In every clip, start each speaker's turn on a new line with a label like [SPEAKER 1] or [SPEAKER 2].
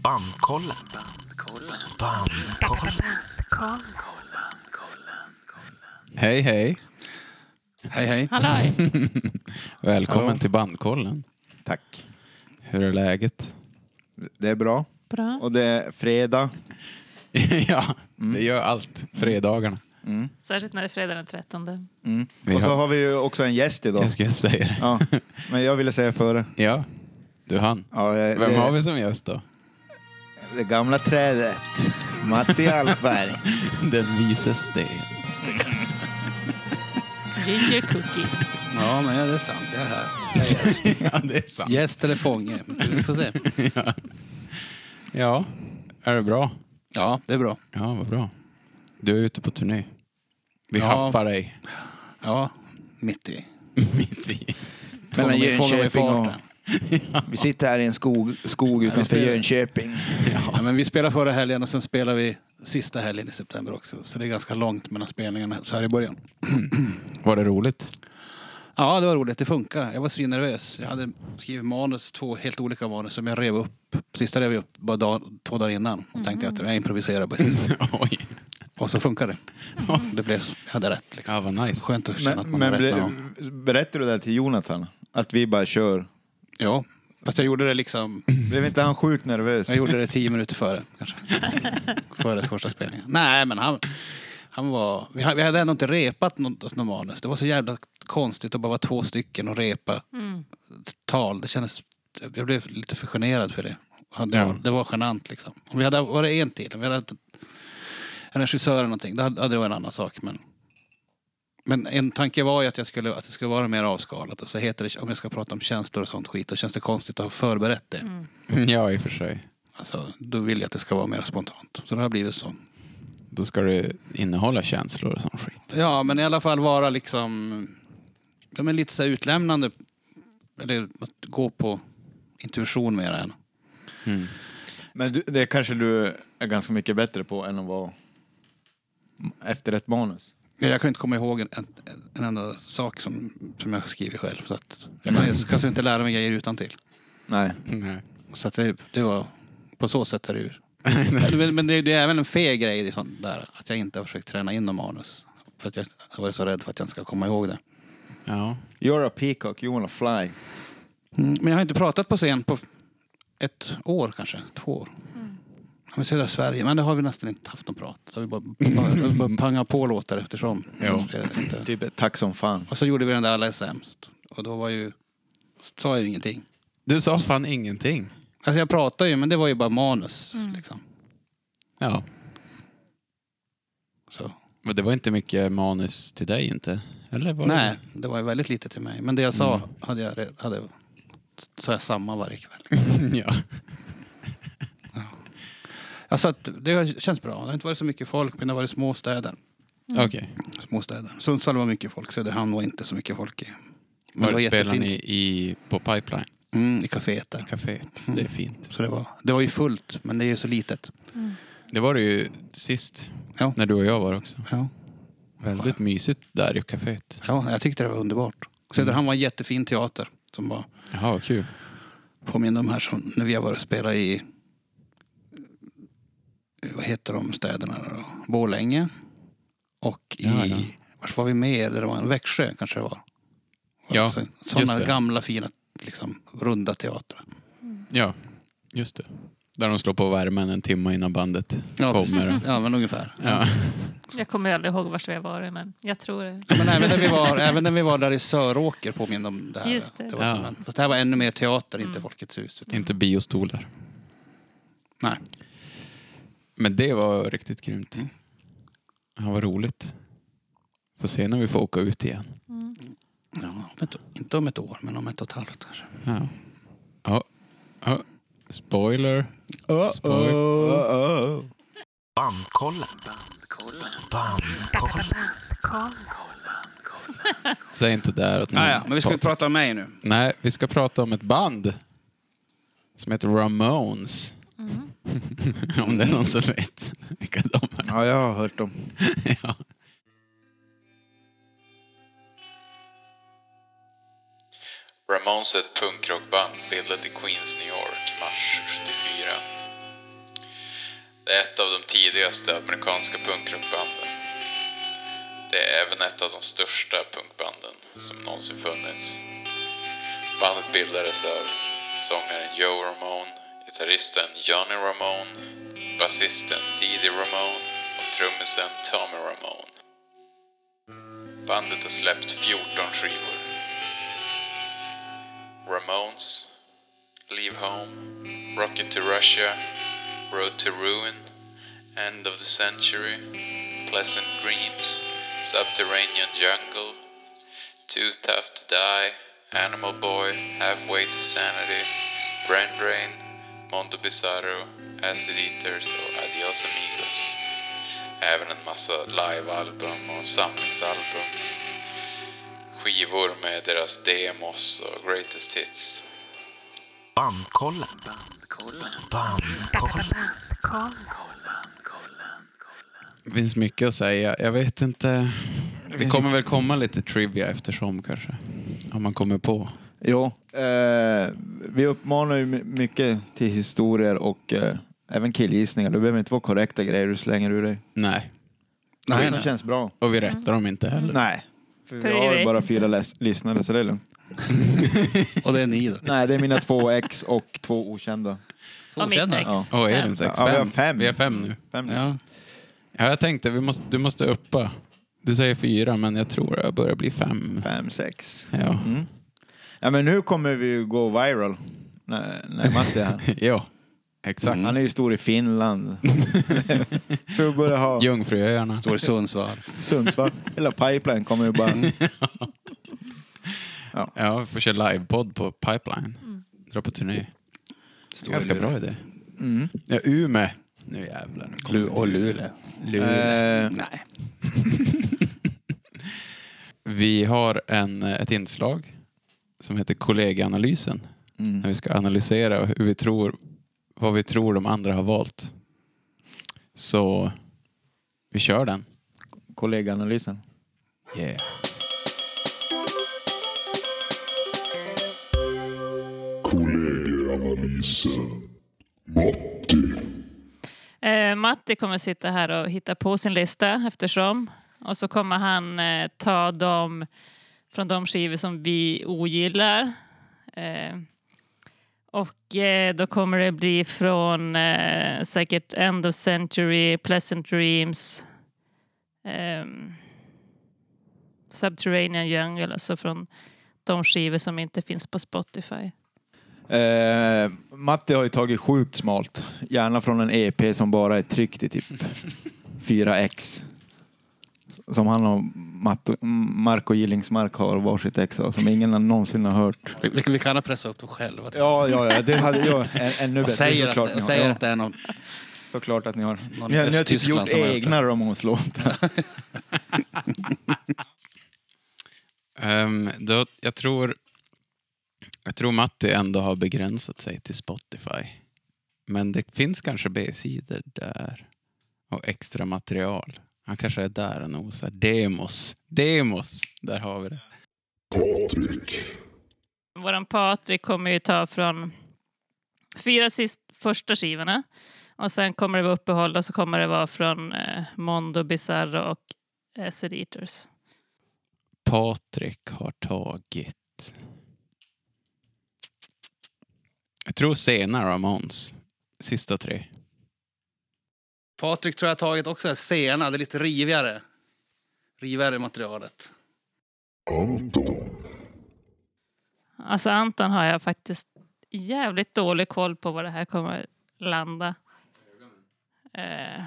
[SPEAKER 1] Bandkollen. Bandkollen.
[SPEAKER 2] Hej hej.
[SPEAKER 3] Hej hej.
[SPEAKER 4] Halloj!
[SPEAKER 2] Välkommen
[SPEAKER 3] Hallå.
[SPEAKER 2] till Bandkollen.
[SPEAKER 3] Tack.
[SPEAKER 2] Hur är läget?
[SPEAKER 3] Det är bra.
[SPEAKER 4] Bra.
[SPEAKER 3] Och det är fredag.
[SPEAKER 2] ja, det gör allt. Fredagarna.
[SPEAKER 4] Särskilt när det är fredag den 13.
[SPEAKER 3] Mm.
[SPEAKER 2] Vi
[SPEAKER 3] Och så
[SPEAKER 2] har-
[SPEAKER 3] har vi ju också en gäst idag.
[SPEAKER 2] Jag skulle säga det.
[SPEAKER 3] Ja. Men jag ville säga före.
[SPEAKER 2] Ja, du han.
[SPEAKER 3] Ja, eh,
[SPEAKER 2] Vem
[SPEAKER 3] det,
[SPEAKER 2] har vi som gäst då?
[SPEAKER 3] det gamla trädet. Matti Alfberg.
[SPEAKER 2] Den vise sten.
[SPEAKER 4] Ginger cookie.
[SPEAKER 5] Ja, men ja, det är sant. Jag är här. Jag är gäst.
[SPEAKER 2] ja, det är sant.
[SPEAKER 5] gäst eller fånge. Vi får se.
[SPEAKER 2] Ja, är det bra?
[SPEAKER 5] Ja, det är bra.
[SPEAKER 2] Ja, vad bra. Du är ute på turné. Vi
[SPEAKER 5] Ja.
[SPEAKER 2] haffar dig.
[SPEAKER 5] Ja, mitt i.
[SPEAKER 2] Mitt i.
[SPEAKER 5] Fånga
[SPEAKER 3] Mellan
[SPEAKER 5] mig- fånga mig i
[SPEAKER 3] Jönköping och...
[SPEAKER 5] farten.
[SPEAKER 3] Vi sitter här i en skog, skog utanför
[SPEAKER 5] spelar-
[SPEAKER 3] Jönköping.
[SPEAKER 5] Ja, men vi spelar förra helgen och sen spelar vi sista helgen i september också. Så det är ganska långt mellan spelningarna så här i början.
[SPEAKER 2] Var det roligt?
[SPEAKER 5] Ja, det var roligt. Det funkar. Jag var svinnervös. Jag hade skrivit manus, två helt olika manus som jag rev upp. Sista rev jag upp bara dag, två dagar innan och tänkte
[SPEAKER 3] Mm.
[SPEAKER 5] att jag improviserar bara.
[SPEAKER 2] Oj.
[SPEAKER 5] Och så funkar det. Det blev, jag hade rätt liksom.
[SPEAKER 2] Ja, vad nice.
[SPEAKER 5] Skönt att känna att
[SPEAKER 3] Men,
[SPEAKER 5] man
[SPEAKER 3] men
[SPEAKER 5] har rätt. någon gång.
[SPEAKER 3] ble, berättade du det här till Jonathan? Att vi bara kör.
[SPEAKER 5] Ja, fast jag gjorde det liksom...
[SPEAKER 3] Blev inte han sjukt nervös?
[SPEAKER 5] Jag gjorde det tio minuter före, kanske. före första spelningen. Nej, men han, han var... Vi ha- vi hade ändå inte repat något, något manus. Det var så jävla konstigt att bara vara två stycken och repa tal. Det kändes... Jag blev lite för generad för det. Han- Det
[SPEAKER 2] Ja.
[SPEAKER 5] var, det var genant liksom. Om vi hade varit en till, om vi hade haft en regissör eller någonting, då hade hade det varit en annan sak. Men, men en tanke var ju att, jag skulle, att det skulle vara mer avskalat. Och så heter det, om jag ska prata om känslor och sånt skit, då känns det konstigt att ha förberett det.
[SPEAKER 2] Ja, i och för sig.
[SPEAKER 5] Alltså, då vill jag att det ska vara mer spontant. Så det har blivit så.
[SPEAKER 2] Då ska du innehålla känslor och sån skit.
[SPEAKER 5] Ja, men i alla fall vara liksom... Ja, men lite så här utlämnande. Eller att gå på intuition mer än...
[SPEAKER 2] Mm.
[SPEAKER 3] Men du, det kanske du är ganska mycket bättre på än att vara efter ett manus.
[SPEAKER 5] Ja, Jag kan inte komma ihåg en, en, en enda sak som, som jag skriver själv. Så att jag kan, jag kanske inte lära mig grejer utan till.
[SPEAKER 3] Nej.
[SPEAKER 2] Nej.
[SPEAKER 5] Så att det, det var... På så sätt är det ju... Men, men det, det är även en feg grej i sånt där. Att jag inte har försökt träna in någon manus. För att jag har varit så rädd för att jag inte ska komma ihåg det.
[SPEAKER 2] Ja.
[SPEAKER 3] You're a peacock, you wanna fly.
[SPEAKER 5] Mm, Men jag har inte pratat på scen på ett år kanske, två år. Om vi södra Sverige, men det har vi nästan inte haft någon prat. Då har vi bara, bara, vi bara pangat på låtar eftersom.
[SPEAKER 2] Jo.
[SPEAKER 5] Det är inte-
[SPEAKER 3] Typ ett tack som fan.
[SPEAKER 5] Och så gjorde vi den där Alla är sämst. Och då var ju, sa jag ju ingenting.
[SPEAKER 2] Du sa fan ingenting.
[SPEAKER 5] Alltså jag pratade ju, men det var ju bara manus. Liksom.
[SPEAKER 2] Ja.
[SPEAKER 5] Så.
[SPEAKER 2] Men det var inte mycket manus till dig inte? Eller var
[SPEAKER 5] Nej, det Mm. var ju väldigt lite till mig. Men det jag sa hade jag, re- hade, sa jag samma varje kväll.
[SPEAKER 2] Det? ja.
[SPEAKER 5] Alltså att det har- känns bra. Det har inte varit så mycket folk, men det har varit små städer.
[SPEAKER 2] Okej.
[SPEAKER 5] småstäder. Sundsvall var mycket folk, Söderhamn var inte så mycket folk i. Men
[SPEAKER 2] Var det spelar
[SPEAKER 5] jättefint.
[SPEAKER 2] ni i, på Pipeline?
[SPEAKER 5] Mm, i kaféet där.
[SPEAKER 2] Caféet. Det är fint.
[SPEAKER 5] Så det var, det var ju fullt, men det är ju så litet.
[SPEAKER 2] Det var det ju sist.
[SPEAKER 5] Ja.
[SPEAKER 2] När du och jag var också.
[SPEAKER 5] Ja.
[SPEAKER 2] Väldigt mysigt där i kaféet.
[SPEAKER 5] ja, jag tyckte det var underbart. Söderhamn var en jättefin teater som var,
[SPEAKER 2] Jaha, vad kul.
[SPEAKER 5] påminner om här som när vi har varit och spelat i, vad heter de städerna då? Borlänge. Och i,
[SPEAKER 2] Ja, ja.
[SPEAKER 5] vars var vi med? Där det var en Växjö kanske det var.
[SPEAKER 2] Ja, just
[SPEAKER 5] Sådana
[SPEAKER 2] det.
[SPEAKER 5] gamla fina, liksom, runda teatrar.
[SPEAKER 2] Ja, just det. Där de slår på värmen en timme innan bandet kommer.
[SPEAKER 5] precis. ja, men ungefär.
[SPEAKER 2] Ja.
[SPEAKER 4] Jag kommer ju aldrig ihåg vart vi har varit, men jag tror det.
[SPEAKER 5] Men även när vi var, även när vi var där i Söråker påminner om det här.
[SPEAKER 4] Just det. Mm.
[SPEAKER 5] var
[SPEAKER 2] Ja.
[SPEAKER 5] som en, fast det här var ännu mer teater, inte Folkets hus. Utan,
[SPEAKER 2] Inte biostolar.
[SPEAKER 5] Nej. Mm.
[SPEAKER 2] Men det var riktigt grymt. Ja, vad roligt. Får se när vi får åka ut igen.
[SPEAKER 5] Ja, om ett, inte om ett år, men om ett och ett halvt kanske.
[SPEAKER 2] Ja. Ja. Ja. Spoiler. Spoiler. Mm.
[SPEAKER 1] Bandkollen. Bandkollen.
[SPEAKER 2] Säg inte där att
[SPEAKER 5] Ah, Ja, ja, men vi ska inte prata om mig nu.
[SPEAKER 2] Nej, vi ska prata om ett band som heter Ramones. om det är någon som vet vilka de är.
[SPEAKER 3] Ja, jag har hört dem.
[SPEAKER 2] ja. Ramones är ett punkrockband bildat i Queens, New York, mars 74. Det är ett av de tidigaste amerikanska punkrockbanden. Det är även ett av de största punkbanden som någonsin funnits. Bandet bildades av sångaren Joe Ramone, gitarristen Johnny Ramone, basisten Didi Ramone och trummisen Tommy Ramone. Bandet har släppt 14 skivor. Ramones, Leave Home, Rocket to Russia, Road to Ruin, End of the Century, Pleasant Dreams, Subterranean Jungle, Too Tough to Die, Animal Boy, Halfway to Sanity, Brain Drain, Mondo Bizarro, Acid Eaters och Adios Amigos. Även en massa livealbum och samlingsalbum. Skivor med deras demos och greatest hits.
[SPEAKER 1] Bandkollen. Bandkollen.
[SPEAKER 2] Det finns mycket att säga. Jag vet inte. Det kommer väl komma lite trivia eftersom kanske. Om man kommer på.
[SPEAKER 3] Jo, eh, vi uppmanar ju my- mycket till historier och eh, även killgissningar. Det behöver inte vara korrekta grejer du slänger ur dig.
[SPEAKER 2] Nej.
[SPEAKER 3] det
[SPEAKER 5] Nej,
[SPEAKER 3] som
[SPEAKER 5] nej.
[SPEAKER 3] känns bra.
[SPEAKER 2] Och vi rättar dem inte heller.
[SPEAKER 3] Nej, för
[SPEAKER 4] För
[SPEAKER 3] vi
[SPEAKER 4] vi
[SPEAKER 3] har ju
[SPEAKER 4] vet
[SPEAKER 3] bara
[SPEAKER 4] inte.
[SPEAKER 3] fyra läs- lyssnare så det är lugnt.
[SPEAKER 5] Och det är ni då?
[SPEAKER 3] Nej, det är mina två ex och två okända.
[SPEAKER 4] Och mitt
[SPEAKER 5] känner
[SPEAKER 4] ex.
[SPEAKER 5] jag.
[SPEAKER 2] Åh, är det en sex?
[SPEAKER 3] Ja, vi har fem.
[SPEAKER 2] Vi har fem nu.
[SPEAKER 3] Fem.
[SPEAKER 5] Ja.
[SPEAKER 2] Ja, jag tänkte vi måste, du måste uppa. Du säger fyra, men jag tror jag börjar bli fem.
[SPEAKER 3] Fem, sex.
[SPEAKER 2] Ja.
[SPEAKER 3] Mm. Ja, men nu kommer vi ju gå viral när, när Matti är här.
[SPEAKER 2] ja, exakt.
[SPEAKER 3] Han är ju stor i Finland. För börja ha
[SPEAKER 2] Jungfruöarna.
[SPEAKER 5] Står i Sundsvall.
[SPEAKER 3] Sundsvall. Hela pipeline kommer ju bara...
[SPEAKER 2] Ja, vi får köra livepodd på Pipeline. Dra på turné. Ganska bra idé.
[SPEAKER 3] Mm.
[SPEAKER 2] Ja, Umeå. Nu jävlar.
[SPEAKER 5] Lu- och Luleå.
[SPEAKER 3] Eh,
[SPEAKER 5] Nej.
[SPEAKER 2] Vi har en, eh, ett inslag som heter kollegaanalysen. När vi ska analysera hur vi tror, vad vi tror de andra har valt. Så vi kör den.
[SPEAKER 3] kollegaanalysen.
[SPEAKER 2] Yeah.
[SPEAKER 6] Kollegieanalysen. Matti.
[SPEAKER 4] Eh, Matti kommer sitta här och hitta på sin lista eftersom. Och så kommer han eh, ta dem från de skivor som vi ogillar. Eh, och eh, då kommer det bli från eh, säkert End of Century, Pleasant Dreams, ehm, Subterranean Jungle, alltså från de skivor som inte finns på Spotify.
[SPEAKER 3] Eh, Matti har ju tagit sjukt smalt. Gärna från en EP som bara är tryckt i typ 4x. Som han och Matt- Marco Gillingsmark har varsitt ex av, som ingen någonsin har hört.
[SPEAKER 5] Vi, vi, vi kan ha pressat upp dem själva.
[SPEAKER 3] Ja, ja, ja. Det hade jag än- ännu
[SPEAKER 5] och
[SPEAKER 3] bättre.
[SPEAKER 5] säger,
[SPEAKER 3] såklart
[SPEAKER 5] att,
[SPEAKER 3] ni
[SPEAKER 5] och
[SPEAKER 3] har.
[SPEAKER 5] säger
[SPEAKER 3] Ja,
[SPEAKER 5] att det är någon...
[SPEAKER 3] såklart att ni har.
[SPEAKER 5] någon
[SPEAKER 3] Ni har, ni har typ
[SPEAKER 5] Östtyskland
[SPEAKER 3] gjort
[SPEAKER 5] som har gjort
[SPEAKER 3] egna Ramones-låtar.
[SPEAKER 2] Ehm, då, jag, tror, jag tror Matti ändå har begränsat sig till Spotify. Men det finns kanske B-sidor där. Och extra material. Han kanske är där och nosar. Demos. Demos. Där har vi det.
[SPEAKER 6] Patrik.
[SPEAKER 4] Våran Patrik kommer ju ta från fyra sist, första skivorna. Och sen kommer det vara uppehåll och så kommer det vara från eh, Mondo, Bizarro och Acid Eaters.
[SPEAKER 2] Patrik har tagit... Jag tror senare Ramones. Sista tre.
[SPEAKER 5] Patrik tror jag har tagit också här sena, det är lite rivigare. Rivigare i materialet.
[SPEAKER 6] Anton.
[SPEAKER 4] Alltså Anton har jag faktiskt jävligt dålig koll på var det här kommer landa. Eh,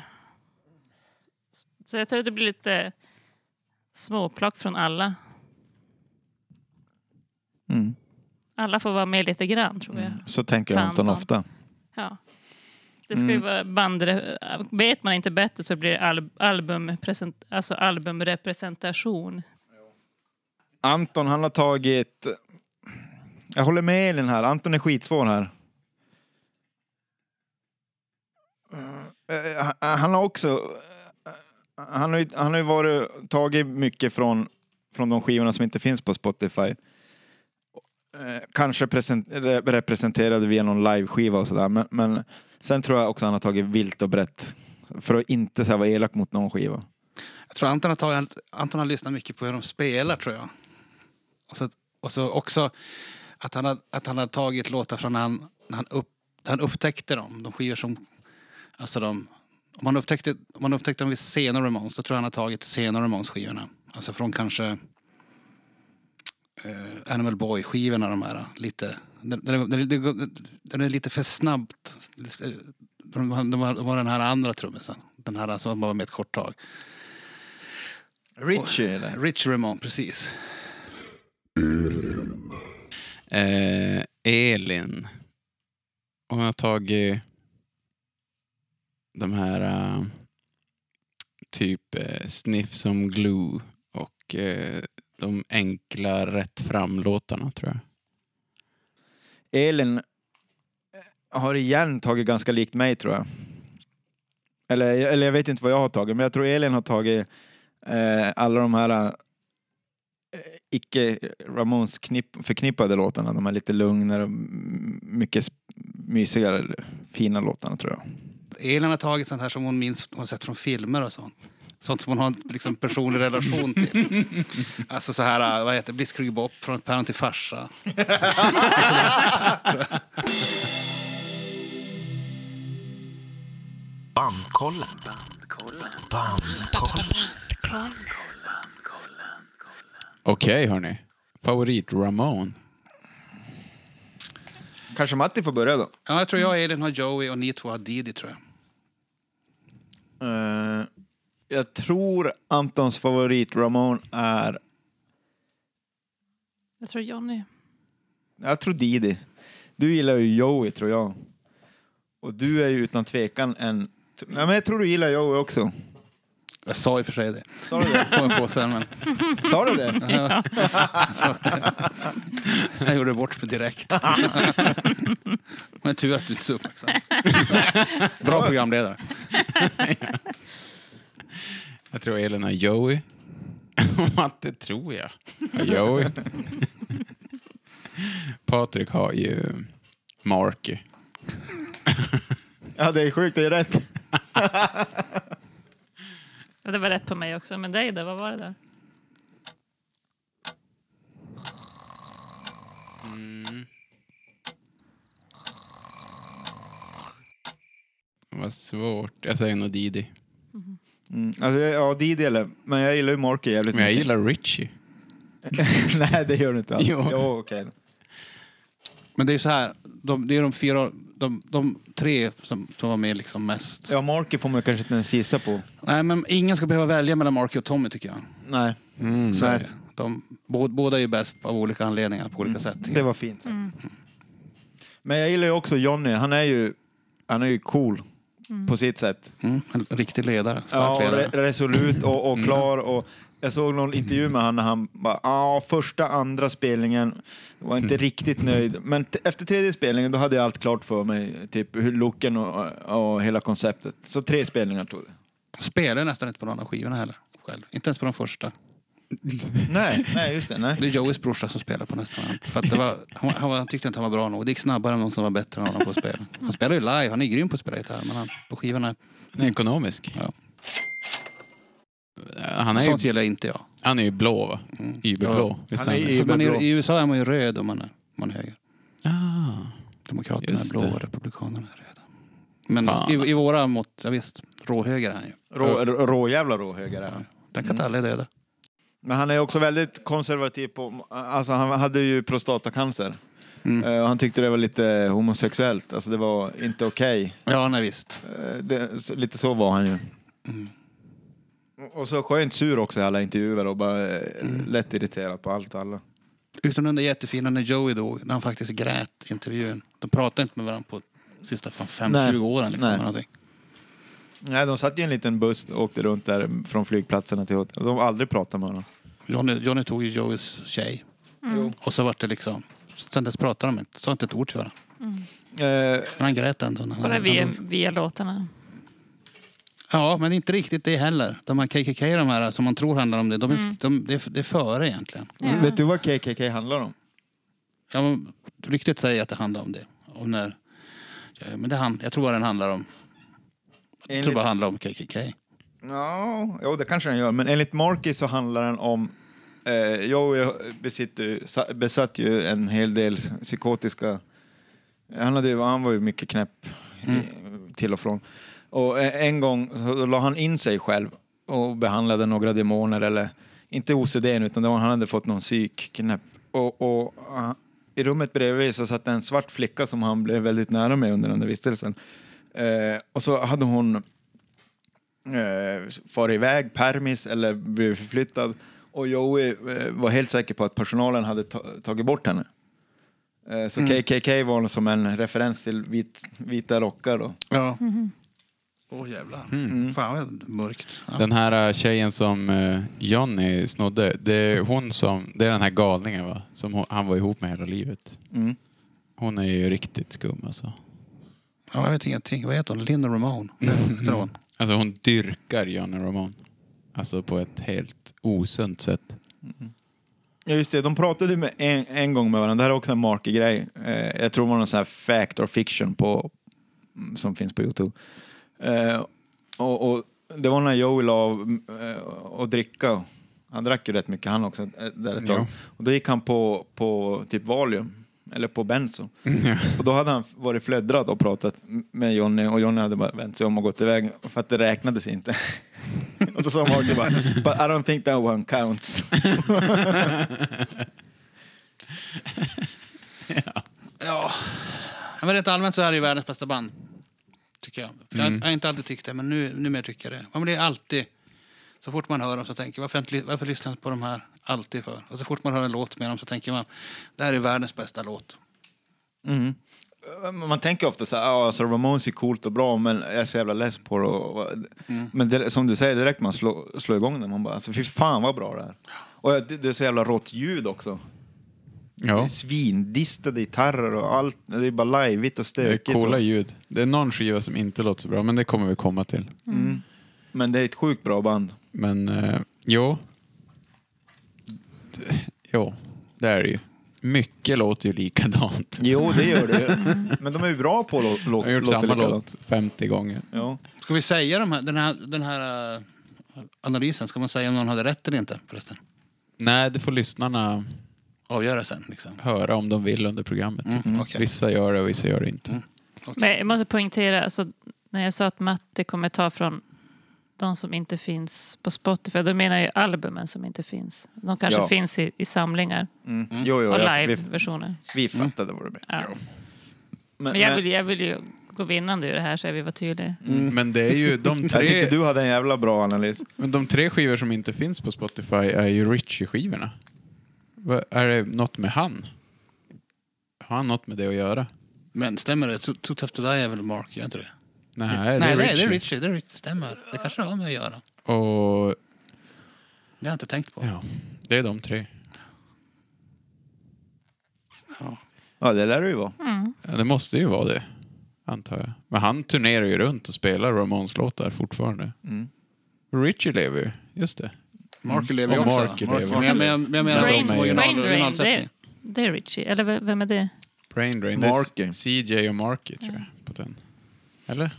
[SPEAKER 4] så jag tror att det blir lite småplock från alla.
[SPEAKER 3] Mm.
[SPEAKER 4] Alla får vara med lite grann tror jag.
[SPEAKER 3] Så tänker
[SPEAKER 4] Fan,
[SPEAKER 3] Anton
[SPEAKER 4] Anton.
[SPEAKER 3] ofta.
[SPEAKER 4] Ja. Det ska ju vara bandre... Vet man inte bättre så blir det al- albumpresent... alltså albumrepresentation.
[SPEAKER 3] Anton, han har tagit... Jag håller med Elin här. Anton är skitsvår här. Eh, han- Han har också... eh, Han har ju, han har ju varit, tagit mycket från, från de skivorna som inte finns på Spotify. eh, kanske present- re- representerade via någon liveskiva och sådär. Men, men sen tror jag också han har tagit vilt och brett. För att inte så här, vara elak mot någon skiva.
[SPEAKER 5] Jag tror Anton har, tagit, Anton har lyssnat mycket på hur de spelar, tror jag. Och så, och så också att han, har, att han har tagit låtar från när han, när han, upp, när han upptäckte dem. De skivor som... Alltså de, om, han upptäckte, om han upptäckte dem vid senare Ramones, då tror jag han har tagit senare Ramones-skivorna. Alltså från kanske eh, Animal Boy-skivorna, de här. Lite, när, när, det- när, det- när, det- när det är lite för snabbt. De, de, de, har- de har den här andra trummisen, den här som var med ett kort tag.
[SPEAKER 3] Richie eller?
[SPEAKER 5] Rich Ramon, precis.
[SPEAKER 6] Elin,
[SPEAKER 2] Eh, Elin. Hon har tagit de här eh, typ eh, Sniff som Glue och eh, de enkla rätt fram-låtarna tror jag.
[SPEAKER 3] Elin eh, har igen tagit ganska likt mig tror jag. Eller, eller jag vet inte vad jag har tagit, men jag tror Elin har tagit eh, alla de här eh, icke Ramones knipp- förknippade låtarna. De här lite lugnare, m- mycket sp- mysigare, fina låtarna tror jag.
[SPEAKER 5] Elin har tagit sånt här som hon minns hon har sett från filmer och sånt. Sånt som hon har en liksom, personlig relation till. Alltså så här, vad heter det, Blitzkrieg Bop, från ett päron till farsa.
[SPEAKER 1] Bandkollen. Bandkollen.
[SPEAKER 2] Okej hörni. Favorit Ramon.
[SPEAKER 3] Kanske Matti får börja då?
[SPEAKER 5] Ja, jag tror jag och Elin har Joey och ni två har Didi, tror jag.
[SPEAKER 3] Eh, jag tror Antons favorit Ramon är,
[SPEAKER 4] Jag tror Johnny.
[SPEAKER 3] jag tror Didi. Du gillar ju Joey tror jag. Och du är ju utan tvekan en, nej men jag tror du gillar Joey också.
[SPEAKER 5] Jag sa i och för sig det.
[SPEAKER 3] Sa du det?
[SPEAKER 5] Kommer på sen, men
[SPEAKER 3] Sa du det?
[SPEAKER 5] alltså, jag gjorde bort mig direkt. Men tur att du inte är så uppmärksam. Bra programledare.
[SPEAKER 2] Jag tror Elin har Joey. Matte tror jag har Joey. Patrik har ju Marky.
[SPEAKER 3] Ja det är sjukt, det är rätt.
[SPEAKER 4] Ja, Det var rätt på mig också, men dig då? Vad var det då?
[SPEAKER 2] Vad svårt. Jag säger nog Didi.
[SPEAKER 3] Mm, alltså, jag- ja Didi eller, men jag gillar ju Marky jävligt
[SPEAKER 2] Men jag gillar Richie.
[SPEAKER 3] Nej det gör du inte alls.
[SPEAKER 2] Jo.
[SPEAKER 3] jo okej.
[SPEAKER 5] Men det är ju så här, de, det är de fyra, de, de tre som, som var med liksom mest.
[SPEAKER 3] Ja Marky får man kanske inte ens gissa på.
[SPEAKER 5] Nej, men ingen ska behöva välja mellan Marky och Tommy tycker jag.
[SPEAKER 3] Nej.
[SPEAKER 2] Mm,
[SPEAKER 5] Så är det. De, bå- båda är ju bäst av olika anledningar på olika sätt.
[SPEAKER 3] Det var fint sagt. Men jag gillar ju också Johnny. Han är ju, han är ju cool på sitt sätt.
[SPEAKER 5] Mm, en riktig ledare, stark
[SPEAKER 3] Ja, och
[SPEAKER 5] ledare.
[SPEAKER 3] re- resolut och, och klar. Och jag såg någon intervju med han när han bara, ja, första, andra spelningen var inte riktigt nöjd. Men t- efter tredje spelningen då hade jag allt klart för mig, typ hur looken och, och hela konceptet. Så tre spelningar tog det.
[SPEAKER 5] Spelar ju nästan inte på någon av skivorna heller. Själv. Inte ens på de första.
[SPEAKER 3] Nej, nej just det, nej.
[SPEAKER 5] Det är Joeys brorsa som spelar på nästan allt. För att det var, han, han, var- han tyckte inte han var bra nog. Det gick snabbare än någon som var bättre än honom på att spela. Han spelar ju live, han är grym på att spela gitarr. Men han, på skivorna,
[SPEAKER 2] Han är ekonomisk. Eh,
[SPEAKER 5] Ja.
[SPEAKER 2] Han, är
[SPEAKER 5] sånt
[SPEAKER 2] ju,
[SPEAKER 5] gillar inte jag. Mm.
[SPEAKER 2] han är ju blå va? Überblå. Visst
[SPEAKER 3] Han är
[SPEAKER 2] han
[SPEAKER 3] ju-
[SPEAKER 2] är?
[SPEAKER 5] För man är,
[SPEAKER 3] bra.
[SPEAKER 5] I USA är man ju röd om man är, man är höger.
[SPEAKER 2] Ah.
[SPEAKER 5] Demokraterna
[SPEAKER 2] Just
[SPEAKER 5] är blå
[SPEAKER 2] det.
[SPEAKER 5] och republikanerna är röda. Men
[SPEAKER 2] Fan.
[SPEAKER 5] i, i våra mått, ja visst, råhöger är han ju.
[SPEAKER 3] Rå, rå, råjävla råhöger är han.
[SPEAKER 5] Den kan inte alla döda.
[SPEAKER 3] Men han är också väldigt konservativ på, alltså han hade ju prostatacancer. Eh, och Han tyckte det var lite homosexuellt, alltså det var inte okej.
[SPEAKER 5] Ja, nej visst.
[SPEAKER 3] Eh, det- så- Lite så var han ju. Mm. Och så skönt sur också i alla intervjuer och bara eh, lätt irriterad på allt och alla.
[SPEAKER 5] Utom den där jättefina när Joey dog, när han faktiskt grät i intervjun. De pratade inte med varandra på sista fan,
[SPEAKER 3] Nej.
[SPEAKER 5] 5-20 åren. Liksom,
[SPEAKER 3] Nej.
[SPEAKER 5] eller någonting.
[SPEAKER 3] Nej, de satt ju i en liten buss och åkte runt där från flygplatserna till hotell. De har aldrig pratat med honom.
[SPEAKER 5] Johnny, Johnny tog ju Joeys tjej. Och så vart det liksom... Sen dess pratade de inte. Sa inte ett ord till varandra.
[SPEAKER 3] Eh,
[SPEAKER 5] Men han grät ändå. När han,
[SPEAKER 4] Bara
[SPEAKER 5] han
[SPEAKER 4] via,
[SPEAKER 5] dog.
[SPEAKER 4] via låtarna.
[SPEAKER 5] Ja, men inte riktigt det heller. De här KKK, de här som man tror handlar om det, de är, de, det, är, det är före egentligen.
[SPEAKER 4] Ja.
[SPEAKER 3] Vet du vad KKK handlar om?
[SPEAKER 5] kan man ryktet säga att det handlar om det. Om när, ja, men det han, jag tror bara den handlar om, jag tror bara den handlar om KKK.
[SPEAKER 3] Ja, jo, det kanske den gör. Men enligt Marky så handlar den om... Eh, jag jag besitter, ju- sa- besatt ju en hel del psykotiska... Han, hade, ju- han var ju mycket knäpp eh, till och från. Och eh, en gång så la han in sig själv och behandlade några demoner. Eller, inte OCD, n, utan det var, han hade fått någon psykknäpp. Och, och, ah, I rummet bredvid så satt en svart flicka som han blev väldigt nära med under den där vistelsen. Eh, och så hade hon eh, far iväg, permis eller blev förflyttad. Och Joey eh, var helt säker på att personalen hade ta- tagit bort henne. Eh, så KKK var som en referens till vit, vita rockar då.
[SPEAKER 5] Ja. Åh jävlar. Mm. Fan vad mörkt. Ja.
[SPEAKER 7] Den
[SPEAKER 2] eh,
[SPEAKER 7] här äh, tjejen som äh, Johnny snodde, det är hon som, det är den här galningen va? Som hon, han var ihop med hela livet.
[SPEAKER 3] Mm.
[SPEAKER 7] Hon är ju riktigt skum alltså.
[SPEAKER 5] Ja, jag vet ingenting. Vad heter hon? Linda Ramone. Heter hon?
[SPEAKER 7] Alltså hon dyrkar Johnny Ramon. Alltså på ett helt osunt sätt.
[SPEAKER 3] Ja just det, de pratade ju med en, en gång med varandra. Det här är också en markig grej. Eh, jag tror det var någon sån här fact or fiction på, mm, som finns på Youtube. Eh, och, och det var när Joey la av mm, eh, och dricka. Han drack ju rätt mycket han också eh, där ett tag.
[SPEAKER 7] Ja.
[SPEAKER 3] Och då gick han på, på typ Valium. Eller på Benzo. Och då hade han varit flödrad och pratat med Johnny och Johnny hade bara vänt sig om och gått iväg för att det räknades inte. och då sa Marty bara, but I don't think that one counts.
[SPEAKER 5] Ja. ja, men rent allmänt så är det ju världens bästa band. Tycker jag. För jag, jag har inte alltid tyckt det, men nu, numera tycker jag det. Ja, men det är alltid, så fort man hör dem så tänker jag, varför, har jag inte, ly- varför lyssnar jag inte på de här alltid för? Och så fort man hör en låt med dem så tänker man, det här är världens bästa låt.
[SPEAKER 3] Man tänker ofta så här, ah, alltså Ramones är coolt och bra, men jag är så jävla less på det. Och, och-
[SPEAKER 7] Mm.
[SPEAKER 3] Men det, som du säger, direkt man slår, slår igång den, man bara, alltså, fy fan vad bra det är. Och det, det är så jävla rått ljud också. Det är
[SPEAKER 7] Ja.
[SPEAKER 3] Svindistade gitarrer och allt, det är bara lajvigt och
[SPEAKER 7] Det är
[SPEAKER 3] stökigt.
[SPEAKER 7] coola
[SPEAKER 3] och,
[SPEAKER 7] ljud. Det är någon skiva som inte låter så bra, men det kommer vi komma till.
[SPEAKER 3] men det är ett sjukt bra band.
[SPEAKER 7] Men eh, jo. D- Jo, det är det ju. Mycket låter ju likadant.
[SPEAKER 3] Jo, det gör det Men de är ju bra på att lå-
[SPEAKER 7] Jag har gjort
[SPEAKER 3] låta
[SPEAKER 7] samma
[SPEAKER 3] likadant.
[SPEAKER 7] låt 50 gånger.
[SPEAKER 3] Ja.
[SPEAKER 5] Ska vi säga de här, den här, den här eh, analysen? Ska man säga om någon hade rätt eller inte? Förresten.
[SPEAKER 7] Nej, det får lyssnarna
[SPEAKER 5] Avgöra sen. Liksom.
[SPEAKER 7] höra om de vill under programmet.
[SPEAKER 5] Mm, okej.
[SPEAKER 7] Vissa gör det och vissa gör det inte.
[SPEAKER 4] Men jag måste poängtera, alltså, när jag sa att Matti kommer ta från de som inte finns på Spotify, då menar jag ju albumen som inte finns. De kanske
[SPEAKER 3] Ja.
[SPEAKER 4] finns i, i samlingar
[SPEAKER 3] Mm. Jo, jo,
[SPEAKER 4] och
[SPEAKER 3] jag, vi,
[SPEAKER 4] liveversioner.
[SPEAKER 3] vi fattade
[SPEAKER 7] Mm.
[SPEAKER 3] vad det blev.
[SPEAKER 4] Ja.
[SPEAKER 3] Men,
[SPEAKER 4] Men jag vill, jag vill ju gå vinnande ur det här, så jag vill vara tydlig.
[SPEAKER 7] Men det är ju de
[SPEAKER 3] jag
[SPEAKER 7] tre,
[SPEAKER 3] tyckte du hade en jävla bra analys.
[SPEAKER 7] men de tre skivor som inte finns på Spotify är ju Richie-skivorna. Vad- Är det något med han? Har han något med det att göra?
[SPEAKER 5] Men stämmer det? Two- Two Tough To Die är väl Mark, gör inte det?
[SPEAKER 7] Nej, det är
[SPEAKER 5] Nej, det
[SPEAKER 7] Richie.
[SPEAKER 5] är, det är Richie. Det är Richie. Stämmer. Det kanske det har med att göra.
[SPEAKER 7] Och,
[SPEAKER 5] Det har jag inte tänkt på.
[SPEAKER 7] ja, det är de tre.
[SPEAKER 3] Ja, det lär det ju vara.
[SPEAKER 7] Ja, det måste ju vara det, antar jag. Men han turnerar ju runt och spelar Ramones-låtar fortfarande.
[SPEAKER 5] Mm.
[SPEAKER 7] Richie lever ju, just det.
[SPEAKER 5] Mark lever ju
[SPEAKER 7] Och
[SPEAKER 5] också.
[SPEAKER 7] Mark lever.
[SPEAKER 5] Men jag, men jag, men jag menar
[SPEAKER 7] Brain-
[SPEAKER 5] de är original,
[SPEAKER 4] Brain Drain, det,
[SPEAKER 5] originalsättning.
[SPEAKER 4] det är Richie. Eller v- vem är det?
[SPEAKER 7] Brain Drain.
[SPEAKER 3] Marky.
[SPEAKER 7] Det är CJ och Marky, tror jag, på den. Eller?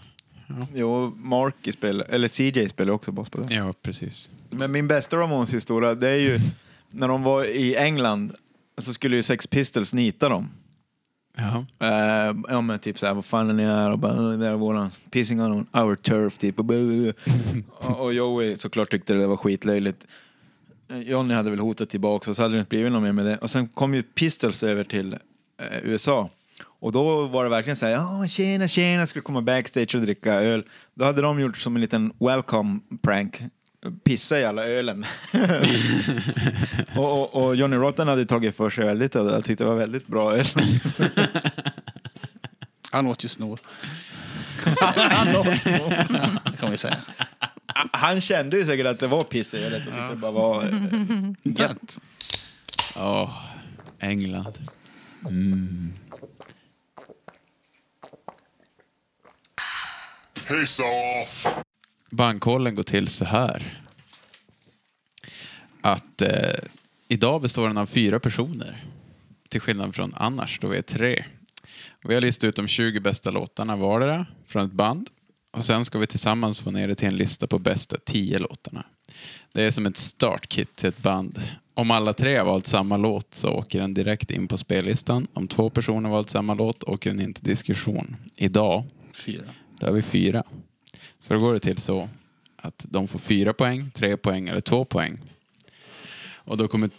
[SPEAKER 3] Jo, Marky spelar, eller CJ spelar också bas på det.
[SPEAKER 7] Ja, precis.
[SPEAKER 3] Men min bästa Ramones-historia, det är ju när de var i England så skulle ju Sex Pistols nita dem.
[SPEAKER 7] Ja.
[SPEAKER 3] Eh, ja men typ såhär, vad fan är ni här? Och bara, "Eh, det är våran, pissing on our turf typ. Och, blah, blah, blah. och, och Joey såklart tyckte det var skitlöjligt. Eh, Johnny hade väl hotat tillbaka och så hade det inte blivit något mer med det. Och sen kom ju Pistols över till eh, USA. Och då var det verkligen såhär, ja tjena tjena, skulle komma backstage och dricka öl. Då hade de gjort som en liten welcome prank. Pissa i alla ölen. och, och, och Johnny Rotten hade tagit för sig väldigt, jag tyckte det var väldigt bra öl.
[SPEAKER 5] Han åt ju snor. Han åt snor. kan vi säga.
[SPEAKER 3] Han kände ju säkert att det var piss i ölet och tyckte det bara var eh, gött.
[SPEAKER 7] Åh, England.
[SPEAKER 8] Piss off!
[SPEAKER 7] Bankkollen går till så här. Att eh, idag består den av fyra personer. till skillnad från annars, då vi är tre. Vi har listat ut de 20 bästa låtarna vardera från ett band. Och sen ska vi tillsammans få ner det till en lista på bästa 10 låtarna. Det är som ett startkit till ett band. Om alla tre har valt samma låt så åker den direkt in på spellistan. Om två personer valt samma låt åker den in till diskussion. Idag,
[SPEAKER 5] Fyra.
[SPEAKER 7] då har vi fyra. Så då går det till så att de får fyra poäng, tre poäng eller två poäng. Och då kommer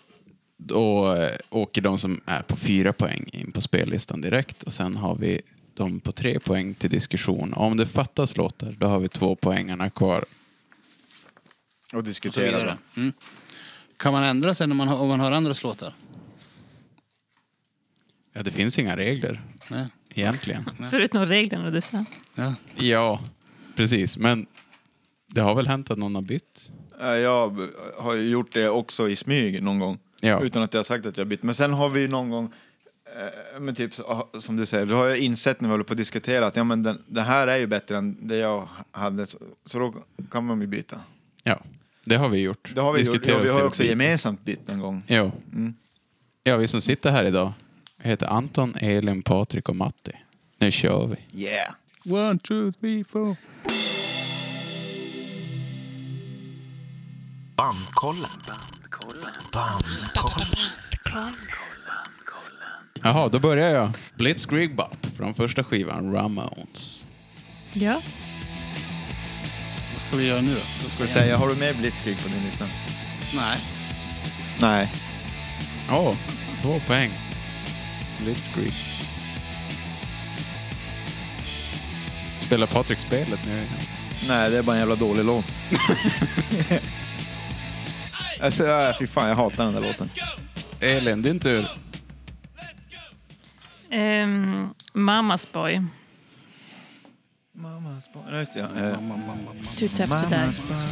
[SPEAKER 7] då eh, åker de som är på fyra poäng in på spellistan direkt och sen har vi de på tre poäng till diskussion. Och om det fattas låtar, då har vi två poängarna kvar.
[SPEAKER 3] Och
[SPEAKER 5] Och så
[SPEAKER 3] diskutera.
[SPEAKER 5] vidare. Mm. Kan man ändra sig när man, har- om man hör andras låtar?
[SPEAKER 7] Ja, det finns inga regler
[SPEAKER 5] Nej.
[SPEAKER 7] egentligen.
[SPEAKER 4] Förutom reglerna du sa.
[SPEAKER 5] Ja.
[SPEAKER 7] Ja, precis. Men det har väl hänt att någon har bytt?
[SPEAKER 3] Eh, Jag har ju gjort det också i smyg någon gång.
[SPEAKER 7] Ja.
[SPEAKER 3] Utan att jag har sagt att jag har bytt. Men sen har vi ju någon gång, eh, men typ så- som du säger, då har jag insett när vi håller på att diskutera att ja, men den, det här är ju bättre än det jag hade. Så, så då kan man ju byta.
[SPEAKER 7] Ja, det har vi gjort.
[SPEAKER 3] Det har vi gjort. Ja,
[SPEAKER 7] Diskuterat
[SPEAKER 3] vi har
[SPEAKER 7] till
[SPEAKER 3] ju
[SPEAKER 7] att
[SPEAKER 3] också
[SPEAKER 7] byta.
[SPEAKER 3] gemensamt bytt en gång.
[SPEAKER 7] Jo. Ja, vi som sitter här idag heter Anton, Elin, Patrik och Matti. Nu kör vi.
[SPEAKER 3] Yeah!
[SPEAKER 5] One, two, three, four.
[SPEAKER 1] Bandkollen. Bandkollen.
[SPEAKER 7] Jaha, då börjar jag. Blitzkrieg Bop från första skivan Ramones.
[SPEAKER 4] Ja.
[SPEAKER 5] Vad ska vi göra nu då?
[SPEAKER 3] Ska du säga, har du med Blitzkrieg på din lista?
[SPEAKER 5] Nej.
[SPEAKER 3] Nej.
[SPEAKER 7] Åh, två poäng. Blitzkrieg. Spelar Patrik spelet nu?
[SPEAKER 3] Nej, det är bara en jävla dålig låt. alltså, ja, fy fan, jag hatar den där låten.
[SPEAKER 7] Elin, din tur.
[SPEAKER 4] Ehm, Mamas boy.
[SPEAKER 3] Mammas barn. Ja, just det, ja. Eh,
[SPEAKER 4] Too tough to die.
[SPEAKER 3] Mammas barn.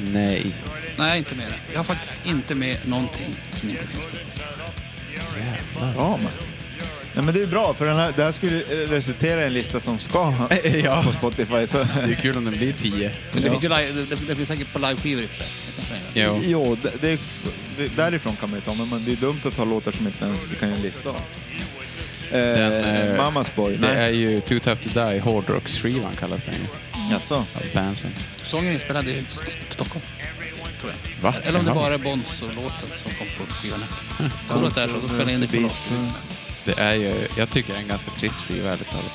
[SPEAKER 7] Nej.
[SPEAKER 5] Nej, inte med det. Jag har faktiskt inte med någonting som inte finns på.
[SPEAKER 3] Bra, man. Nej, men det är bra, för den här, det här skulle eh, resultera i en lista som ska ja. på Spotify. Så.
[SPEAKER 7] Det är kul om den blir tio.
[SPEAKER 5] Men det, finns ju live, det, det, det finns säkert på liveskivor i och för sig. Det kanske den gör.
[SPEAKER 7] Jo.
[SPEAKER 3] Jo, det, det, det, därifrån kan man ju ta, men man- det är dumt att ta låtar som inte ens vi kan göra en lista av. Eh,
[SPEAKER 7] eh,
[SPEAKER 3] Mammas boy.
[SPEAKER 7] Det
[SPEAKER 3] Nej,
[SPEAKER 7] är ju Too Tough To Die, hårdrocksskivan kallas den ju.
[SPEAKER 3] Jaså?
[SPEAKER 7] Av fansen.
[SPEAKER 5] Sången är inspelad i St- Stockholm. tror jag.
[SPEAKER 7] Va?
[SPEAKER 5] Eller om det
[SPEAKER 7] Jaha.
[SPEAKER 5] bara är Bonzo-låten som kom på skivan. Jag tror att det är så. De spelade in det på låten.
[SPEAKER 7] Det är ju, jag tycker det är en ganska trist skiva ärligt talat.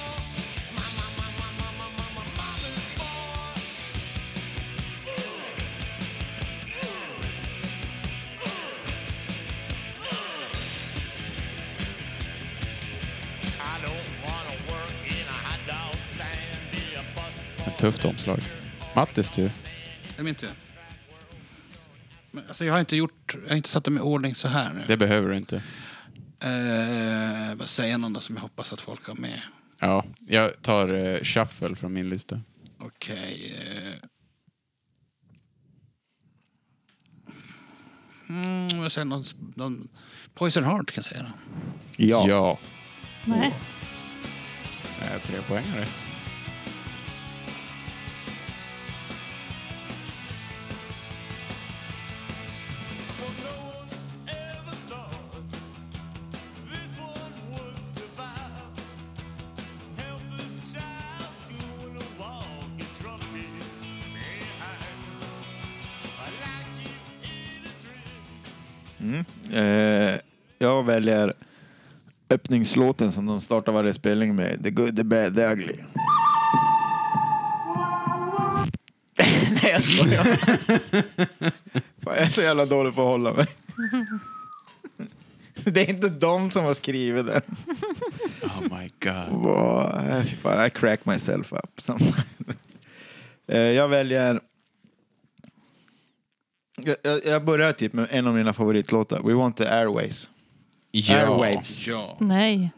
[SPEAKER 7] Ett tufft omslag. Mattis tur.
[SPEAKER 5] Det är min tur. Men, alltså, jag har inte gjort... Jag har inte satt dem i ordning så här nu.
[SPEAKER 7] Det behöver du inte.
[SPEAKER 5] Eh, vad säger någon då som jag hoppas att folk har med?
[SPEAKER 7] Ja, jag tar eh, Shuffle från min lista.
[SPEAKER 5] Okej. eh. Mm, jag säger någon, någon... Poison Heart kan jag säga. Då.
[SPEAKER 3] Ja.
[SPEAKER 7] ja.
[SPEAKER 4] Nej.
[SPEAKER 7] Eh, tre poängare.
[SPEAKER 3] Eh, jag väljer öppningslåten som de startar varje spelning med. The good, the bad, the ugly. Nej, jag skojar. Fan, jag är så jävla dålig på att hålla mig. Det är inte de som har skrivit den.
[SPEAKER 7] Oh my god.
[SPEAKER 3] Wow, eh, fy fan, I crack myself up. sometimes. Eh, jag väljer... Jag- Jag, jag börjar typ med en av mina favoritlåtar. We want the airways.
[SPEAKER 7] Ja.
[SPEAKER 3] Airwaves.
[SPEAKER 5] Ja.
[SPEAKER 4] Nej.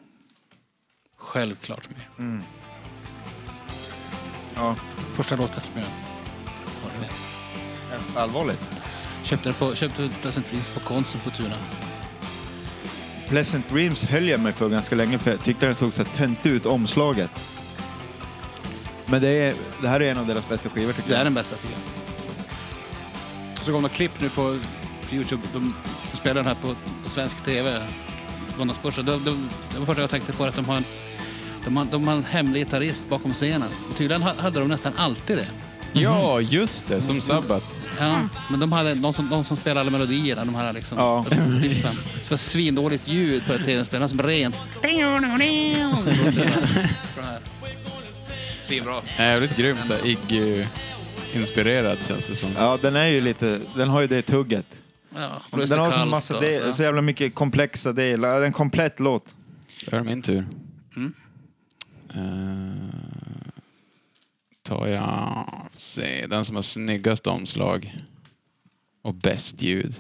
[SPEAKER 5] Självklart med.
[SPEAKER 7] Mm.
[SPEAKER 3] Ja.
[SPEAKER 5] Första låten som jag har med.
[SPEAKER 3] Allvarligt.
[SPEAKER 5] Köpte den på, köpte Pleasant Dreams på Konsum på Tuna.
[SPEAKER 3] Pleasant Dreams höll jag mig för ganska länge för jag tyckte den såg så här töntig ut, omslaget. Men det, är, det här är en av deras bästa skivor tycker
[SPEAKER 5] Det är
[SPEAKER 3] jag.
[SPEAKER 5] den bästa skivan. Så kom det klipp nu på på Youtube. De spelar den här på, på svensk tv. måndagsbörsen. Det, det, det var första jag tänkte på att de har en, de har, de har en hemlig gitarrist bakom scenen. Och tydligen ha- hade de nästan alltid det.
[SPEAKER 7] Ja, just det. Som Sabbat.
[SPEAKER 5] Ja, men de, hade, de, som, de som spelade alla melodierna, de här liksom...
[SPEAKER 3] Ja.
[SPEAKER 5] riffen. Så det var svindåligt ljud på tv-spelaren som rent... Svinbra.
[SPEAKER 7] Jävligt grym. så här Iggy-inspirerad känns det som.
[SPEAKER 3] Ja, den är ju lite... Den har ju det tugget.
[SPEAKER 5] Ja, och
[SPEAKER 3] Den har så,
[SPEAKER 5] kallt
[SPEAKER 3] massa
[SPEAKER 5] och
[SPEAKER 3] del, så jävla mycket komplexa delar. Det är en komplett låt.
[SPEAKER 7] Då är det min tur.
[SPEAKER 3] Mm.
[SPEAKER 7] Eh, tar jag... får Se, den som har snyggast omslag och bäst ljud.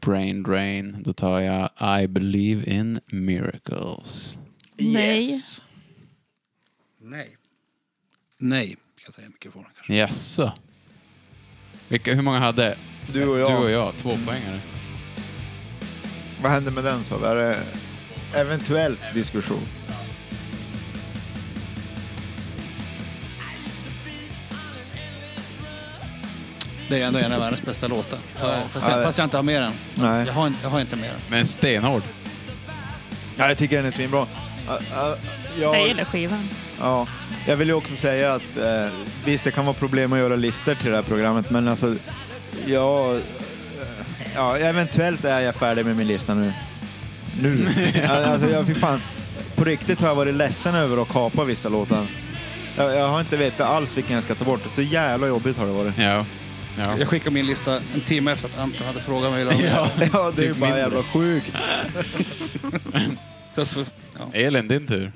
[SPEAKER 7] Brain Drain. Då tar jag I Believe In Miracles.
[SPEAKER 4] Nej.
[SPEAKER 5] Nej. Nej, kan jag säga i mikrofonen kanske.
[SPEAKER 7] Jaså? Vilka, hur många hade?
[SPEAKER 3] Du och jag.
[SPEAKER 7] Du och jag. Två poängare.
[SPEAKER 3] Vad händer med den så? Är det eventuellt diskussion?
[SPEAKER 5] Det är ändå en av världens bästa låtar. Fast, jag, fast jag inte har med den.
[SPEAKER 3] Nej.
[SPEAKER 5] Jag har, inte- jag har inte med den.
[SPEAKER 7] Men stenhård.
[SPEAKER 3] Ja, jag tycker den är svinbra. Ä- ä-
[SPEAKER 4] Jag
[SPEAKER 3] jag,
[SPEAKER 4] gillar skivan.
[SPEAKER 3] ja, jag vill ju också säga att eh, visst, det kan vara problem att göra listor till det här programmet, men alltså, jag, eh, ja, eventuellt är jag färdig med min lista nu. Nu? alltså, jag fick fan, på riktigt har jag varit ledsen över att kapa vissa låtar. Jag, jag har inte vetat alls vilken jag ska ta bort. Så jävla jobbigt har det varit.
[SPEAKER 7] Ja. ja.
[SPEAKER 5] Jag skickade min lista en timme efter att Anton hade frågat mig. hur jag-
[SPEAKER 3] Ja, det är ju
[SPEAKER 7] Typ
[SPEAKER 3] bara
[SPEAKER 7] mindre.
[SPEAKER 3] jävla sjukt.
[SPEAKER 5] Plus för- Ja.
[SPEAKER 7] Elin, din tur.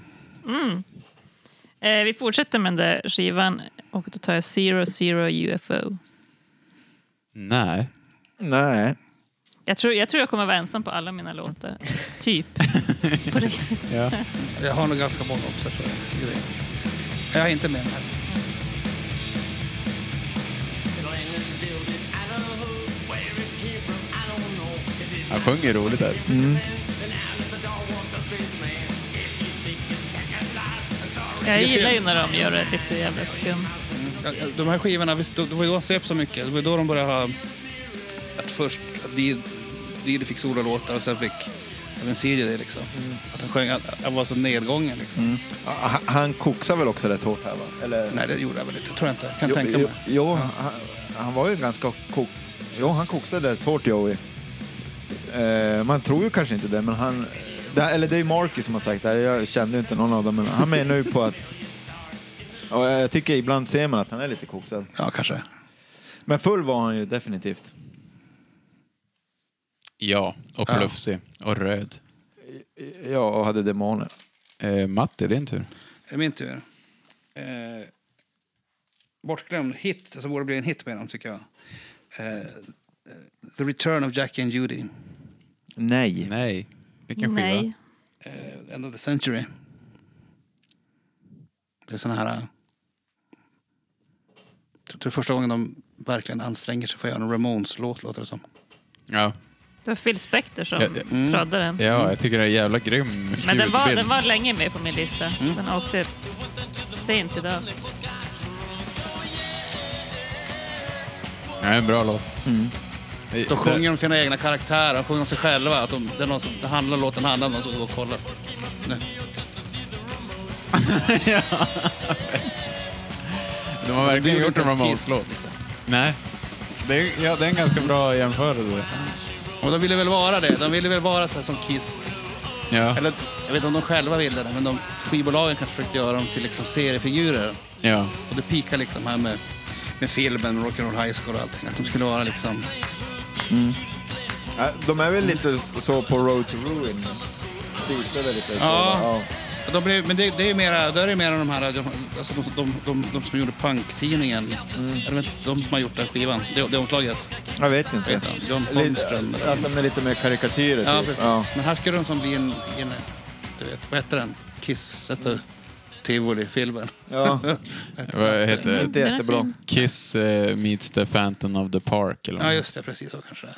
[SPEAKER 4] Eh, vi fortsätter med den där skivan och då tar jag Zero Zero UFO.
[SPEAKER 7] Nej.
[SPEAKER 3] Nej.
[SPEAKER 4] Jag tror jag, tror jag kommer vara ensam på alla mina låtar. Typ. På riktigt.
[SPEAKER 5] Jag har nog ganska många också. tror jag. Grejer. Jag är inte med den här.
[SPEAKER 7] Han sjunger roligt här.
[SPEAKER 4] Jag gillar ju när de gör det lite jävla skumt.
[SPEAKER 5] Ja, ja, De här skivorna, visst, det var ju då han söp så mycket. Det var ju då de började ha... Att först att Did- Didi fick sololåtar och sen fick även Siri det liksom. Att han sjöng, att han var så nedgången liksom.
[SPEAKER 3] Ja, Han, han koksar väl också rätt hårt här va? Eller?
[SPEAKER 5] Nej, det gjorde jag väl inte. Tror jag inte.
[SPEAKER 3] Jo,
[SPEAKER 5] Kan jag tänka
[SPEAKER 3] jo,
[SPEAKER 5] mig.
[SPEAKER 3] jo han, han var ju ganska kok... Jo, han koksade rätt hårt Joey. Eh, man tror ju kanske inte det, men han... Det, eller det är ju Marky som har sagt det här. Jag kände ju inte någon av dem, men han menar ju på att... Och jag tycker ibland ser man att han är lite koksad.
[SPEAKER 5] Ja, kanske.
[SPEAKER 3] Men full var han ju definitivt.
[SPEAKER 7] Ja, och
[SPEAKER 5] Ja.
[SPEAKER 7] plufsig. Och röd.
[SPEAKER 3] Ja, och hade demoner.
[SPEAKER 7] Eh, Matti, din tur.
[SPEAKER 5] Är det min tur? Eh, bortglömd hit, som borde bli en hit med dem tycker jag. Eh, The Return of Jackie and Judy.
[SPEAKER 3] Nej.
[SPEAKER 7] Nej. Vilken skiva?
[SPEAKER 4] Nej.
[SPEAKER 5] eh, End of the Century. Det är såna här... eh, Jag tror det är första gången de verkligen anstränger sig för att göra en Ramones-låt, låter det som.
[SPEAKER 7] Ja.
[SPEAKER 4] Det var Phil Spector som
[SPEAKER 7] Ja, det-
[SPEAKER 4] proddade den.
[SPEAKER 7] ja, jag tycker det är en jävla grym
[SPEAKER 4] Men den var,
[SPEAKER 7] ljudbild.
[SPEAKER 4] den var länge med på min lista.
[SPEAKER 3] Mm.
[SPEAKER 4] Den åkte sent idag.
[SPEAKER 7] Ja, en bra låt.
[SPEAKER 5] De sjunger om sina egna karaktärer, de sjunger om sig själva. Att de, det är någon som, det handlar, låten handlar om någon som går och kollar. Nej.
[SPEAKER 7] De har verkligen
[SPEAKER 5] Det är
[SPEAKER 7] gjort
[SPEAKER 5] inte
[SPEAKER 7] en
[SPEAKER 5] ens
[SPEAKER 7] Ramones-låt.
[SPEAKER 5] Kiss, liksom.
[SPEAKER 7] Nej. Det är, ja, det är en ganska bra jämförelse.
[SPEAKER 5] Och de ville väl vara det. De ville väl vara så här som Kiss.
[SPEAKER 7] Ja.
[SPEAKER 5] Eller, jag vet inte om de själva ville det, men de, skivbolagen kanske försökte göra dem till liksom seriefigurer.
[SPEAKER 7] ja.
[SPEAKER 5] Och det pikar liksom här med, med filmen, med Rock'n'Roll High School och allting. Att de skulle vara liksom...
[SPEAKER 3] Ja, Eh, De är väl lite så på Road to Ruin. Dykade lite. så,
[SPEAKER 5] Ja.
[SPEAKER 3] va?
[SPEAKER 5] De blev, men det, det är ju mera, där är ju mera de här, de, alltså de, de, de, de som gjorde punktidningen.
[SPEAKER 3] Mm.
[SPEAKER 5] Eller vet inte, de som har gjort den skivan, det, det omslaget.
[SPEAKER 3] Jag vet inte.
[SPEAKER 5] Vad heter han? John
[SPEAKER 3] Lite-
[SPEAKER 5] Holmström. eller?
[SPEAKER 3] Att de är lite mer karikatyrer.
[SPEAKER 5] Ja,
[SPEAKER 3] typ.
[SPEAKER 5] precis.
[SPEAKER 3] Ja.
[SPEAKER 5] Men här skulle de som bli en, en du vet, vad heter den? Kiss, heter Tivoli-filmen.
[SPEAKER 3] Ja.
[SPEAKER 7] Vad heter det?
[SPEAKER 3] Inte
[SPEAKER 4] Den är
[SPEAKER 3] jättebra.
[SPEAKER 4] fin.
[SPEAKER 7] Kiss eh, meets the Phantom of the Park. Eller
[SPEAKER 5] Ja,
[SPEAKER 7] något.
[SPEAKER 5] just det, precis så kanske det är.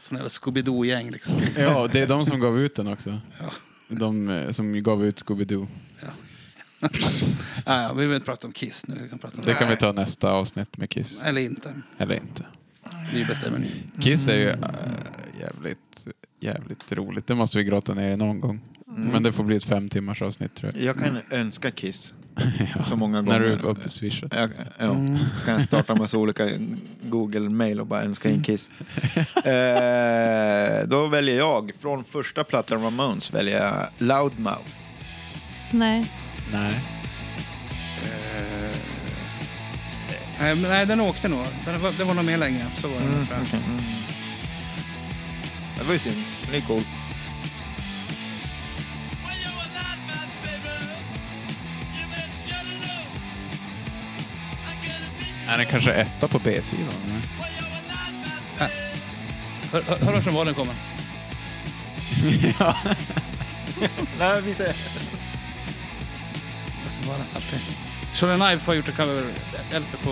[SPEAKER 5] Som jävla Scooby-Doo-gäng liksom.
[SPEAKER 7] ja, det är de som gav ut den också.
[SPEAKER 5] Ja.
[SPEAKER 7] De eh, som gav ut Scooby-Doo.
[SPEAKER 5] Ja, ja, vi behöver inte prata om Kiss nu. Vi kan prata om
[SPEAKER 7] Det kan vi ta nästa avsnitt med Kiss.
[SPEAKER 5] Eller inte.
[SPEAKER 7] Eller inte.
[SPEAKER 5] Vi bestämmer nu.
[SPEAKER 3] Mm.
[SPEAKER 7] Kiss är ju äh, eh, jävligt jävligt roligt. Det måste vi grotta ner i någon gång.
[SPEAKER 3] Mm.
[SPEAKER 7] Men det får bli ett fem timmars avsnitt tror jag.
[SPEAKER 3] Jag kan önska Kiss
[SPEAKER 7] Ja.
[SPEAKER 3] så många
[SPEAKER 7] När
[SPEAKER 3] gånger.
[SPEAKER 7] du är uppe swishat.
[SPEAKER 3] Jag, ja, kan jag starta massa olika Google-mail och bara önska in Kiss. Eh, då väljer jag, från första plattan Ramones, väljer jag Loudmouth.
[SPEAKER 4] Nej.
[SPEAKER 7] Nej.
[SPEAKER 5] Nej, men, nej, den åkte nog. Den var, det var nog med länge. Så var det
[SPEAKER 3] Mm,
[SPEAKER 5] nog, tror jag.
[SPEAKER 3] Det var ju synd, men det är coolt.
[SPEAKER 7] Är den kanske etta på B-sidan? eller?
[SPEAKER 5] Hör- hör- Hör du var den kommer?
[SPEAKER 3] Nej, vi säger...
[SPEAKER 5] Alltså, var den alltid. Shirley Knife har gjort en cover, LP på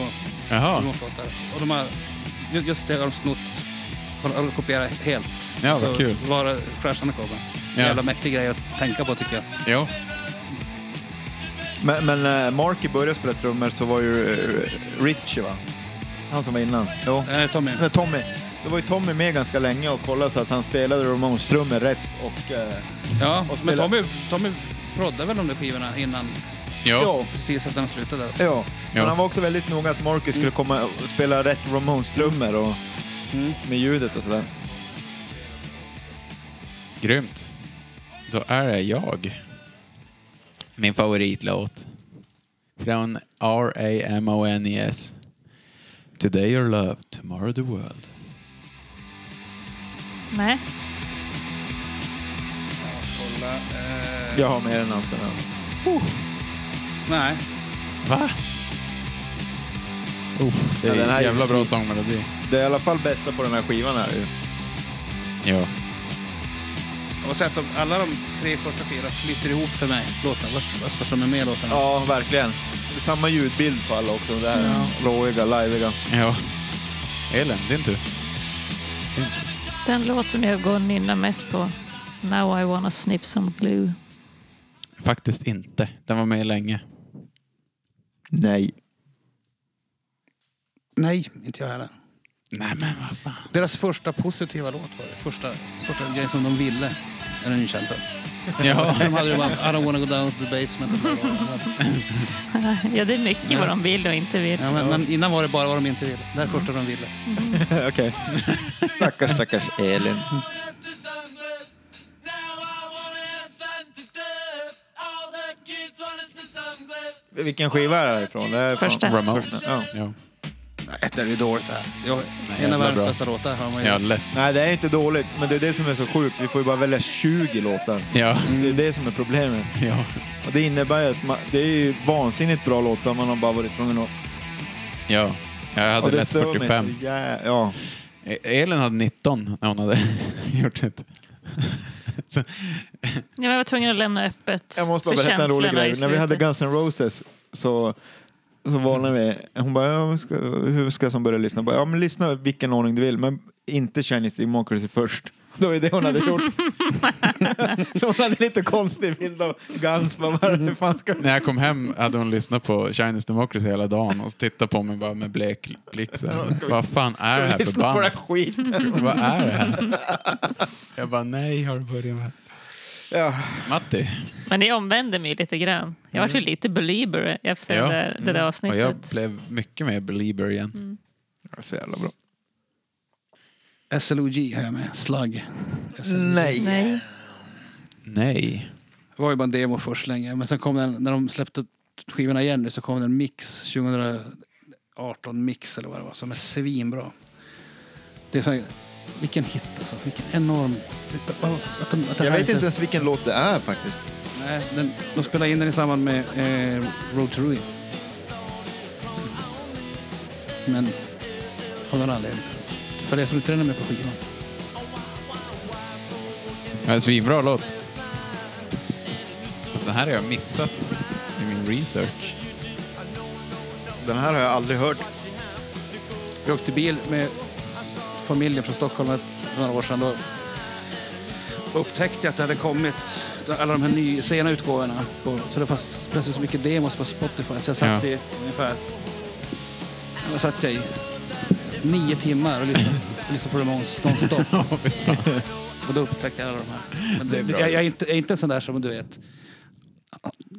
[SPEAKER 7] Jaha.
[SPEAKER 5] Mormonsåtar. Och de har, ju- just det har de snott. Har de- Har de kopierat helt.
[SPEAKER 7] Ja, vad kul.
[SPEAKER 5] Var Crash Anacoba.
[SPEAKER 7] Ja.
[SPEAKER 5] Jävla mäktig grej att tänka på tycker jag.
[SPEAKER 7] Jo.
[SPEAKER 3] Men, men eh, Marky började spela trummor så var ju eh, Richie va? Han som var innan. Jo.
[SPEAKER 5] Eh, Tommy.
[SPEAKER 3] Nej, Tommy. Det var ju Tommy med ganska länge och kollade så att han spelade Ramones trummor rätt och... Eh,
[SPEAKER 5] Ja,
[SPEAKER 3] Och
[SPEAKER 5] men
[SPEAKER 3] spela-
[SPEAKER 5] Tommy, Tommy proddade väl de där skivorna innan.
[SPEAKER 7] Jo.
[SPEAKER 3] ja.
[SPEAKER 5] Precis att den slutade.
[SPEAKER 3] ja. Men
[SPEAKER 7] Ja.
[SPEAKER 3] han var också väldigt noga att Marky skulle komma och spela rätt Ramones trummor och med ljudet och sådär.
[SPEAKER 7] Grymt. Då är det jag. Min favoritlåt. Från R-A-M-O-N-E-S. E Today your love, tomorrow the world.
[SPEAKER 4] Nej.
[SPEAKER 5] Kolla, eh,
[SPEAKER 3] Jag har med den Anton.
[SPEAKER 5] Nej.
[SPEAKER 7] Va? Uff, det
[SPEAKER 3] Ja,
[SPEAKER 7] är
[SPEAKER 3] den här är
[SPEAKER 7] en jävla
[SPEAKER 3] ju
[SPEAKER 7] bra
[SPEAKER 3] musik.
[SPEAKER 7] sångmelodi.
[SPEAKER 3] Det är i alla fall bästa på den här skivan här ju.
[SPEAKER 7] Ja.
[SPEAKER 5] Jag har sett att alla de tre första fyra flyter ihop för mig. Låtarna. Vars, vars, vars de är med i låtarna.
[SPEAKER 3] Ja, verkligen. Det är samma ljudbild på alla också. Det här råiga, liveiga.
[SPEAKER 7] ja. Elin, din tur.
[SPEAKER 4] Den låt som jag går och nynnar mest på. Now I wanna sniff some glue.
[SPEAKER 7] Faktiskt inte. Den var med länge.
[SPEAKER 3] Nej.
[SPEAKER 5] Nej, inte jag heller.
[SPEAKER 7] Nej men vad fan.
[SPEAKER 5] Deras första positiva låt var det. Första, första grejen som de ville. Är den ju känd för.
[SPEAKER 7] Ja.
[SPEAKER 5] De hade ju bara I don't wanna go down to the basement.
[SPEAKER 4] Ja, det är mycket vad de vill och inte vill.
[SPEAKER 5] Ja, men, men innan var det bara vad de inte ville. Det här är första de ville.
[SPEAKER 3] Okej. Stackars, stackars Elin. Vilken skiva är det här ifrån? Det är från-
[SPEAKER 4] Första.
[SPEAKER 7] Ramones.
[SPEAKER 3] Ja.
[SPEAKER 7] Ja.
[SPEAKER 5] Nej, det är ju dåligt det här. Jag, en
[SPEAKER 7] jävla
[SPEAKER 5] av
[SPEAKER 7] bra.
[SPEAKER 5] världens bästa låtar har man ju.
[SPEAKER 7] ja, lätt.
[SPEAKER 3] Nej, det är inte dåligt, men det är det som är så sjukt. Vi får ju bara välja 20 låtar.
[SPEAKER 7] Ja.
[SPEAKER 3] Det är det som är problemet.
[SPEAKER 7] ja.
[SPEAKER 3] Och det innebär ju att man, det är ju vansinnigt bra låtar, man har bara varit tvungen att...
[SPEAKER 7] Ja. Jag
[SPEAKER 3] och
[SPEAKER 7] hade
[SPEAKER 3] det
[SPEAKER 7] lätt
[SPEAKER 3] stör mig
[SPEAKER 7] 45.
[SPEAKER 3] så jä- Ja.
[SPEAKER 7] E- Elin hade 19 när hon hade gjort det. Så,
[SPEAKER 4] Jag var tvungen att lämna öppet
[SPEAKER 3] Jag måste
[SPEAKER 4] för
[SPEAKER 3] bara berätta en rolig
[SPEAKER 4] känslorna i
[SPEAKER 3] grej. När vi hade
[SPEAKER 4] slutet.
[SPEAKER 3] Guns N' Roses så, så varnade vi. Hon bara, ja, vad ska, hur ska jag som börja lyssna? Jag Bara, ja, men lyssna vilken ordning du vill, men inte Chinese Democracy först. Det var ju det hon hade gjort. så hon hade lite konstig bild av Guns. Bara, vad är det fan ska...
[SPEAKER 7] när jag kom hem hade hon lyssnat på Chinese Democracy hela dagen och tittade på mig bara med blek blick. så här. Vad fan är det här för
[SPEAKER 3] Lyssna på den
[SPEAKER 7] band?
[SPEAKER 3] här skiten.
[SPEAKER 7] Vad är det här? Jag bara, nej har du börjat med?
[SPEAKER 3] Ja.
[SPEAKER 7] Matti,
[SPEAKER 4] Men det omvände mig lite grann. Jag var ju
[SPEAKER 3] Mm.
[SPEAKER 4] lite belieber efter
[SPEAKER 7] Ja.
[SPEAKER 4] det, där, det där
[SPEAKER 7] och jag
[SPEAKER 4] avsnittet.
[SPEAKER 7] blev mycket mer belieber igen.
[SPEAKER 3] Så jävla bra.
[SPEAKER 5] SLOG har jag med. Slug. SLOG.
[SPEAKER 3] Nej.
[SPEAKER 4] Nej.
[SPEAKER 7] Nej.
[SPEAKER 5] Det var ju bara en demo först länge. Men sen kom den, när de släppte skivorna igen nu så kom det en mix. 2018 mix eller vad det var. Som är svinbra. Det är så här, vilken hit alltså. Vilken enorm... Att de, att det
[SPEAKER 3] Jag
[SPEAKER 5] här
[SPEAKER 3] vet inte ens vilken låt det är faktiskt.
[SPEAKER 5] Nej, den, de spelade in den i samband med eh, Road to Ruin. Men av någon anledning. så- För jag tror inte den är med på skivan.
[SPEAKER 7] Ja, en svinbra låt. Den här har jag missat i min research.
[SPEAKER 3] Den här har jag aldrig hört.
[SPEAKER 5] Vi åkte bil med familjen från Stockholm för några år sedan. Då upptäckte jag att det hade kommit alla de här ny, sena utgåvorna. På, så det fanns plötsligt så mycket demos på Spotify. Så jag satt
[SPEAKER 7] Ja.
[SPEAKER 5] i ungefär... Vad satt jag i? Nio timmar och lyssnade, lyssnade på Ramones nonstop. Och då upptäckte jag alla de här. Men det,
[SPEAKER 7] är bra.
[SPEAKER 5] jag, jag, är inte, jag är inte sån där som du vet,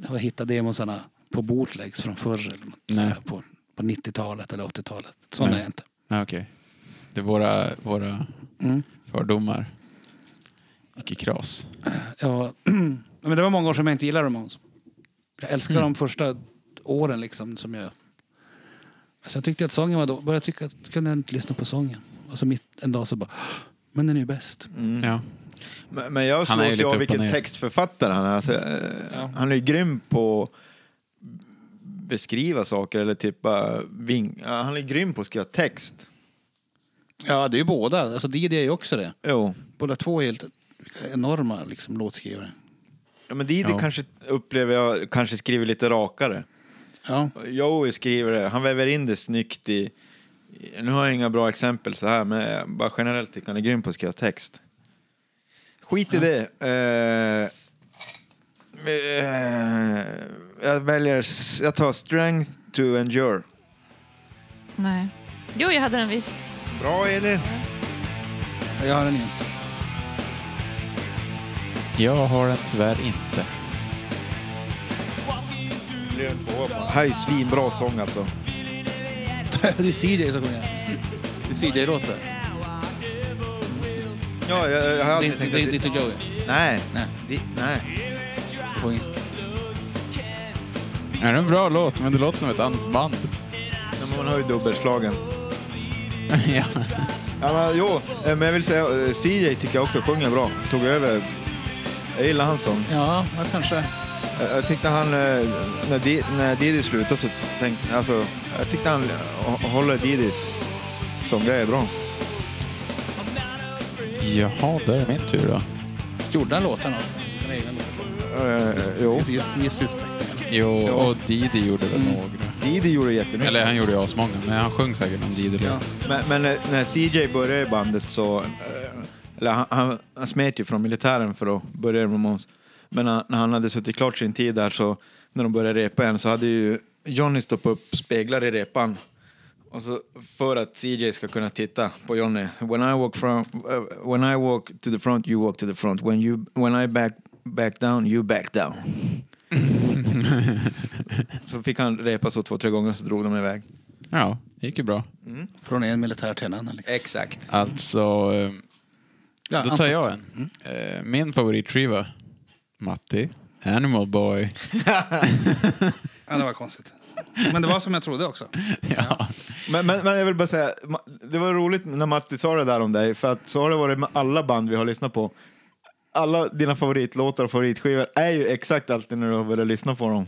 [SPEAKER 5] har hittat demosarna på bootlegs från förr. Eller något
[SPEAKER 7] Nej.
[SPEAKER 5] så här, på, på 90-talet eller 80-talet. Sån
[SPEAKER 7] Nej.
[SPEAKER 5] är jag inte.
[SPEAKER 7] Ja, Ah, okej. Det är våra, våra
[SPEAKER 5] Mm.
[SPEAKER 7] fördomar. Gick i kras.
[SPEAKER 5] Ja, men det var många år som jag inte gillade Ramones. Jag älskade de första åren liksom som jag... Alltså jag tyckte att sången var då. Började tycka att kunde jag inte lyssna på sången. Och så mitt en dag så bara... Men den är ju bäst.
[SPEAKER 7] Ja.
[SPEAKER 3] Men, men jag
[SPEAKER 7] Han är ju
[SPEAKER 3] slås ju
[SPEAKER 7] lite
[SPEAKER 3] av
[SPEAKER 7] upp och
[SPEAKER 3] vilken
[SPEAKER 7] ner.
[SPEAKER 3] textförfattare han är. Alltså, eh, Han är ju grym på att beskriva saker eller typ bara ving... ja, Han är grym på att skriva text.
[SPEAKER 5] Ja, det är ju båda. Alltså Didi är ju också det.
[SPEAKER 3] Jo.
[SPEAKER 5] Båda två är helt vilka enorma liksom, låtskrivare.
[SPEAKER 3] Ja, men Didi
[SPEAKER 7] Ja.
[SPEAKER 3] kanske upplever jag kanske skriver lite rakare.
[SPEAKER 5] Ja.
[SPEAKER 3] Joey skriver det. Han väver in det snyggt i... i- Nu har jag inga bra exempel så här, men bara generellt tycker han är grym på att skriva text. Skit i det. Eh, eh, jag väljer... s- Jag tar Strength to Endure.
[SPEAKER 4] Nej. Jo, jag hade den visst.
[SPEAKER 3] Bra, Elin.
[SPEAKER 5] Jag har den igen.
[SPEAKER 7] Jag har den tyvärr inte.
[SPEAKER 3] Här är svinbra sång alltså.
[SPEAKER 5] det är CJ som sjunger. Det är CJ-låten.
[SPEAKER 3] Ja, jag, jag
[SPEAKER 5] Det
[SPEAKER 3] hade
[SPEAKER 5] är inte-
[SPEAKER 3] tänkt
[SPEAKER 5] det är
[SPEAKER 3] att...
[SPEAKER 5] inte Joey.
[SPEAKER 3] Nej.
[SPEAKER 5] Nej.
[SPEAKER 3] Det, nej.
[SPEAKER 5] det får ingen-
[SPEAKER 7] Är det en bra låt? Men det låter som ett annat band.
[SPEAKER 3] Men man har ju dubbelslagen.
[SPEAKER 7] ja.
[SPEAKER 3] Ja, men, jo, eh, men jag vill säga, eh, CJ tycker jag också sjunger bra. Tog över. Jag gillar hans sång.
[SPEAKER 5] Ja, ja, kanske.
[SPEAKER 3] Jag, jag tyckte han, eh, när, Di, när Didis slutade så tänkte alltså, jag tyckte han eh, håller Didis sånggrej bra.
[SPEAKER 7] Jaha, där är min tur då.
[SPEAKER 5] Gjorde han låtarna också? Sina egna låtar?
[SPEAKER 3] Eh, jo.
[SPEAKER 5] I viss utsträckning.
[SPEAKER 7] Jo, Mm. och Didi gjorde väl några.
[SPEAKER 3] Didi gjorde jättemycket.
[SPEAKER 7] Eller han gjorde ju asmånga, men han sjöng säkert någon Didi.
[SPEAKER 5] Ja.
[SPEAKER 3] Men, men eh, när CJ började i bandet så... eh, Eller han, han, han smet ju från militären för att börja med Måns. Men han, när han hade suttit klart sin tid där så när de började repa igen så hade ju Johnny stoppat upp speglar i repan. Och så för att CJ ska kunna titta på Johnny. When I walk, from, eh, when I walk to the front you walk to the front. When, you, when I back, back down you back down. så fick han repa så två, tre gånger så drog de iväg.
[SPEAKER 7] Ja, det gick ju bra.
[SPEAKER 5] Från en militär till en annan. Liksom.
[SPEAKER 3] Exakt.
[SPEAKER 7] Alltså, eh,
[SPEAKER 5] Ja,
[SPEAKER 7] då tar
[SPEAKER 5] Anton-
[SPEAKER 7] jag en. Eh, Min favoritskiva, Matti, Animal Boy.
[SPEAKER 5] Ja, det var konstigt. Men det var som jag trodde också.
[SPEAKER 7] Ja.
[SPEAKER 3] Men, men, men jag vill bara säga, ma- det var roligt när Matti sa det där om dig, för att så har det varit med alla band vi har lyssnat på. Alla dina favoritlåtar och favoritskivor är ju exakt alltid när du har börjat lyssna på dem.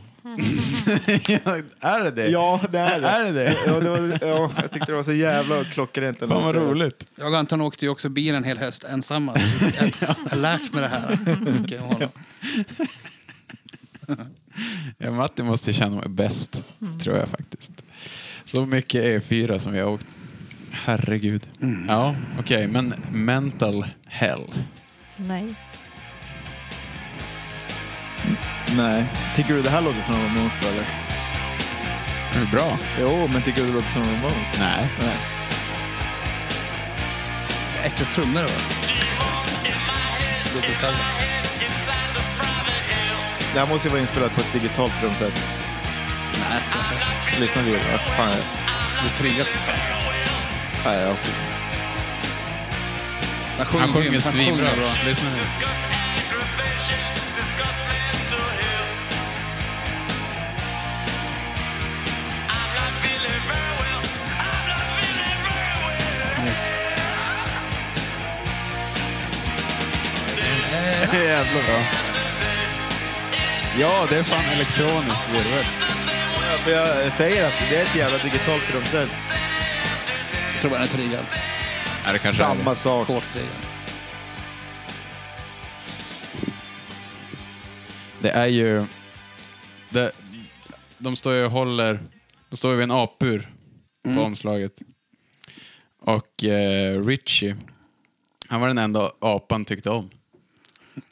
[SPEAKER 7] är det det?
[SPEAKER 3] Ja, det är det.
[SPEAKER 7] Eh, Är det det?
[SPEAKER 3] Ja, det var, ja, jag tyckte det var så jävla klockrent.
[SPEAKER 7] Fan vad roligt.
[SPEAKER 5] Jag och Anton åkte ju också bil en hel höst ensamma. Jag har lärt mig det här. mycket av honom.
[SPEAKER 7] Ja, Matti måste ju känna mig bäst, tror jag faktiskt. Så mycket E4 som vi har åkt. Herregud. Ja, okej, men mental hell.
[SPEAKER 4] Nej.
[SPEAKER 3] Nej. Tycker du det här låter som någon monster eller?
[SPEAKER 7] Det är bra.
[SPEAKER 3] Jo, men tycker du det låter som någon monster?
[SPEAKER 7] Nej.
[SPEAKER 3] Nej.
[SPEAKER 5] Äckliga trummor det var. Dubbelkallad.
[SPEAKER 3] Det här måste ju vara inspelat på ett digitalt trumset.
[SPEAKER 5] Nej, kanske.
[SPEAKER 3] Lyssna vi. Vad fan är det?
[SPEAKER 5] Det triggas.
[SPEAKER 3] Nej, jag-
[SPEAKER 7] Han sjunger
[SPEAKER 5] grymt. Han sjunger
[SPEAKER 7] svinbra.
[SPEAKER 5] bra.
[SPEAKER 7] Lyssna nu. Jävla bra. Ja, det är fan elektronisk virvel.
[SPEAKER 3] Ja, För jag säger att det är ett jävla digitalt trumset.
[SPEAKER 5] Jag tror bara den är triggad.
[SPEAKER 7] Är det kanske
[SPEAKER 3] Samma sak.
[SPEAKER 5] Hårt triggad.
[SPEAKER 7] Det är ju... Det, de står ju och håller... De står ju vid en apur på
[SPEAKER 3] Mm.
[SPEAKER 7] omslaget. Och eh, Richie, han var den enda apan tyckte om.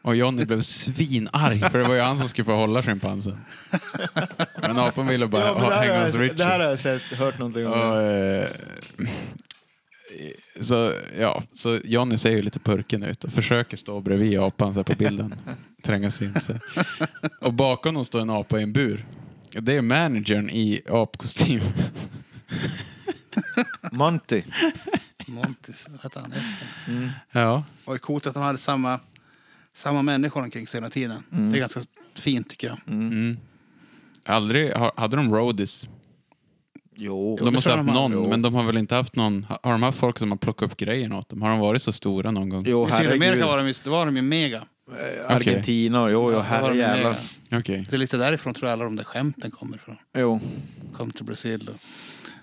[SPEAKER 7] Och Johnny blev svinarg, för det var ju han som skulle få hålla schimpansen. Men apan ville bara
[SPEAKER 3] Ja, men
[SPEAKER 7] ha,
[SPEAKER 3] det här
[SPEAKER 7] hänga
[SPEAKER 3] har
[SPEAKER 7] hos
[SPEAKER 3] jag- det här
[SPEAKER 7] Richie.
[SPEAKER 5] Mm.
[SPEAKER 3] har jag sett, hört någonting om.
[SPEAKER 7] Och, eh, så, ja, så Johnny ser ju lite purken ut och försöker stå bredvid apan så här på bilden. Tränga sig in. Så. här. Och bakom dem står en apa i en bur. Det är managern i apkostym.
[SPEAKER 3] Monty.
[SPEAKER 5] Montis, vad hette han? Just det.
[SPEAKER 7] Ja.
[SPEAKER 5] Det var ju coolt att de hade samma, samma människor omkring sig hela tiden.
[SPEAKER 7] Mm.
[SPEAKER 5] Det är ganska fint tycker jag.
[SPEAKER 7] Aldrig, har- hade de roadies?
[SPEAKER 3] Jo.
[SPEAKER 5] det
[SPEAKER 7] De har
[SPEAKER 5] tror jag
[SPEAKER 7] släppt
[SPEAKER 5] de har.
[SPEAKER 7] någon,
[SPEAKER 5] Jo.
[SPEAKER 7] men de har väl inte haft någon... Har de haft folk som har plockat upp grejerna åt dem? Har de varit så stora någon gång?
[SPEAKER 3] Jo,
[SPEAKER 5] I Sydamerika var
[SPEAKER 3] herregud.
[SPEAKER 5] de, ju- då var de ju mega.
[SPEAKER 3] Argentina. Jo, jo,
[SPEAKER 5] Då var de ju
[SPEAKER 3] herrejävlar.
[SPEAKER 5] mega.
[SPEAKER 7] Okej.
[SPEAKER 5] Det är lite därifrån tror jag alla de där skämten kommer ifrån.
[SPEAKER 3] Jo.
[SPEAKER 5] Come to Brazil. och-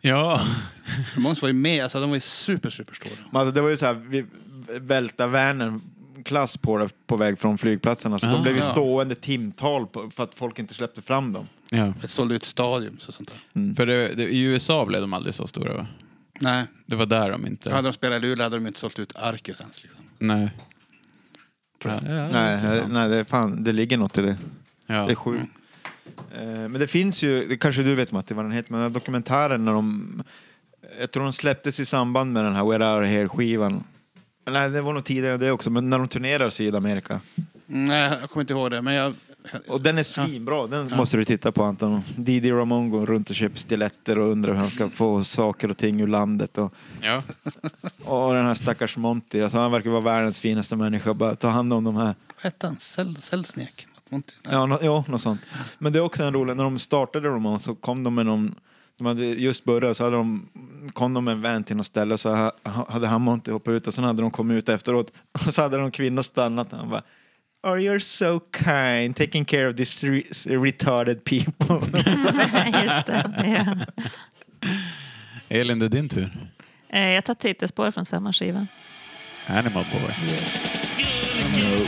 [SPEAKER 7] Ja.
[SPEAKER 5] Måns var ju med, alltså de var ju super, super stora.
[SPEAKER 3] Men alltså, det var ju så här, vi välta värnen klass på det på väg från flygplatserna. Så
[SPEAKER 7] Ah.
[SPEAKER 3] de blev ju
[SPEAKER 5] Ja.
[SPEAKER 3] stående timtal på, för att folk inte släppte fram dem.
[SPEAKER 7] ja.
[SPEAKER 5] Ett sålde ut stadion så sånt där.
[SPEAKER 7] För det, det, i USA blev de aldrig så stora, va?
[SPEAKER 5] Nej,
[SPEAKER 7] Det var där de inte...
[SPEAKER 5] hade de spelat i Luleå hade de inte sålt ut Arkes ens. Liksom.
[SPEAKER 7] Nej.
[SPEAKER 5] Tror jag.
[SPEAKER 7] Ja, det är
[SPEAKER 3] Nej,
[SPEAKER 7] Ah, intressant.
[SPEAKER 3] nej det, är fan, det ligger något i det. Det är
[SPEAKER 7] Ja.
[SPEAKER 3] sjukt. Eh, Men det finns ju, det kanske du vet Matti vad den heter, men den här dokumentären när de... Jag tror de släpptes i samband med den här Where Are Here-skivan. Nej, det var nog tidigare det också, men när de turnerar i Sydamerika.
[SPEAKER 5] Nej, jag kommer inte ihåg det, men jag...
[SPEAKER 3] Och den är svinbra, den måste du titta på Anton. Didi Ramon går runt och köper stiletter och undrar hur han ska få saker och ting ur landet. Och,
[SPEAKER 7] ja.
[SPEAKER 3] och den här stackars Monty, alltså han verkar vara världens finaste människa. Bara ta hand om de här.
[SPEAKER 5] Vad hette han? Säll- Sällsnek? Monty? Nej.
[SPEAKER 3] Ja, nå, ja, något sånt. Men det är också en rolig, när de startade Roman så kom de med någon, de hade just börjat så hade de, kom de med en vän till något ställe så ha- hade han inte hoppat ut och sen hade de kommit ut efteråt och så hade någon kvinna stannat och han bara Are you so kind, taking care of these re- retarded people.
[SPEAKER 4] Just det. Ja.
[SPEAKER 7] Elin, det är din tur.
[SPEAKER 4] Eh, Jag tar titelspår från samma skiva.
[SPEAKER 7] Animal Boy.
[SPEAKER 5] Nej, inte nu.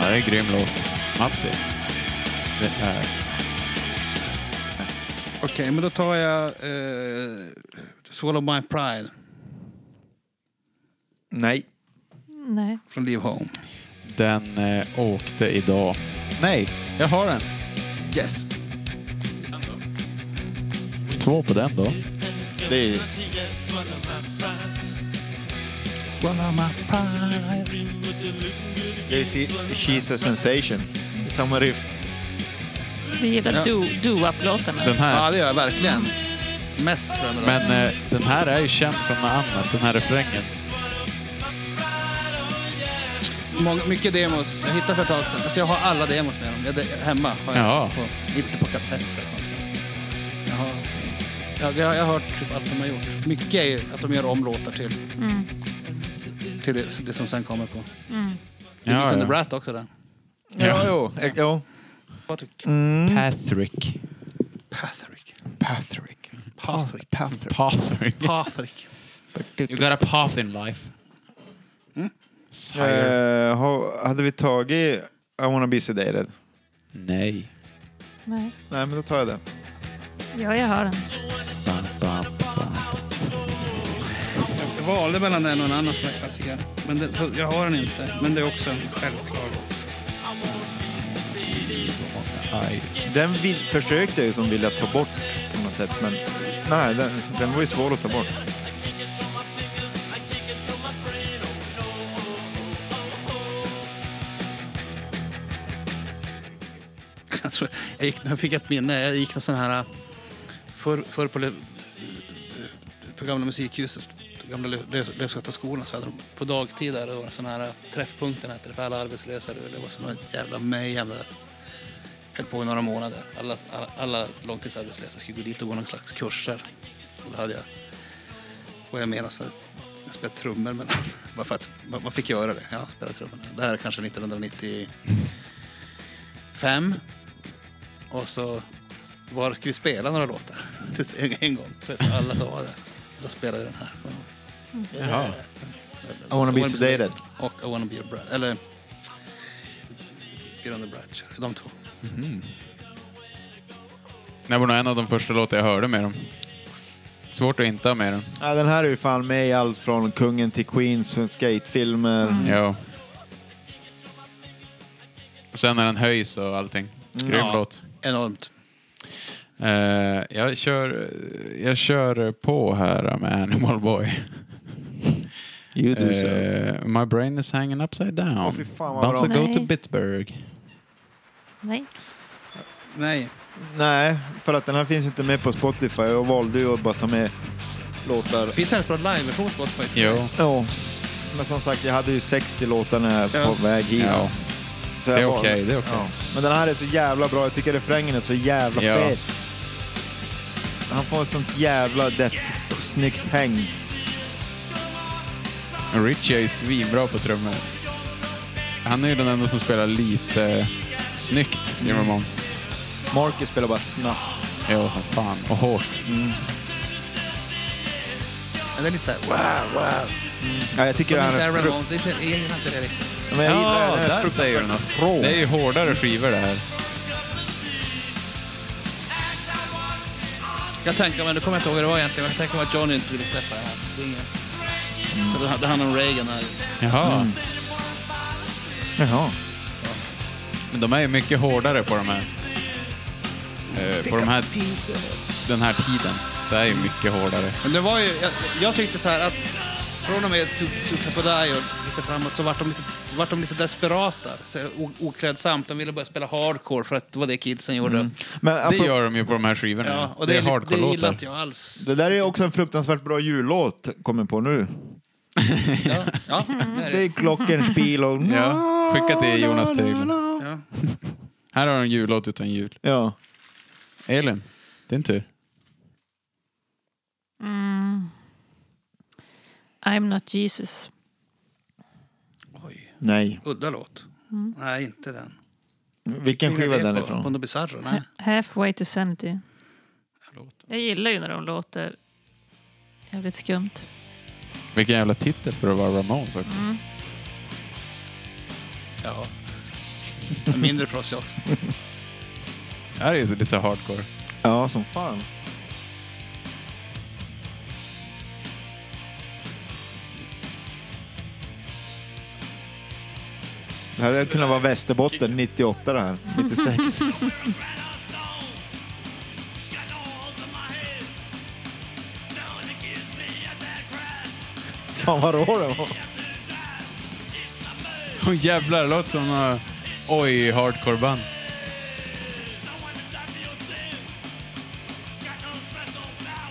[SPEAKER 7] Ja, det är en grym låt. Matti. Det är...
[SPEAKER 5] Okej, men då tar jag eh, Swallow My Pride
[SPEAKER 3] Nej.
[SPEAKER 4] Nej.
[SPEAKER 5] från Leave Home.
[SPEAKER 7] Den eh, åkte idag. Nej, jag har den.
[SPEAKER 5] Yes!
[SPEAKER 7] Två på den då.
[SPEAKER 3] Det är,
[SPEAKER 5] Swallow My Pride.
[SPEAKER 3] det är si- She's a sensation. Det är Samma riff.
[SPEAKER 4] Vi gillar
[SPEAKER 5] Ja.
[SPEAKER 4] do- doo-wop-låtarna.
[SPEAKER 7] Den här.
[SPEAKER 5] Ja, det gör jag verkligen. Mest tror jag. det var.
[SPEAKER 7] Men eh, den här är ju känd från något annat, den här refrängen.
[SPEAKER 5] Många, mycket demos. Jag hittade för ett tag sedan. Alltså jag har alla demos med dem. Jag, det- hemma har jag.
[SPEAKER 7] Jaha.
[SPEAKER 5] På, inte på kassett eller något. Jag har, jag, jag, jag har hört typ allt de har gjort. Mycket är ju att de gör om låtar till, till det, det som sen kommer på. Det är
[SPEAKER 7] Ja,
[SPEAKER 5] lite
[SPEAKER 7] ja.
[SPEAKER 5] The Brat också där.
[SPEAKER 3] Ja, jo. eh, jo.
[SPEAKER 5] Patrick.
[SPEAKER 7] Pathrick.
[SPEAKER 5] Patrick.
[SPEAKER 3] Patrick.
[SPEAKER 5] Patrick.
[SPEAKER 3] Patrick.
[SPEAKER 7] Pathrick.
[SPEAKER 5] Patrick.
[SPEAKER 7] You got a path in life. Sire.
[SPEAKER 3] Eh, ha- hade vi tagit I wanna be sedated?
[SPEAKER 7] Nej.
[SPEAKER 4] Nej.
[SPEAKER 3] Nej, men då tar jag den.
[SPEAKER 4] Ja, jag har den.
[SPEAKER 7] Bam, bam, bam.
[SPEAKER 5] Jag valde mellan den och en annan som är klassiker. Men det, så jag har den inte. Men det är också en självklar låt.
[SPEAKER 7] Aj.
[SPEAKER 3] Den vill, försökte jag ju som vilja ta bort på något sätt, men nej, den, den var ju svår att ta bort.
[SPEAKER 5] Jag, tror, Alltså, jag, gick, jag fick ett minne. Jag gick en sån här... äh, Förr för på, Le- på gamla musikhuset, gamla Lö- Lö- Lösgötaskolan, så hade de på dagtid där, det var sån här äh, träffpunkten hette det för alla arbetslösa. Det var sån här jävla mayhem där. Höll på i några månader. Alla, alla, alla långtidsarbetslösa skulle gå dit och gå någon slags kurser. Och då hade jag... Och jag menar så här, jag spelade trummor, men bara för att man, man fick göra det. Ja, spela trummor. Det här är kanske 1995. Och så var ska vi spela några låtar? En, en gång. Så alla sa det. Då spelade vi den här. Mm.
[SPEAKER 3] Jaha. I wanna be sedated.
[SPEAKER 5] Och I wanna be your bride. Eller... Get on the bridge. De två.
[SPEAKER 7] Det var nog en av de första låtar jag hörde med dem. Svårt att inte ha med dem.
[SPEAKER 3] Ja, den här är ju fan med i allt från
[SPEAKER 7] Mm.
[SPEAKER 3] Mm. Kungen till Queens, skatefilmer.
[SPEAKER 7] Ja. Sen när den höjs och allting. Grym
[SPEAKER 5] Ja.
[SPEAKER 7] låt.
[SPEAKER 5] Enormt.
[SPEAKER 7] Eh, jag, kör, jag kör på här med Animal Boy.
[SPEAKER 3] You do so.
[SPEAKER 7] Eh, my brain is hanging upside down.
[SPEAKER 3] Åh, fy fan, vad
[SPEAKER 7] Bounce
[SPEAKER 3] bra.
[SPEAKER 7] a go
[SPEAKER 4] Nej.
[SPEAKER 7] to Bitburg.
[SPEAKER 4] Nej.
[SPEAKER 5] Nej.
[SPEAKER 3] Nej, för att den här finns inte med på Spotify. Jag valde ju att bara ta med låtar.
[SPEAKER 5] Det finns jävligt bra live-version på Spotify.
[SPEAKER 7] Jo,
[SPEAKER 3] Ja. Men som sagt, jag hade ju 60 låtar när jag
[SPEAKER 5] Ja.
[SPEAKER 3] på väg hit.
[SPEAKER 7] Ja.
[SPEAKER 3] Så jag
[SPEAKER 7] Det är
[SPEAKER 3] valde-
[SPEAKER 7] okej, det är okej.
[SPEAKER 3] Men den här är så jävla bra. Jag tycker refrängen är så jävla
[SPEAKER 7] Ja.
[SPEAKER 3] fet. Han får ett sånt jävla depp, snyggt häng.
[SPEAKER 7] Richie är svinbra på trummor. Han är ju den enda som spelar lite snyggt i Ramones.
[SPEAKER 3] Marcus spelar bara snabbt.
[SPEAKER 7] Jo, som fan. Och hårt.
[SPEAKER 5] Men Det är lite såhär wow, wow.
[SPEAKER 3] Ja, jag tycker
[SPEAKER 5] Som
[SPEAKER 3] han
[SPEAKER 5] inte
[SPEAKER 3] är...
[SPEAKER 5] är Ramones. Det är- jag gillar inte det riktigt.
[SPEAKER 3] Men jag gillar den här fruktansvärt
[SPEAKER 7] säger du
[SPEAKER 3] rå.
[SPEAKER 7] något. Det är ju hårdare skivor det här.
[SPEAKER 5] Jag tänker, men nu kommer jag inte ihåg vad det var egentligen. men Jag tänker mig att Johnny inte ville släppa det här. singeln. Så det, det handlar om Reagan här.
[SPEAKER 7] Jaha.
[SPEAKER 3] Jaha.
[SPEAKER 7] Men de är ju mycket hårdare på de här... Eh, på de här, den här tiden. Så är ju mycket hårdare.
[SPEAKER 5] Men det var ju, jag, jag tyckte så här att från och med Tuka Fodai och lite framåt så vart de lite, vart de lite desperata. Så här, o- oklädsamt. De ville börja spela hardcore för att det var det kidsen gjorde.
[SPEAKER 3] Men
[SPEAKER 7] Det
[SPEAKER 3] apropå-
[SPEAKER 7] gör de ju på de här skivorna.
[SPEAKER 5] Ja, och
[SPEAKER 7] Mm. det,
[SPEAKER 5] det, li-
[SPEAKER 7] är
[SPEAKER 5] Det gillar
[SPEAKER 7] hardcore-låtar.
[SPEAKER 5] inte jag alls.
[SPEAKER 3] Det där är också en fruktansvärt bra jullåt, kommer på nu.
[SPEAKER 5] Ja, ja, det är
[SPEAKER 3] Det är
[SPEAKER 5] det.
[SPEAKER 3] Glockenspiel och...
[SPEAKER 7] Ja. Skicka till Jonas Tegler.
[SPEAKER 5] Ja.
[SPEAKER 7] Här har du en jullåt utan jul.
[SPEAKER 3] Ja.
[SPEAKER 7] Elin, din tur.
[SPEAKER 4] I'm not Jesus.
[SPEAKER 5] Oj,
[SPEAKER 3] Nej.
[SPEAKER 5] udda låt. Nej, inte den.
[SPEAKER 3] Vilken skiva är den ifrån?
[SPEAKER 5] Bondo Bizarro? Nej.
[SPEAKER 4] Halfway to sanity. Jag gillar ju när de låter jävligt skumt.
[SPEAKER 7] Vilken jävla titel för att vara Ramones också.
[SPEAKER 5] Mm. Ja. En Mindre proffsig också.
[SPEAKER 7] Det här är ju så- lite så här hardcore.
[SPEAKER 3] Ja, som fan. Det här hade kunnat vara Västerbotten 98 det här. 96. Fan vad rå den var.
[SPEAKER 7] Åh jävlar, det låter som uh, oj hardcore-band.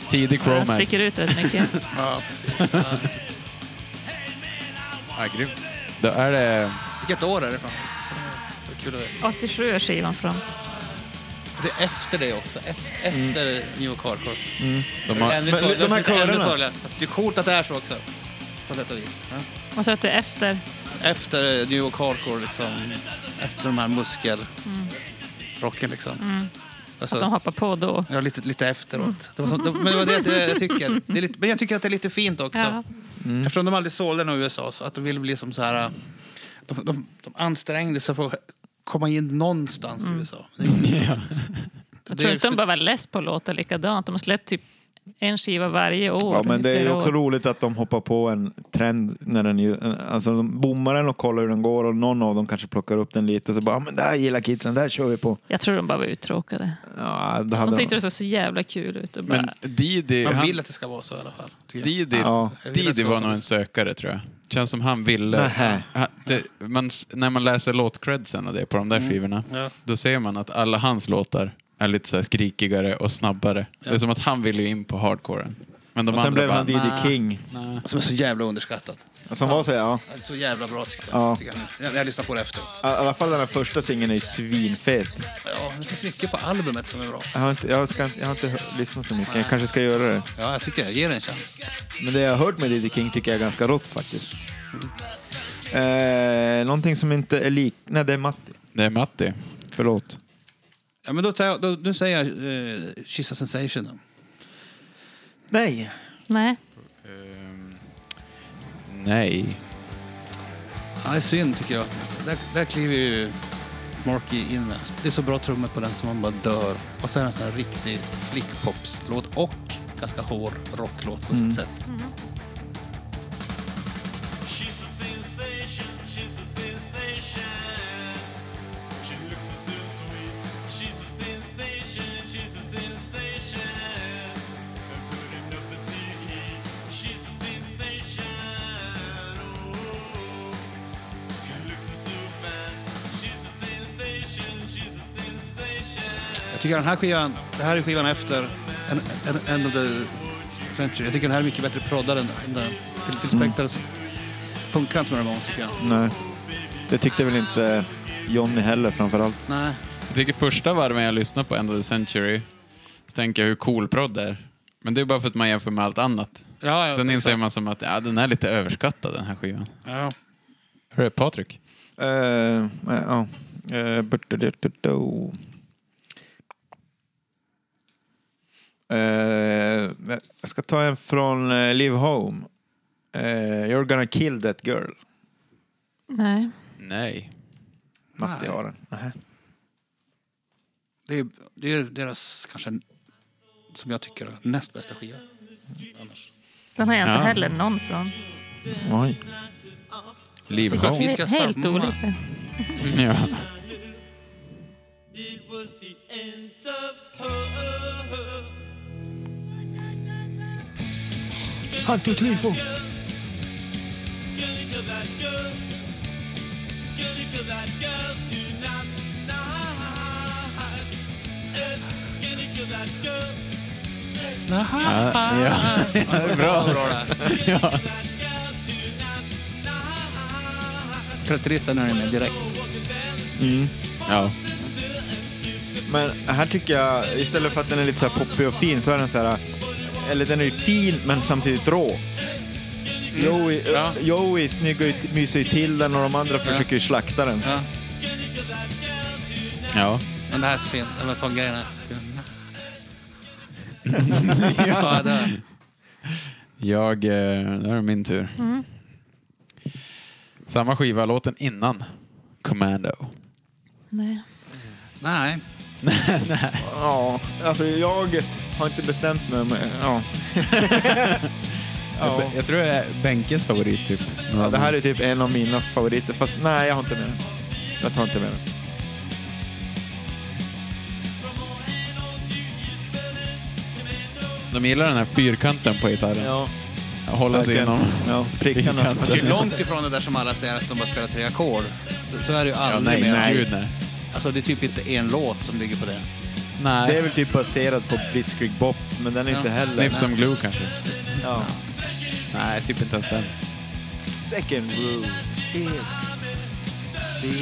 [SPEAKER 7] Tidig
[SPEAKER 4] Den
[SPEAKER 7] Chromax.
[SPEAKER 4] sticker ut rätt mycket.
[SPEAKER 5] Ja, precis. Ja.
[SPEAKER 7] Ja, grym. Då är det...
[SPEAKER 5] Vilket år är det från? Vad kul det är.
[SPEAKER 4] 87 är skivan från.
[SPEAKER 5] Det är efter det också. Efter, efter New York Hardcore. Det
[SPEAKER 7] De
[SPEAKER 5] är
[SPEAKER 7] har,
[SPEAKER 5] ännu
[SPEAKER 3] Men
[SPEAKER 5] sorgligare-
[SPEAKER 3] de här
[SPEAKER 5] det är ännu
[SPEAKER 3] körerna?
[SPEAKER 5] sorgligare. Det är coolt att det är så också. På sätt och vis. Ja.
[SPEAKER 4] Och så att det är efter.
[SPEAKER 5] Efter New York Hardcore, liksom. Efter de här muskelrocken, liksom.
[SPEAKER 3] Mm.
[SPEAKER 5] Alltså,
[SPEAKER 4] Att de hoppar på då.
[SPEAKER 5] Ja, lite, lite efteråt. Det var så, det, men det var det jag- jag tycker. Det är lite, men jag tycker att det är lite fint också.
[SPEAKER 4] Ja.
[SPEAKER 5] Mm. Eftersom de aldrig sålde den i USA, så att de ville bli som så här... De, de, de ansträngde sig för att komma in någonstans i USA. Det gjorde de inte.
[SPEAKER 4] Jag
[SPEAKER 5] Det-
[SPEAKER 4] tror inte de bara var less på att låta likadant. De har släppt typ en skiva varje år.
[SPEAKER 3] Ja, men
[SPEAKER 4] i
[SPEAKER 3] det är ju
[SPEAKER 4] flera
[SPEAKER 3] också
[SPEAKER 4] år.
[SPEAKER 3] roligt att de hoppar på en trend när den ju, alltså de bommar den och kollar hur den går och någon av dem kanske plockar upp den lite så bara, "Ah, men det här gillar kidsen, det här kör vi på.
[SPEAKER 4] Jag tror de bara var uttråkade.
[SPEAKER 3] Ja, det hade
[SPEAKER 4] De tyckte det såg så jävla kul ut. Och bara,
[SPEAKER 7] men Didi...
[SPEAKER 5] Man
[SPEAKER 7] han-
[SPEAKER 5] vill att det ska vara så i alla fall. tycker jag.
[SPEAKER 7] Didi,
[SPEAKER 3] Ja.
[SPEAKER 7] Didi var nog en sökare tror jag. Känns som han ville...
[SPEAKER 3] Nähä.
[SPEAKER 7] Han- det, man, s- när man läser låtcredsen och det på de
[SPEAKER 3] Mm.
[SPEAKER 7] där skivorna,
[SPEAKER 5] Ja.
[SPEAKER 7] då ser man att alla hans låtar är lite så här skrikigare och snabbare. Det är som att han ville ju in på hardcoren. Men de
[SPEAKER 3] och sen
[SPEAKER 7] andra
[SPEAKER 3] blev
[SPEAKER 7] bara,
[SPEAKER 3] han Didi
[SPEAKER 7] "Nah."
[SPEAKER 3] King.
[SPEAKER 5] Som är så jävla underskattat.
[SPEAKER 3] Som var så, ja.
[SPEAKER 5] Det är Så jävla bra tyckte
[SPEAKER 3] Ja.
[SPEAKER 5] jag. Tycker jag. Jag, jag lyssnar på det efter.
[SPEAKER 3] I alla fall den här första singeln är ju svinfet.
[SPEAKER 5] Ja, det finns mycket på albumet som är bra.
[SPEAKER 3] Jag har inte, jag ska, inte- jag har inte hö- lyssnat så mycket, jag kanske ska göra det.
[SPEAKER 5] Ja, jag tycker jag. Ge det en chans.
[SPEAKER 3] Men det jag har hört med Diddy King tycker jag är ganska rått faktiskt.
[SPEAKER 7] Mm.
[SPEAKER 3] Eh, någonting som inte är lik... Nej, det är Matti.
[SPEAKER 7] Det är Matti.
[SPEAKER 3] Förlåt.
[SPEAKER 5] Ja, men då, tar jag, då, då säger jag uh, She's a sensation. då.
[SPEAKER 3] Nej.
[SPEAKER 4] nej.
[SPEAKER 7] Ehm, Nej.
[SPEAKER 5] Ja, det är synd tycker jag. Där, där kliver ju Marky in med. Det är så bra trummor på den som man bara dör. Och sen en sån här riktig flickpopslåt och ganska hård rocklåt på
[SPEAKER 7] Mm.
[SPEAKER 5] sitt sätt. tycker den här skivan, det här är skivan efter en, en, End of the Century. Jag tycker den här är mycket bättre proddad än än den. Phil, Phil
[SPEAKER 7] Mm.
[SPEAKER 5] Spector funkar inte med Ramones tycker jag.
[SPEAKER 3] Nej. Det tyckte väl inte Johnny heller framförallt.
[SPEAKER 5] Nej.
[SPEAKER 7] Jag tycker första varven jag lyssnar på End of the Century, så tänker jag hur cool prod det är. Men det är bara för att man jämför med allt annat.
[SPEAKER 5] Ja, ja,
[SPEAKER 7] Sen inser
[SPEAKER 5] exakt.
[SPEAKER 7] man som att ja, den är lite överskattad den här skivan.
[SPEAKER 5] Ja.
[SPEAKER 7] Hur är det, Patrik?
[SPEAKER 3] Eh, ja. Eh, bruttodutudu. Eh, jag ska ta en från eh, Live Home. Eh, You're gonna kill that girl.
[SPEAKER 4] Nej.
[SPEAKER 7] Nej.
[SPEAKER 3] Matti
[SPEAKER 5] Nej.
[SPEAKER 3] har den. Nähä.
[SPEAKER 5] Det, är, det är deras kanske, som jag tycker, näst bästa skiva.
[SPEAKER 4] Den har jag inte
[SPEAKER 7] Ja.
[SPEAKER 4] heller någon från.
[SPEAKER 3] Oj.
[SPEAKER 7] Liv
[SPEAKER 5] Såklart.
[SPEAKER 7] Home.
[SPEAKER 5] Vi ska
[SPEAKER 4] Helt
[SPEAKER 5] samma.
[SPEAKER 4] olika.
[SPEAKER 7] Ja.
[SPEAKER 9] It was the end of her.
[SPEAKER 1] Han tog till på.
[SPEAKER 9] Gonna kill that girl. Gonna kill that girl tonight, tonight. Eh, Gonna kill that girl. That girl tonight, tonight.
[SPEAKER 5] Karaktäristerna är med direkt. Mm.
[SPEAKER 7] ja.
[SPEAKER 3] Men här tycker jag, istället för att den är lite så här poppig och fin, så är den så här... Eller den är ju fin, men samtidigt rå. Joey, eh,
[SPEAKER 5] Ja.
[SPEAKER 3] Joey snyggar ju, myser ju till den och de andra försöker ju slakta den.
[SPEAKER 5] Ja.
[SPEAKER 7] ja.
[SPEAKER 5] Men det här är så fint. Den här sånggrejen här. ja, det är.
[SPEAKER 7] Jag... eh, Nu är det min tur. Samma skiva, låten innan. Commando.
[SPEAKER 4] Nej.
[SPEAKER 5] Nej.
[SPEAKER 3] Ja, alltså jag har inte bestämt mig. Men, ja.
[SPEAKER 7] Jag,
[SPEAKER 3] ja.
[SPEAKER 7] jag tror det är Benkes favorit, typ.
[SPEAKER 3] Ja, det här är typ en av mina favoriter, fast nej, jag har inte med den. Jag tar inte med den.
[SPEAKER 7] De gillar den här fyrkanten på gitarren. Hålla sig
[SPEAKER 3] verkligen.
[SPEAKER 7] inom...
[SPEAKER 3] Ja, prickarna.
[SPEAKER 7] Fyrkanten.
[SPEAKER 5] Det är långt ifrån det där som alla säger att de bara spelar tre ackord. Så är det ju
[SPEAKER 7] Ja,
[SPEAKER 5] aldrig
[SPEAKER 7] nej,
[SPEAKER 5] mer.
[SPEAKER 7] nej. Gud, nej.
[SPEAKER 5] Alltså det är typ inte en låt som ligger på det.
[SPEAKER 7] nej.
[SPEAKER 3] Det är väl typ baserat på Blitzkrieg Bop, men den är inte heller...
[SPEAKER 7] Sniff som glue, kanske.
[SPEAKER 3] Ja.
[SPEAKER 7] Nej, typ inte ens den.
[SPEAKER 3] Second rule is...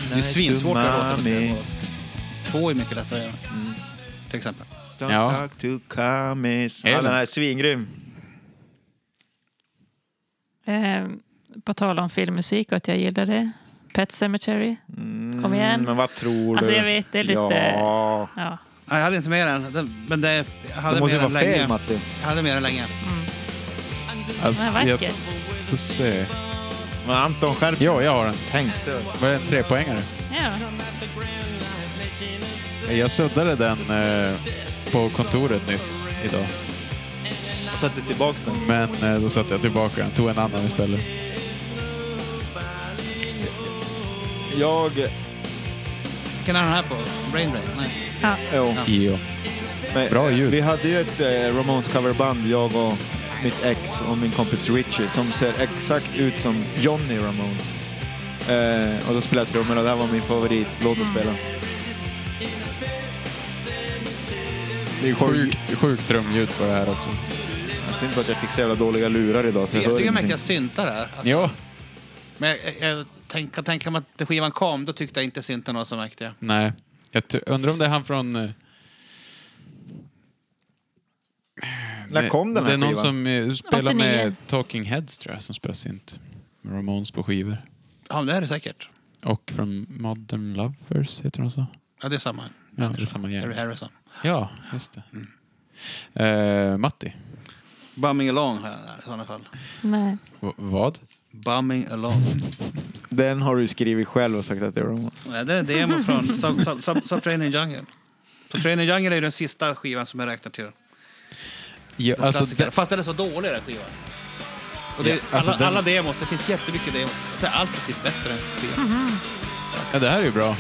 [SPEAKER 5] Det är svinsvårt att låta på tre låt. Två är mycket lättare.
[SPEAKER 3] Mm.
[SPEAKER 5] Till exempel.
[SPEAKER 3] Don't
[SPEAKER 7] Ja.
[SPEAKER 3] talk to commies.
[SPEAKER 7] Är
[SPEAKER 3] Ja, den
[SPEAKER 7] den?
[SPEAKER 3] här är svingrym.
[SPEAKER 4] Eh, på tal om filmmusik och att jag gillar det. Pet Cemetery. Kom igen.
[SPEAKER 3] Mm, Men vad tror du?
[SPEAKER 4] Alltså, jag vet, det är lite-
[SPEAKER 3] Ja.
[SPEAKER 4] Ja.
[SPEAKER 5] Nej, jag hade inte med den. den men det, jag hade
[SPEAKER 3] Det
[SPEAKER 5] med
[SPEAKER 3] måste ju
[SPEAKER 5] den
[SPEAKER 3] vara fel,
[SPEAKER 5] länge.
[SPEAKER 3] Matti.
[SPEAKER 5] Jag hade med den länge.
[SPEAKER 7] Alltså,
[SPEAKER 4] Den är vacker.
[SPEAKER 7] jag får se.
[SPEAKER 3] Men Anton, skärp
[SPEAKER 7] Jo, jag har den.
[SPEAKER 3] Tänkte.
[SPEAKER 7] Var det en trepoängare?
[SPEAKER 4] Ja.
[SPEAKER 7] Jag suddade den eh, på kontoret nyss idag.
[SPEAKER 3] Jag satte tillbaks den.
[SPEAKER 7] Men eh, då satte jag tillbaka den. Tog en annan istället.
[SPEAKER 3] Jag...
[SPEAKER 5] Vilken är den här på? Brain Drain? Nej.
[SPEAKER 3] Jo.
[SPEAKER 7] Jo.
[SPEAKER 3] Men,
[SPEAKER 7] Bra
[SPEAKER 3] eh,
[SPEAKER 7] ljud.
[SPEAKER 3] Vi hade ju ett eh, Ramones coverband, jag och mitt ex och min kompis Richie, som ser exakt ut som Johnny Ramone. Eh, och då spelade jag trummor och det här var min favoritlåt
[SPEAKER 4] Mm.
[SPEAKER 3] att spela.
[SPEAKER 7] Det är sjukt, sjukt trumljud på det här också.
[SPEAKER 3] Jag synd bara att jag fick så jävla dåliga lurar idag så jag,
[SPEAKER 5] Jag
[SPEAKER 3] hör
[SPEAKER 5] tycker
[SPEAKER 3] ingenting.
[SPEAKER 5] mäktiga syntar här. Alltså,
[SPEAKER 7] Jo.
[SPEAKER 5] Men jag, jag, jag tänk- kan tänka mig att när skivan kom, då tyckte jag inte syntarna var så mäktiga.
[SPEAKER 7] Nej. Jag t- undrar om det är han från... eh,
[SPEAKER 3] När kom den här
[SPEAKER 7] Eh, Det är någon
[SPEAKER 3] skivan?
[SPEAKER 7] som eh, spelar med
[SPEAKER 4] 89.
[SPEAKER 7] Talking Heads tror jag, som spelar synt. Med Ramones på skivor.
[SPEAKER 5] Ja, men det är det säkert.
[SPEAKER 7] Och från Modern Lovers, heter de så?
[SPEAKER 5] Ja, det är samma.
[SPEAKER 7] Ja, det är samma
[SPEAKER 5] Harry
[SPEAKER 7] gäng.
[SPEAKER 5] Harrison.
[SPEAKER 7] Ja, just det. Eh, Matti.
[SPEAKER 5] Bumming along har jag den här, i sådana fall.
[SPEAKER 4] Nej.
[SPEAKER 7] V- vad?
[SPEAKER 5] Bumming along.
[SPEAKER 3] Den har du skrivit själv och sagt att det är Ramones.
[SPEAKER 5] Nej, det är en demo från Sub- Sub- Sub- Subterranean Jungle. Subterranean Jungle är ju den sista skivan som jag räknar till.
[SPEAKER 7] Ja,
[SPEAKER 5] Alltså,
[SPEAKER 7] alltså, det,
[SPEAKER 5] Fast den är så dålig den skivan. Och det,
[SPEAKER 7] Ja, alltså,
[SPEAKER 5] alla,
[SPEAKER 7] den-
[SPEAKER 5] alla demos, det finns jättemycket demos. Det är alltid typ bättre än skivan.
[SPEAKER 7] ja, det här är ju bra.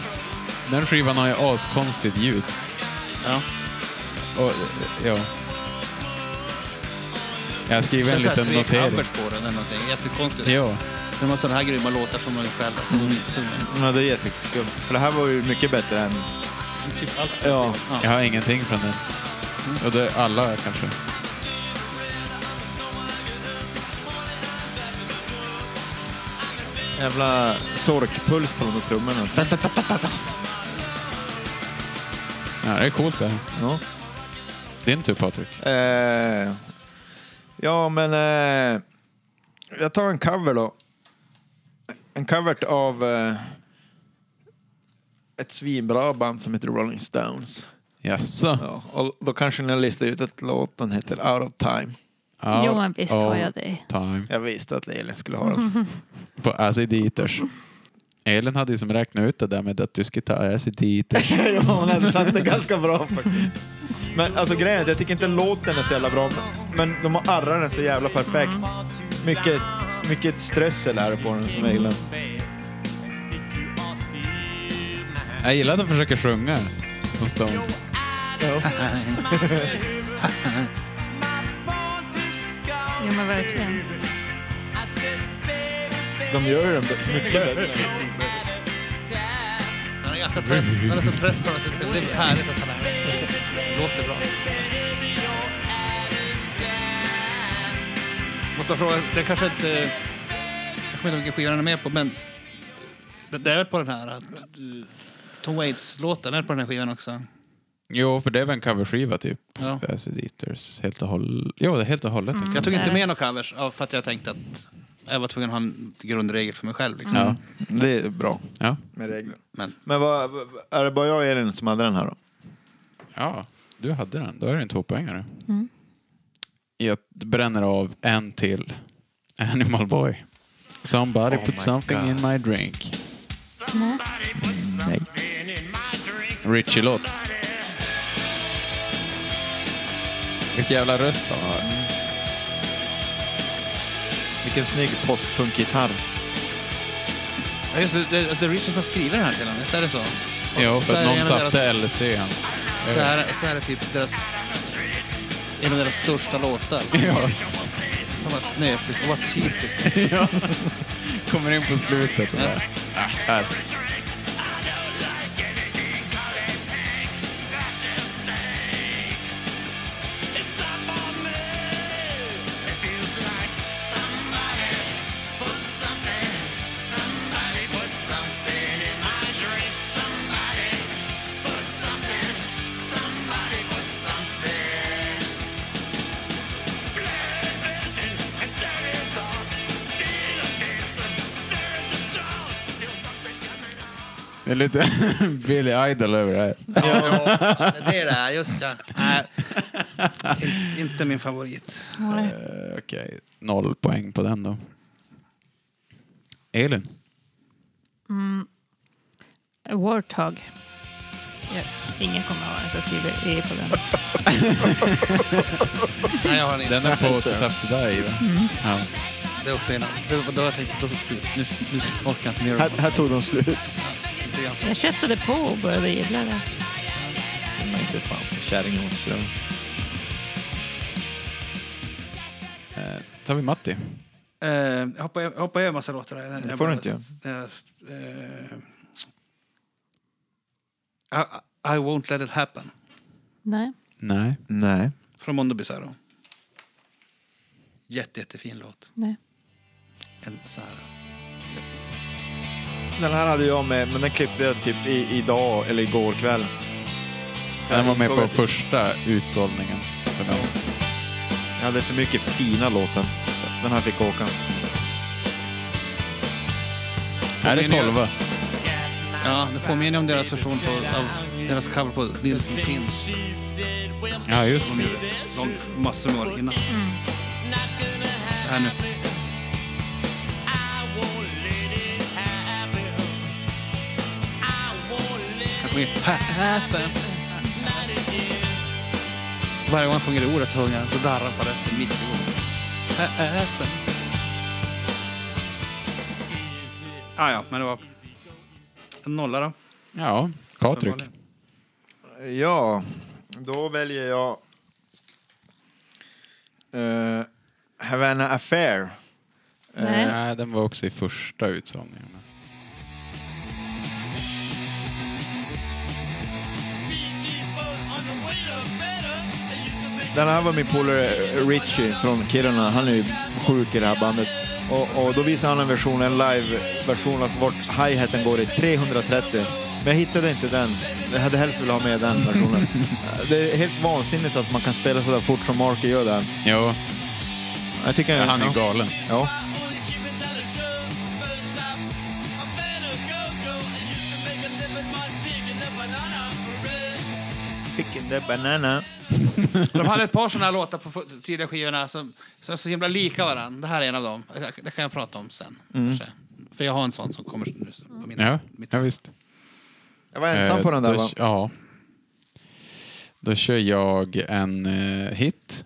[SPEAKER 7] Den skivan har ju askonstigt ljud.
[SPEAKER 5] Ja.
[SPEAKER 7] Och, ja. Jag skriver en
[SPEAKER 5] Det är så här
[SPEAKER 7] liten
[SPEAKER 5] tre
[SPEAKER 7] notering.
[SPEAKER 5] covers på den eller någonting. Jättekonstigt.
[SPEAKER 7] Ja.
[SPEAKER 5] De har sådana här grymma låtar som de själv alltså, de är inte tunga.
[SPEAKER 3] Ja, det är jätteskumt. För det här var ju mycket bättre än
[SPEAKER 5] Typ allt.
[SPEAKER 3] Ja.
[SPEAKER 7] Jag har ingenting från den. Och det är alla kanske.
[SPEAKER 3] Jävla sorkpuls på de där trummorna.
[SPEAKER 7] Ja, det är coolt det här.
[SPEAKER 3] Ja.
[SPEAKER 7] Din tur Patrik.
[SPEAKER 3] Eh, ja, men eh, jag tar en cover då. En cover av eh, ett svinbra band som heter Rolling Stones.
[SPEAKER 7] Jaså?
[SPEAKER 3] Ja, och då kanske ni har listat ut att låten heter Out of Time.
[SPEAKER 7] Out
[SPEAKER 4] Jo, men visst har
[SPEAKER 7] of
[SPEAKER 4] jag det.
[SPEAKER 7] Time.
[SPEAKER 3] Jag visste att Elin skulle ha den.
[SPEAKER 7] På Acid Eaters. Elin hade ju som räknat ut det där med att du skulle ta Acid Eaters.
[SPEAKER 3] ja, hon hade satt det ganska bra faktiskt. Men alltså grejen är att jag tycker inte låten är så jävla bra, men men de har arrat den så jävla perfekt. Mycket, mycket strössel är det på den som jag gillar.
[SPEAKER 7] Jag gillar att de försöker sjunga som Stones.
[SPEAKER 4] Jo, men verkligen.
[SPEAKER 3] De gör den mycket bättre.
[SPEAKER 5] Jag är ganska trött. Jag är så trött på det. så Det är härligt att han är här. Det låter bra. Måste bara fråga, det kanske inte... Jag kommer inte ihåg vilken skiva den är med på, men det- det är väl på den här... att du- Tom Waits-låten är på den här skivan också.
[SPEAKER 7] Jo, för det är väl en coverskiva typ.
[SPEAKER 5] Ja.
[SPEAKER 7] För Acid Eaters. Helt och hållet. Jo, det är helt och hållet.
[SPEAKER 4] Mm.
[SPEAKER 5] Jag tog inte med några covers ja, för att jag tänkte att jag var tvungen att ha en grundregel för mig själv. Liksom.
[SPEAKER 7] Ja.
[SPEAKER 3] Det är bra
[SPEAKER 7] Ja.
[SPEAKER 3] med regler.
[SPEAKER 5] Men
[SPEAKER 3] Men vad, vad- är det bara jag och Elin som hade den här då?
[SPEAKER 7] ja, du hade den. Då är det en tvåpoängare.
[SPEAKER 4] Mm.
[SPEAKER 7] Jag bränner av en till. Animal Boy. Somebody put something in Oh my drink. Richie-låt. Vilken jävla röst han har.
[SPEAKER 3] Vilken snygg postpunkgitarr.
[SPEAKER 5] ja, just det, alltså, det, det är Richard som har skrivit den här till honom, visst är det så? Och så
[SPEAKER 7] Jo, för
[SPEAKER 5] är det
[SPEAKER 7] att
[SPEAKER 5] en
[SPEAKER 7] någon
[SPEAKER 5] av
[SPEAKER 7] satte
[SPEAKER 5] Deras,
[SPEAKER 7] LSD i hans...
[SPEAKER 5] så, här, så här är typ deras... En av deras största låtar.
[SPEAKER 7] Ja.
[SPEAKER 5] Fan vad snöpligt och vad typiskt.
[SPEAKER 7] Ja. Kommer in på slutet och bara... Ah, här. Det är lite Billy Idol över det här.
[SPEAKER 5] Det är det, här, just ja. Nej, in, inte min favorit.
[SPEAKER 7] Eh, Okej, noll poäng på den då. Elin?
[SPEAKER 4] Warthog. Jag- Ingen kommer ihåg den, så jag skriver E på den.
[SPEAKER 5] Nej, jag har den inte.
[SPEAKER 7] Den är på To Tough To Die, va? Ja.
[SPEAKER 5] Det är också en av... Det var då jag tänkte, då så slut. Nu, nu orkar jag inte mer.
[SPEAKER 3] Här, här tog de slut.
[SPEAKER 5] Lite grann.
[SPEAKER 4] Jag kättade på och började gilla det.
[SPEAKER 3] Nej, inte fan. Kärringen mot strömmen.
[SPEAKER 7] tar vi Matti.
[SPEAKER 5] Eh, jag hoppar jag hoppar över en massa låtar. här.
[SPEAKER 3] Det får
[SPEAKER 5] Jag bara-
[SPEAKER 3] du inte göra.
[SPEAKER 5] Eh, eh, I, I won't let it happen.
[SPEAKER 4] Nej.
[SPEAKER 7] Nej.
[SPEAKER 3] Nej.
[SPEAKER 5] Från Mondo Bizarro. Jätte, jättefin låt.
[SPEAKER 4] Nej.
[SPEAKER 5] En så här.
[SPEAKER 3] Den här hade jag med, men den klippte jag typ i, idag eller igår kväll.
[SPEAKER 7] Den var med
[SPEAKER 3] Så
[SPEAKER 7] på
[SPEAKER 3] vet jag.
[SPEAKER 7] första utsålningen. För den.
[SPEAKER 3] Jag hade för mycket fina låtar. Den här fick åka.
[SPEAKER 7] Är det tolva?
[SPEAKER 5] Ja, det påminner om deras version på, av deras cover på Nilsson Pins.
[SPEAKER 7] Ja, just
[SPEAKER 5] De
[SPEAKER 7] det.
[SPEAKER 5] gjorde långt, massor med år innan. Det här nu. Han sjunger happen. Varje gång han sjunger det ordet så sjunger han, så darrar han på rösten mitt i ordet. Happen. Ah, ja, men det var en nolla då.
[SPEAKER 7] Ja, Patrik.
[SPEAKER 3] Ja, då väljer jag eh, Havana Affair.
[SPEAKER 7] Eh,
[SPEAKER 4] Nej.
[SPEAKER 7] Nej, den var också i första utsålningen.
[SPEAKER 3] Den här var min polare Richie från Kiruna. Han är ju sjuk i det här bandet. Och, och då visade han en version, en live-version, alltså vart hi-haten går i 330. Men jag hittade inte den. Jag hade helst velat ha med den versionen. det är helt vansinnigt att man kan spela så där fort som Marky gör där.
[SPEAKER 7] Jo,
[SPEAKER 3] Jag tycker
[SPEAKER 7] han är
[SPEAKER 3] ja.
[SPEAKER 7] galen.
[SPEAKER 3] Ja. Picking the banana.
[SPEAKER 5] De hade ett par såna här låtar på fu- tidiga skivorna som, som är så himla lika varandra. Det här är en av dem. Det kan jag prata om sen. kanske. För jag har en sån som kommer nu på min...
[SPEAKER 7] Mm. Ja,
[SPEAKER 5] mitt-
[SPEAKER 7] ja visst.
[SPEAKER 3] Jag var ensam på
[SPEAKER 7] Eh,
[SPEAKER 3] den där
[SPEAKER 7] då,
[SPEAKER 3] va?
[SPEAKER 7] Ja. Då kör jag en eh, hit.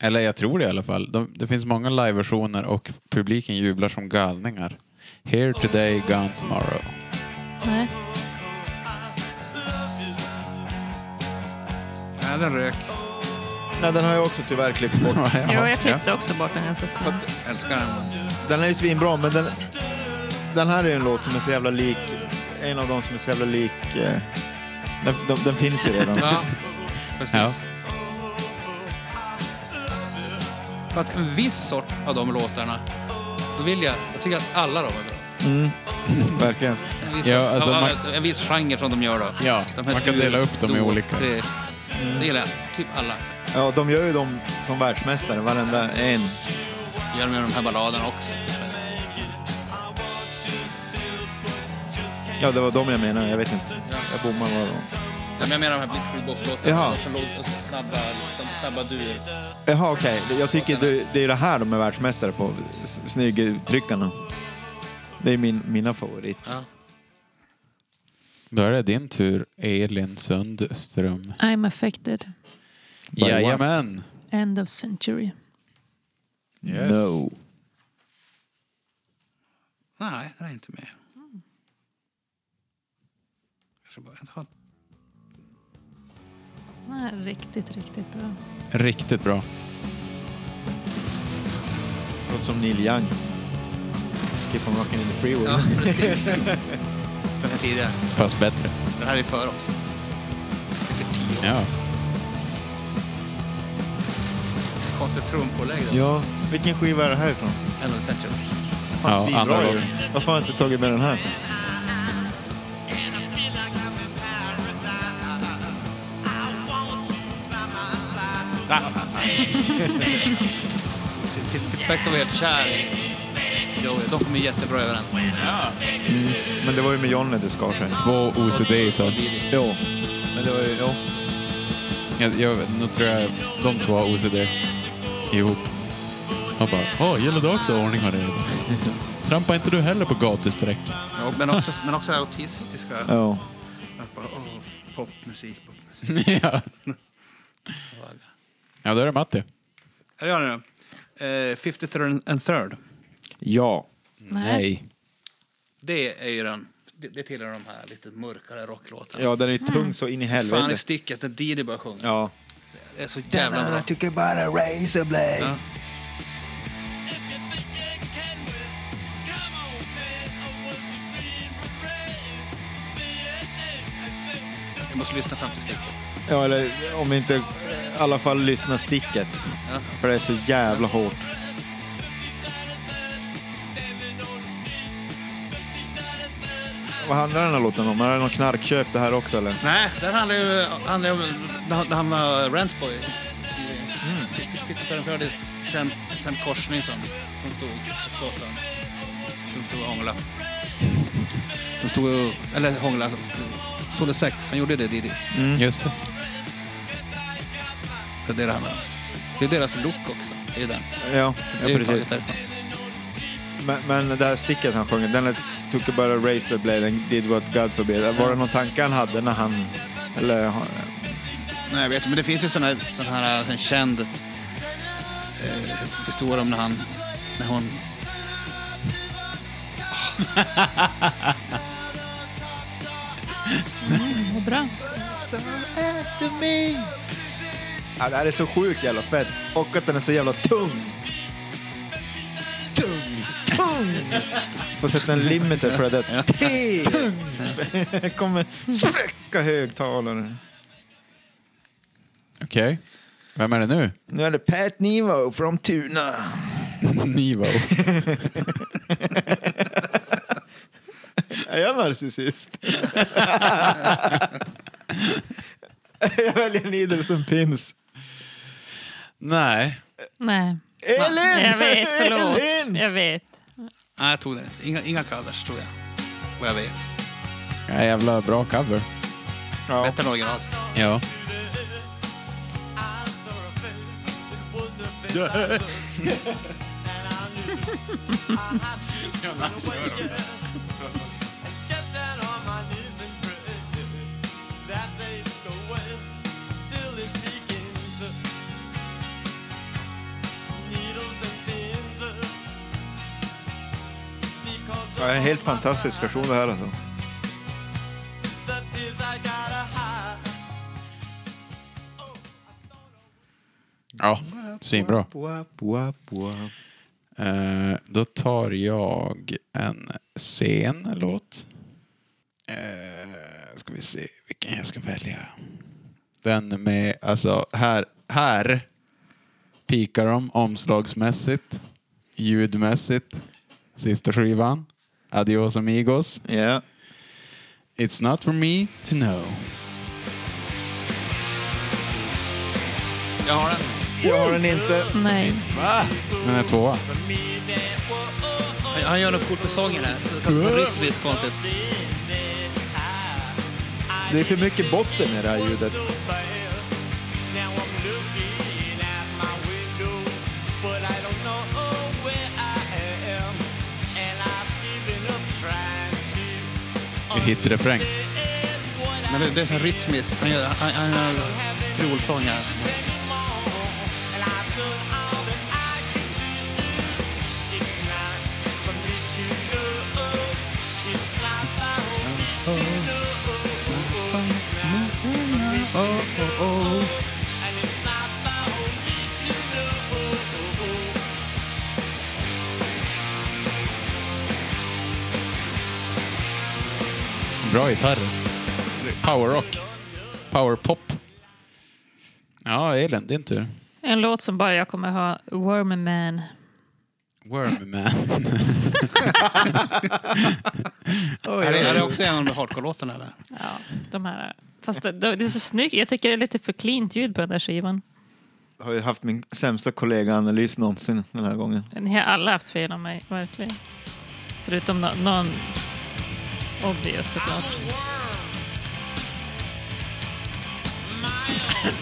[SPEAKER 7] Eller jag tror det i alla fall. De, det finns många liveversioner och publiken jublar som galningar. Here today, gone tomorrow.
[SPEAKER 4] Nej.
[SPEAKER 5] Ja, den rök.
[SPEAKER 3] Nej, den har jag också tyvärr klippt bort.
[SPEAKER 4] Jo, jag klippte också bort den ganska snabbt.
[SPEAKER 5] Älskar den.
[SPEAKER 3] Den är ju svinbra, men den, den här är ju en låt som är så jävla lik... En av de som är så jävla lik... eh, Den, den, den finns ju redan.
[SPEAKER 5] Ja, precis.
[SPEAKER 7] Ja.
[SPEAKER 5] För att en viss sort av de låtarna, då vill jag... Jag tycker att alla de är bra.
[SPEAKER 3] Verkligen.
[SPEAKER 5] En viss,
[SPEAKER 7] Ja,
[SPEAKER 5] sort-
[SPEAKER 7] alltså,
[SPEAKER 5] av alla-
[SPEAKER 7] man-
[SPEAKER 5] en viss genre som de gör då.
[SPEAKER 7] Ja,
[SPEAKER 5] De här
[SPEAKER 7] man kan dela upp dem i
[SPEAKER 5] dur-
[SPEAKER 7] olika.
[SPEAKER 5] Det, det gillar jag. Typ alla.
[SPEAKER 3] Ja, de gör ju dem som världsmästare, varenda en.
[SPEAKER 5] Gör de med de här balladerna också.
[SPEAKER 3] Ja, det var de jag menade. Jag vet inte. Jag bommar vad de...
[SPEAKER 5] Ja, men jag menar de här Blitzkrieg-låtarna.
[SPEAKER 3] Jaha.
[SPEAKER 5] som låter Snabba, snabba duer.
[SPEAKER 3] Jaha, okej. Jag tycker det, det är det här de är världsmästare på. S- Snyggtryckarna. Det är min, mina favorit.
[SPEAKER 5] Ja.
[SPEAKER 7] Då är det din tur, Elin Sundström.
[SPEAKER 4] I'm affected.
[SPEAKER 3] what?
[SPEAKER 7] Jajamän.
[SPEAKER 4] End of century.
[SPEAKER 7] Yes.
[SPEAKER 3] No.
[SPEAKER 5] Nej, den är inte med. Kanske bara jag tar-
[SPEAKER 4] Nej, riktigt, riktigt bra.
[SPEAKER 7] Riktigt bra.
[SPEAKER 3] Låter som Neil Young. Keep on rocking in the freeway.
[SPEAKER 5] Ja, precis. Den här tidigare.
[SPEAKER 7] Fast bättre.
[SPEAKER 5] Den här är före också. Efter tio år.
[SPEAKER 7] Ja.
[SPEAKER 5] Konstigt trumpålägg. Ja.
[SPEAKER 3] Ja, vilken skiva är det här ifrån?
[SPEAKER 5] End of century.
[SPEAKER 7] Ja,
[SPEAKER 3] Svinbra
[SPEAKER 7] andra
[SPEAKER 3] ju.
[SPEAKER 7] gången.
[SPEAKER 3] Varför har jag inte tagit med den här?
[SPEAKER 5] Fitzpatrick var helt kär i Joey. De kom ju jättebra överens.
[SPEAKER 3] Men det var ju med Johnny det skar sig.
[SPEAKER 7] Två OCD så.
[SPEAKER 3] Jo, men det var ju... Jo.
[SPEAKER 7] Jag, jag, nu tror jag de två har OCD ihop. Och bara, ja, gäller det också ordning och reda? Trampa inte du heller på gatusträck?
[SPEAKER 5] Ja, Men också, men också autistiska.
[SPEAKER 3] Ja.
[SPEAKER 5] Att bara, åh, popmusik, popmusik.
[SPEAKER 7] ja. ja, då är det Matti.
[SPEAKER 5] Är det jag nu då? Eh, 53rd and third.
[SPEAKER 3] Ja.
[SPEAKER 5] Det är ju den. Det, det tillhör de här lite mörkare rocklåtarna.
[SPEAKER 3] Ja, den är ju tung så in i
[SPEAKER 5] Fan i
[SPEAKER 3] helvete.
[SPEAKER 5] sticket när Didi börjar sjunga.
[SPEAKER 3] Ja.
[SPEAKER 5] Det är så jävla bra.
[SPEAKER 3] tycker bara razor blade.
[SPEAKER 5] Ja.
[SPEAKER 3] typ-
[SPEAKER 5] Jag måste lyssna fram till sticket.
[SPEAKER 3] Ja, eller om inte... I alla fall lyssna sticket.
[SPEAKER 5] Ja.
[SPEAKER 3] För det är så jävla hårt. Vad handlar den här låten om? Är det någon knarkköp det här också eller?
[SPEAKER 5] Nej, den handlar ju handlar ju om när han- när han var rentboy. Mm. Fittaren förde Sam, Sam Korsning som, som stod på gatan. De stod och hånglade. De stod och, eller hånglade, sålde sex. Han gjorde det Didi.
[SPEAKER 7] Just det.
[SPEAKER 5] Så det är det han Det är deras look också. Det är ju den.
[SPEAKER 3] Ja,
[SPEAKER 5] Det är
[SPEAKER 3] ja
[SPEAKER 5] ju
[SPEAKER 3] precis.
[SPEAKER 5] taget därifrån.
[SPEAKER 3] Men, men det här sticket han sjöng, den lät Took about a razor blade and did what God forbid. Var det någon tanke han hade när han... Eller, han-
[SPEAKER 5] Nej, jag vet Men det finns ju sån här, sån här en känd eh, historia om när han, när hon...
[SPEAKER 4] Vad bra.
[SPEAKER 3] ja, det här är så sjukt jävla fett. Och att den är så jävla tung. Tung! Tung! Får sätta en limiter för det. Tung! kommer spräcka högtalaren.
[SPEAKER 7] Okej. Vem är det nu?
[SPEAKER 3] Nu är det Pat Nivo från Tuna.
[SPEAKER 7] Nivo.
[SPEAKER 3] Är jag narcissist? jag väljer en idel som pins.
[SPEAKER 7] Nej.
[SPEAKER 4] Nej.
[SPEAKER 3] Elin!
[SPEAKER 4] Jag vet, förlåt.
[SPEAKER 3] Elin!
[SPEAKER 4] Jag vet.
[SPEAKER 5] Nej, jag tog den inte. Inga, inga covers, tror jag. Vad jag vet.
[SPEAKER 7] Ja, jävla bra cover.
[SPEAKER 3] Ja.
[SPEAKER 5] Bättre än originalet.
[SPEAKER 7] Ja.
[SPEAKER 3] Ja, en helt fantastisk version det här alltså.
[SPEAKER 7] Ja, svinbra.
[SPEAKER 3] Wap, wap, wap.
[SPEAKER 7] Eh, då tar jag en sen låt. Eh, ska vi se vilken jag ska välja. Den med, alltså här, här pikar de omslagsmässigt, ljudmässigt, sista skivan. Adios amigos.
[SPEAKER 3] Ja.
[SPEAKER 7] It's not for me to know.
[SPEAKER 5] Jag har den.
[SPEAKER 3] Jag har den inte.
[SPEAKER 4] Nej.
[SPEAKER 7] Den är tvåa.
[SPEAKER 5] Han, han gör något kort med sången här. Så, så, så rytmiskt konstigt.
[SPEAKER 3] Det är för mycket botten i det här ljudet.
[SPEAKER 7] Hitrefräng.
[SPEAKER 5] Men det, det är så här rytmiskt. Han gör, han, han gör trolsång här.
[SPEAKER 7] Bra gitarr. Powerrock. Powerpop. Ja, Elin, din tur.
[SPEAKER 4] En låt som bara jag kommer ha, Wormy Man.
[SPEAKER 7] Wormman.
[SPEAKER 5] Är det, är det också en av de hardcore-låtarna eller?
[SPEAKER 4] Ja, de här. Fast det, det är så snyggt. Jag tycker det är lite för klint ljud på den där skivan.
[SPEAKER 3] Jag har ju haft min sämsta kollega-analys någonsin den här gången.
[SPEAKER 4] Ni har alla haft fel om mig, verkligen. Förutom no någon obvious såklart.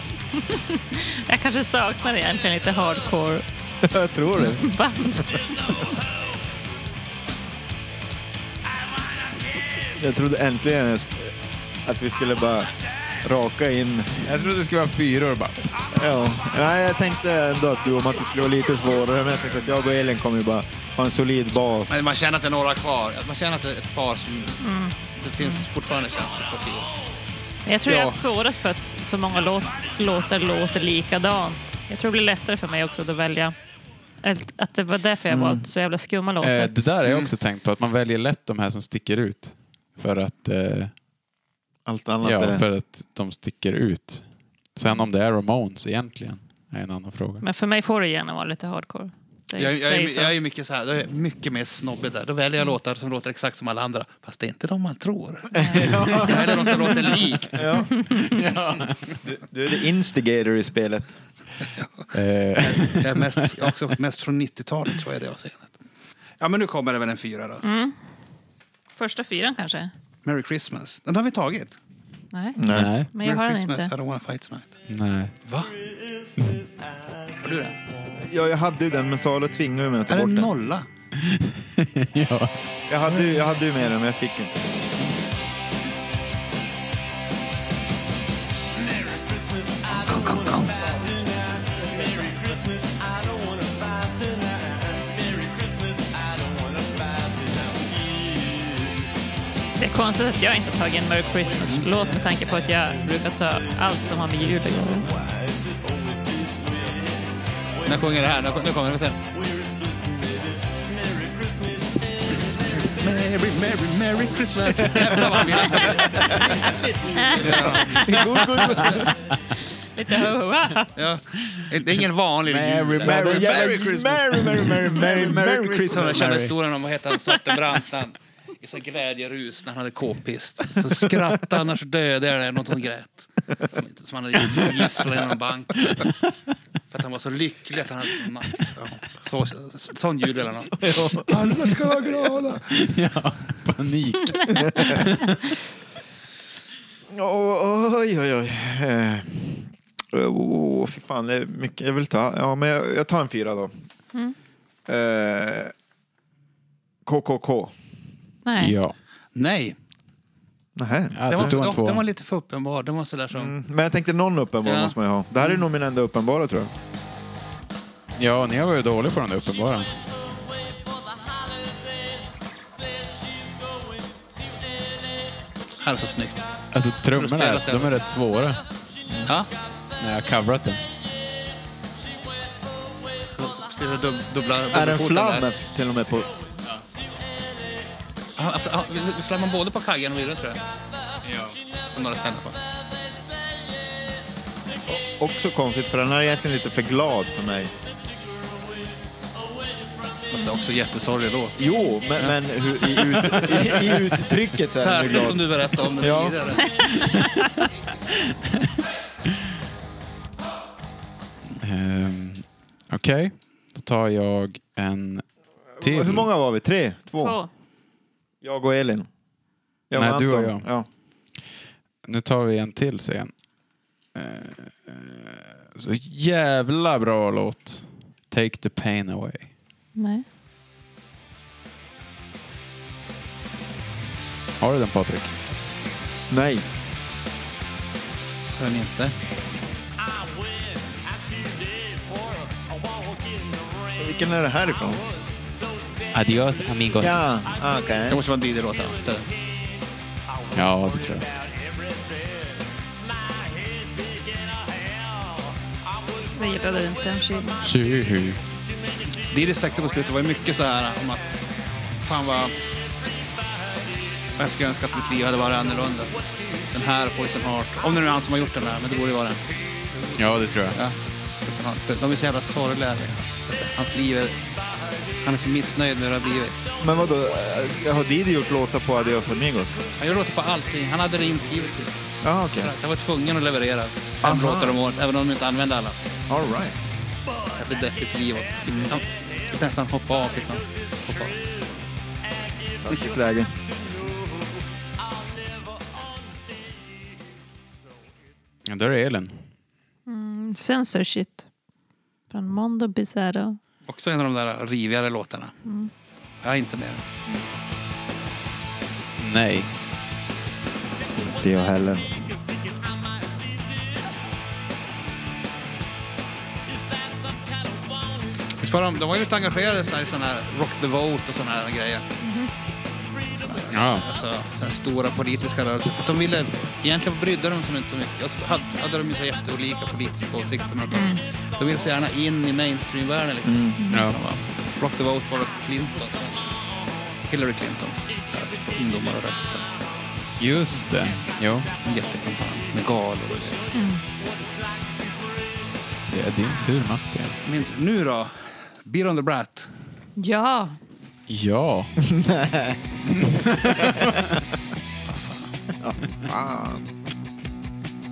[SPEAKER 4] jag kanske saknar egentligen lite hardcore-band.
[SPEAKER 3] Jag tror det. Jag trodde äntligen jag sk- att vi skulle bara raka in.
[SPEAKER 7] jag trodde det skulle vara fyror bara.
[SPEAKER 3] Ja. Nej, jag tänkte ändå att du och Matti skulle vara lite svårare, men jag tänkte att jag och Elin kommer ju bara ha en solid bas.
[SPEAKER 5] Men man känner att det är några kvar. Man känner att det är ett par som...
[SPEAKER 4] Mm.
[SPEAKER 5] Det finns fortfarande känslor på tio.
[SPEAKER 4] Men Jag tror jag
[SPEAKER 3] Ja.
[SPEAKER 4] har haft svårast för att så många låt, låtar låter likadant. Jag tror det blir lättare för mig också att välja. Eller Att det var därför jag valt så jävla skumma låtar.
[SPEAKER 7] Eh, det där har
[SPEAKER 5] Mm.
[SPEAKER 7] jag också tänkt på, att man väljer lätt de här som sticker ut. För att, eh,
[SPEAKER 3] Allt annat
[SPEAKER 7] ja,
[SPEAKER 3] är...
[SPEAKER 7] för att de sticker ut. Sen om det är Ramones egentligen, är en annan fråga.
[SPEAKER 4] Men för mig får det gärna vara lite hardcore. Det är,
[SPEAKER 5] Jag, jag,
[SPEAKER 4] det är
[SPEAKER 5] är-
[SPEAKER 4] ju så.
[SPEAKER 5] jag är ju mycket så här, jag är mycket mer snobbig där. Då väljer jag låtar som låter exakt som alla andra. Fast det är inte de man tror. Eller de som låter likt.
[SPEAKER 3] Ja. Du, du är the instigator i spelet.
[SPEAKER 7] Eh,
[SPEAKER 5] Det är mest, jag är också mest från 90-talet tror jag det avseendet. Ja, men nu kommer det väl en fyra då.
[SPEAKER 4] Mm. Första fyran kanske?
[SPEAKER 5] Merry Christmas. Den har vi tagit.
[SPEAKER 4] Nej,
[SPEAKER 7] nej.
[SPEAKER 4] men jag har
[SPEAKER 5] Merry
[SPEAKER 4] den
[SPEAKER 5] Christmas, I
[SPEAKER 4] inte.
[SPEAKER 5] don't wanna fight tonight.
[SPEAKER 7] nej.
[SPEAKER 5] Va? Har du den?
[SPEAKER 3] Ja, jag hade ju den, men Salo tvingade mig att ta
[SPEAKER 5] Är det
[SPEAKER 3] bort
[SPEAKER 5] en
[SPEAKER 3] den.
[SPEAKER 5] nolla?
[SPEAKER 7] ja.
[SPEAKER 3] Jag hade, ju- jag hade ju med den, men jag fick inte.
[SPEAKER 4] Det är konstigt att jag inte har tagit en Merry Christmas-låt med tanke på att jag brukar ta allt som har med jul att göra.
[SPEAKER 5] När sjunger det här? Nu nu kommer det. Vänta. Merry, merry, merry Christmas. Jävlar vad vi-
[SPEAKER 3] God, god, god.
[SPEAKER 4] Lite ho-ho.
[SPEAKER 5] Ja. Det är ingen vanlig
[SPEAKER 7] Mary,
[SPEAKER 5] jul.
[SPEAKER 7] Mary,
[SPEAKER 5] Merry Christmas.
[SPEAKER 3] Merry, Merry, Merry, Merry,
[SPEAKER 5] Merry Christmas. Jag kände
[SPEAKER 3] Merry.
[SPEAKER 5] historien om, vad heter han, Svarte Brantan. I sån glädjerus när han hade k-pist. Så skratta annars dödar jag dig. Något hon grät. Som, som han hade gjort gisslan i någon bank. För att han var så lycklig att han hade sån makt. Ja. Så, sån jul eller något.
[SPEAKER 3] Alla ska vara glada.
[SPEAKER 7] Ja, panik.
[SPEAKER 3] Oj, oj, oj. Eh, Åh, fy fan. Det är mycket. Jag vill ta... Ja, men jag, jag tar en fyra då.
[SPEAKER 5] Mm.
[SPEAKER 3] Eh, KKK.
[SPEAKER 4] Nej.
[SPEAKER 7] Ja.
[SPEAKER 5] Nej.
[SPEAKER 3] Nähä.
[SPEAKER 7] Ja,
[SPEAKER 5] Den
[SPEAKER 7] du
[SPEAKER 5] var,
[SPEAKER 7] tog en
[SPEAKER 5] dock, den var
[SPEAKER 7] två.
[SPEAKER 5] lite för uppenbar. Den var sådär som...
[SPEAKER 3] Mm, Men jag tänkte någon uppenbar
[SPEAKER 5] Ja.
[SPEAKER 3] måste man ju ha. Det här är nog min enda uppenbara tror jag.
[SPEAKER 7] Ja, ni har varit dåliga på den där uppenbara.
[SPEAKER 5] Här är så snyggt.
[SPEAKER 7] Alltså trummorna,
[SPEAKER 5] Frustrerad sen.
[SPEAKER 7] de är rätt svåra
[SPEAKER 5] Ja.
[SPEAKER 7] när jag har coverat den.
[SPEAKER 5] Dubbla, dubbla,
[SPEAKER 3] Är den
[SPEAKER 5] dubbelfoten där.
[SPEAKER 3] flam till och med på...
[SPEAKER 5] Han- han- han- Visst slår man både på kaggen och virret tror jag? Ja. Några ständer på.
[SPEAKER 3] Också konstigt för den här är egentligen lite för glad för mig.
[SPEAKER 5] Fast det är också jättesorglig låt.
[SPEAKER 3] Jo, men, men hur, i, ut, i, i uttrycket så
[SPEAKER 5] Så
[SPEAKER 3] är den ju
[SPEAKER 5] här som
[SPEAKER 3] glad.
[SPEAKER 5] du berättade om den
[SPEAKER 3] Ja.
[SPEAKER 5] tidigare.
[SPEAKER 7] Ehm, Okej, då tar jag en till.
[SPEAKER 3] Hur många var vi? Tre? Två?
[SPEAKER 4] Två.
[SPEAKER 3] Jag och Elin. Jag
[SPEAKER 7] Nej, du och
[SPEAKER 3] Anton.
[SPEAKER 7] jag.
[SPEAKER 3] Ja.
[SPEAKER 7] Nu tar vi en till sen. Eh, eh, Så jävla bra låt. Take the pain away.
[SPEAKER 4] Nej.
[SPEAKER 7] Har du den Patrik?
[SPEAKER 3] Nej.
[SPEAKER 5] Hör ni inte?
[SPEAKER 3] Vilken är det här ifrån?
[SPEAKER 7] Adios amigos. Ja,
[SPEAKER 3] Ja, okej.
[SPEAKER 5] Det måste vara en Diddy-låt. ja. Det är det.
[SPEAKER 7] det tror jag.
[SPEAKER 4] Det gillade du inte. om skivan.
[SPEAKER 7] Tjuhu.
[SPEAKER 5] Diddy släkte på slutet var ju mycket så här om att fan vad... vad Jag skulle önska att mitt liv hade varit annorlunda. Den här Poison Heart. Om det nu är han som har gjort den här, men det borde ju vara den.
[SPEAKER 7] Ja, det tror jag.
[SPEAKER 5] Ja. Poison Heart. De- De är så jävla sorgliga liksom. Hans liv är... Han är så missnöjd med hur det har blivit.
[SPEAKER 3] Men vadå, eh, har Didi gjort låtar på Adios Amigos?
[SPEAKER 5] Han gör låtar på allting. Han hade det inskrivet sitt.
[SPEAKER 3] Ja, okej.
[SPEAKER 5] Jag var tvungen att leverera fem
[SPEAKER 3] Aha.
[SPEAKER 5] låtar om året, även om de inte använde alla.
[SPEAKER 3] All right.
[SPEAKER 5] Jävligt deppigt liv också. Fick han fick nästan hoppa av. Fick han hoppa av.
[SPEAKER 3] Taskigt läge.
[SPEAKER 7] Ja, Där är Elin.
[SPEAKER 4] Mm, Sensor shit. Från Mondo Bizarro.
[SPEAKER 5] Också en av de där rivigare låtarna. Jag är inte med.
[SPEAKER 7] Nej.
[SPEAKER 3] Inte jag heller.
[SPEAKER 5] För de, de var ju lite engagerade så här, i sån här Rock the Vote och såna här grejer. Såna här,
[SPEAKER 7] Ja.
[SPEAKER 5] alltså, såna här stora politiska rörelser. För att de ville, egentligen brydde de sig inte så mycket. Och så hade, hade de ju så jätteolika politiska åsikter. Men att de, de ville så gärna in i mainstream-världen. Liksom.
[SPEAKER 7] Ja.
[SPEAKER 5] Rock the Vote var Clintons, Hillary Clintons för ungdomar och rösta.
[SPEAKER 7] Just det. Jo,
[SPEAKER 5] En jättekampanj med galor och grejer.
[SPEAKER 7] det är din tur Matti.
[SPEAKER 5] Men nu då? Beer on the Brat.
[SPEAKER 4] Ja.
[SPEAKER 7] Ja.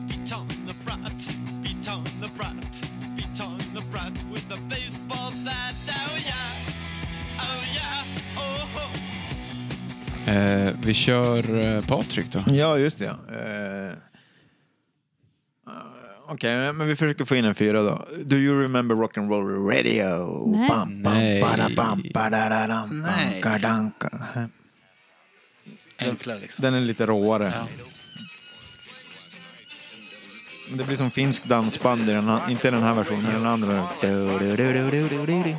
[SPEAKER 9] Beat on the brat, beat on the brat, beat on the brat with a baseball bat. Oh yeah, oh yeah, oh ho.
[SPEAKER 7] Eh, vi kör eh, Patrik då.
[SPEAKER 3] Ja, just det. ja. Eh, eh, Okej, men vi försöker få in en fyra då. Do you remember rock'n'roll radio?
[SPEAKER 4] Nej.
[SPEAKER 3] Bam, bam,
[SPEAKER 7] Nej.
[SPEAKER 3] bada, bam, badadadam,
[SPEAKER 5] Nej.
[SPEAKER 3] banka, danka.
[SPEAKER 5] Enklare liksom.
[SPEAKER 3] Den är lite råare. Men Det blir som finsk dansband, i den här, inte i den här versionen, men i den andra. Du, du, du, du, du, du, du, du.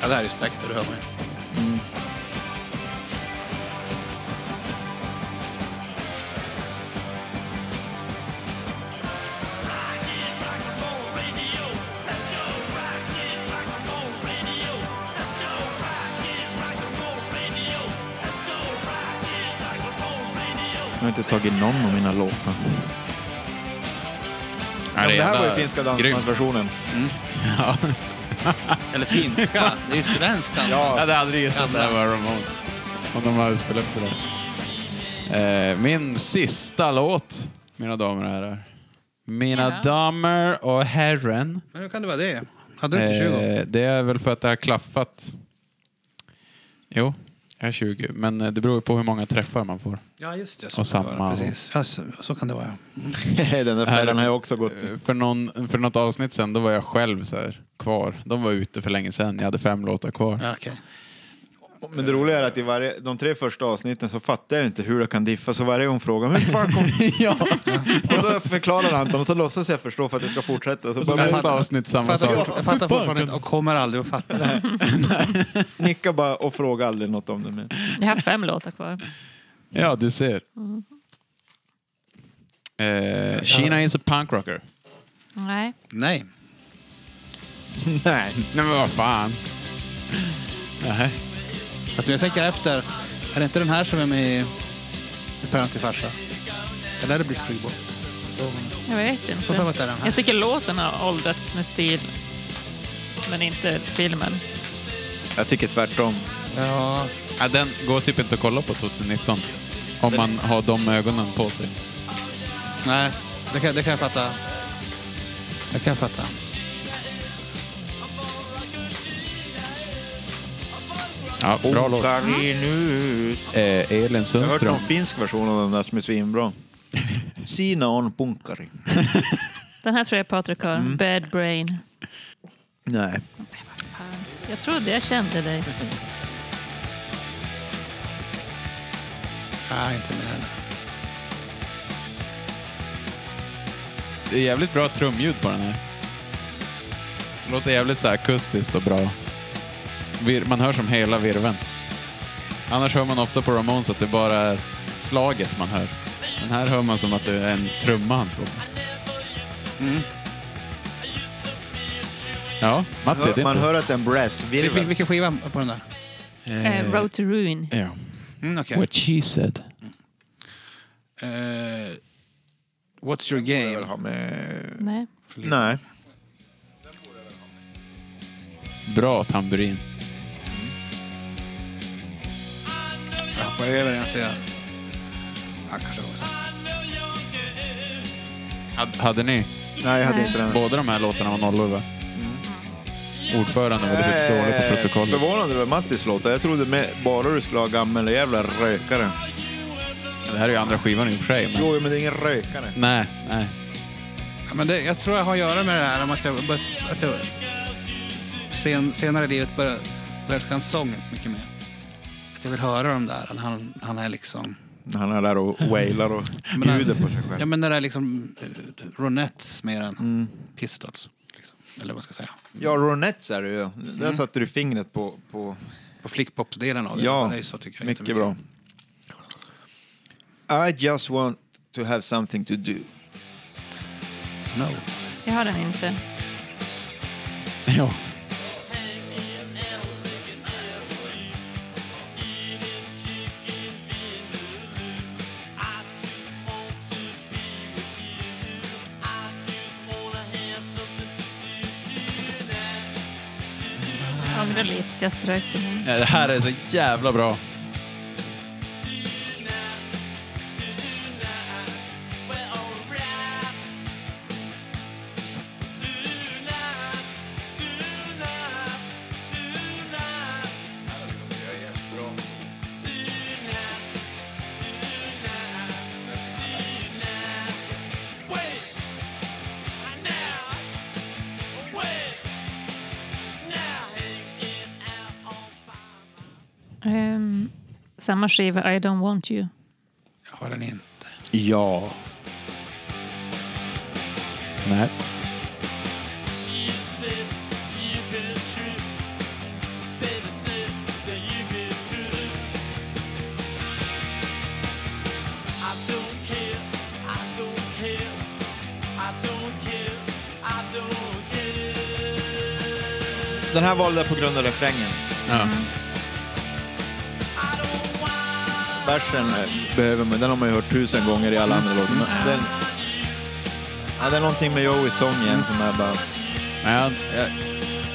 [SPEAKER 5] Ja, det här är ju Spectre, det hör man ju.
[SPEAKER 3] Jag har inte tagit någon av mina låtar. Ja, men det här var ju finska dansbandsversionen.
[SPEAKER 5] Eller finska. Det är ju svenskt. alltså.
[SPEAKER 7] Jag hade aldrig gissat att det här var Ramones. Om de hade spelat upp det där. Eh, min sista låt, mina damer och herrar. Mina
[SPEAKER 4] Ja.
[SPEAKER 7] damer och herren.
[SPEAKER 5] Men hur kan det vara det? Hade du inte 20?
[SPEAKER 7] Eh, det är väl för att det har klaffat. Jo, jag är 20. Men eh, det beror ju på hur många träffar man får.
[SPEAKER 5] Ja, just det.
[SPEAKER 7] och
[SPEAKER 5] Så, kan det
[SPEAKER 7] samma-
[SPEAKER 5] vara. Precis. Ja, så, så kan det vara. ja.
[SPEAKER 3] Den där färjan har jag också gått.
[SPEAKER 7] Eh, För, någon, för något avsnitt sen, då var jag själv så här, kvar. De var ute för länge sen. Jag hade fem låtar kvar.
[SPEAKER 5] Ja, okej.
[SPEAKER 3] Men det roliga är att i varje, de tre första avsnitten så fattar jag inte hur det kan diffa. Så varje gång frågar jag, hur fan kom
[SPEAKER 7] ja,
[SPEAKER 3] Och så förklarar Anton och så låtsas jag förstå för att jag ska fortsätta. Och så
[SPEAKER 7] så
[SPEAKER 3] bara
[SPEAKER 7] nästa
[SPEAKER 5] Jag
[SPEAKER 7] avsnitt samma
[SPEAKER 5] fattar,
[SPEAKER 7] sak.
[SPEAKER 5] fort, jag fattar fortfarande inte och kommer aldrig att fatta.
[SPEAKER 3] nicka bara och fråga aldrig något om det mer.
[SPEAKER 4] Jag har fem låtar kvar.
[SPEAKER 7] Ja, du ser.
[SPEAKER 5] Mm.
[SPEAKER 7] Eh, Sheena is a punk rocker.
[SPEAKER 4] Nej.
[SPEAKER 5] Nej.
[SPEAKER 3] Nej.
[SPEAKER 7] Nej men vad fan. Nej.
[SPEAKER 5] Att nu jag tänker efter, är det inte den här som är med i i Päron till farsa? Eller är det Blitz Flygbo?
[SPEAKER 4] Jag vet
[SPEAKER 5] Jag får prata
[SPEAKER 4] inte.
[SPEAKER 5] den här.
[SPEAKER 4] Jag tycker låten har åldrats med stil, men inte filmen.
[SPEAKER 3] Jag tycker tvärtom.
[SPEAKER 5] Ja,
[SPEAKER 7] Ja, den går typ inte att kolla på 2019. Om man har de ögonen på sig.
[SPEAKER 5] nej. Det kan, det kan jag fatta. Det kan jag fatta.
[SPEAKER 7] Ja, bra låt.
[SPEAKER 3] Otar vi nu.
[SPEAKER 7] Eh, Elin
[SPEAKER 3] Jag har hört
[SPEAKER 7] Sundström.
[SPEAKER 3] någon finsk version av den där som är svinbra. Sina on punkari.
[SPEAKER 4] Den här tror jag Patrik har. Bad Brain.
[SPEAKER 3] Nej.
[SPEAKER 4] Jag trodde jag kände dig.
[SPEAKER 5] Nej, inte med heller.
[SPEAKER 7] Det är jävligt bra trumljud på den här. Det låter jävligt så här akustiskt och bra. Vir- Man hör som hela virven. Annars hör man ofta på Ramones att det bara är slaget man hör. Den här hör man som att det är en trumma han slår på.
[SPEAKER 3] Mm.
[SPEAKER 7] Ja, Matti, det är
[SPEAKER 3] Man
[SPEAKER 7] inte...
[SPEAKER 3] hör att det är en
[SPEAKER 5] Vil-
[SPEAKER 3] brassvirvel.
[SPEAKER 5] Vilken skiva på den där?
[SPEAKER 4] Eh, Road to Ruin.
[SPEAKER 7] Ja.
[SPEAKER 5] Mm, okej.
[SPEAKER 7] What she said.
[SPEAKER 5] Eh, what's your game?
[SPEAKER 4] Nej.
[SPEAKER 3] Nej.
[SPEAKER 7] Bra tamburin.
[SPEAKER 5] Jag hoppar över den så jag... Ja, kanske var så.
[SPEAKER 7] Had, hade ni?
[SPEAKER 3] Nej, jag hade inte den.
[SPEAKER 7] Båda de här låtarna var nollor va?
[SPEAKER 3] Mm.
[SPEAKER 7] Ordförande var lite dålig på protokollet.
[SPEAKER 3] Eh, Förvånande över Mattis låt. Jag trodde med, bara du skulle ha gammal jävla rökare.
[SPEAKER 7] Det här är ju andra skivan i och för sig. Men...
[SPEAKER 3] Jo, men det är ingen rökare.
[SPEAKER 7] Nej, nej.
[SPEAKER 5] Ja, men det, jag tror jag har att göra med det här om att jag, bör- att jag sen, senare i livet börjar börjar älska en sång mycket mer. Att jag vill höra dem där. Han, han är liksom...
[SPEAKER 3] Han är där och wailar och
[SPEAKER 5] Men-
[SPEAKER 3] bjuder på sig själv. Mm.
[SPEAKER 5] Ja, men när det är liksom eh, Ronettes mer än Pistols. Liksom. Eller vad ska jag säga.
[SPEAKER 3] Ja, Ronettes är det ju. Där satte du fingret på... på
[SPEAKER 5] På flickpopsdelen av det.
[SPEAKER 3] ja,
[SPEAKER 5] det är ju så, tycker jag,
[SPEAKER 3] mycket bra.
[SPEAKER 5] jättemycket.
[SPEAKER 3] I just want to have something to do.
[SPEAKER 5] No.
[SPEAKER 4] Jag har den inte.
[SPEAKER 7] Ja.
[SPEAKER 4] Ångrar lite. Jag strök den.
[SPEAKER 7] Det här är så jävla bra.
[SPEAKER 4] Ehm, samma skiva, I don't want you.
[SPEAKER 5] Jag har den inte.
[SPEAKER 3] Ja.
[SPEAKER 7] Nej.
[SPEAKER 3] Den här valde jag på grund av refrängen.
[SPEAKER 7] Ja.
[SPEAKER 9] I don't want
[SPEAKER 3] Bärsen behöver man, den har man ju hört tusen gånger i alla andra låtar. Men Den, ja, det är någonting med Joeys sång igen som jag bara...
[SPEAKER 7] Men jag, jag,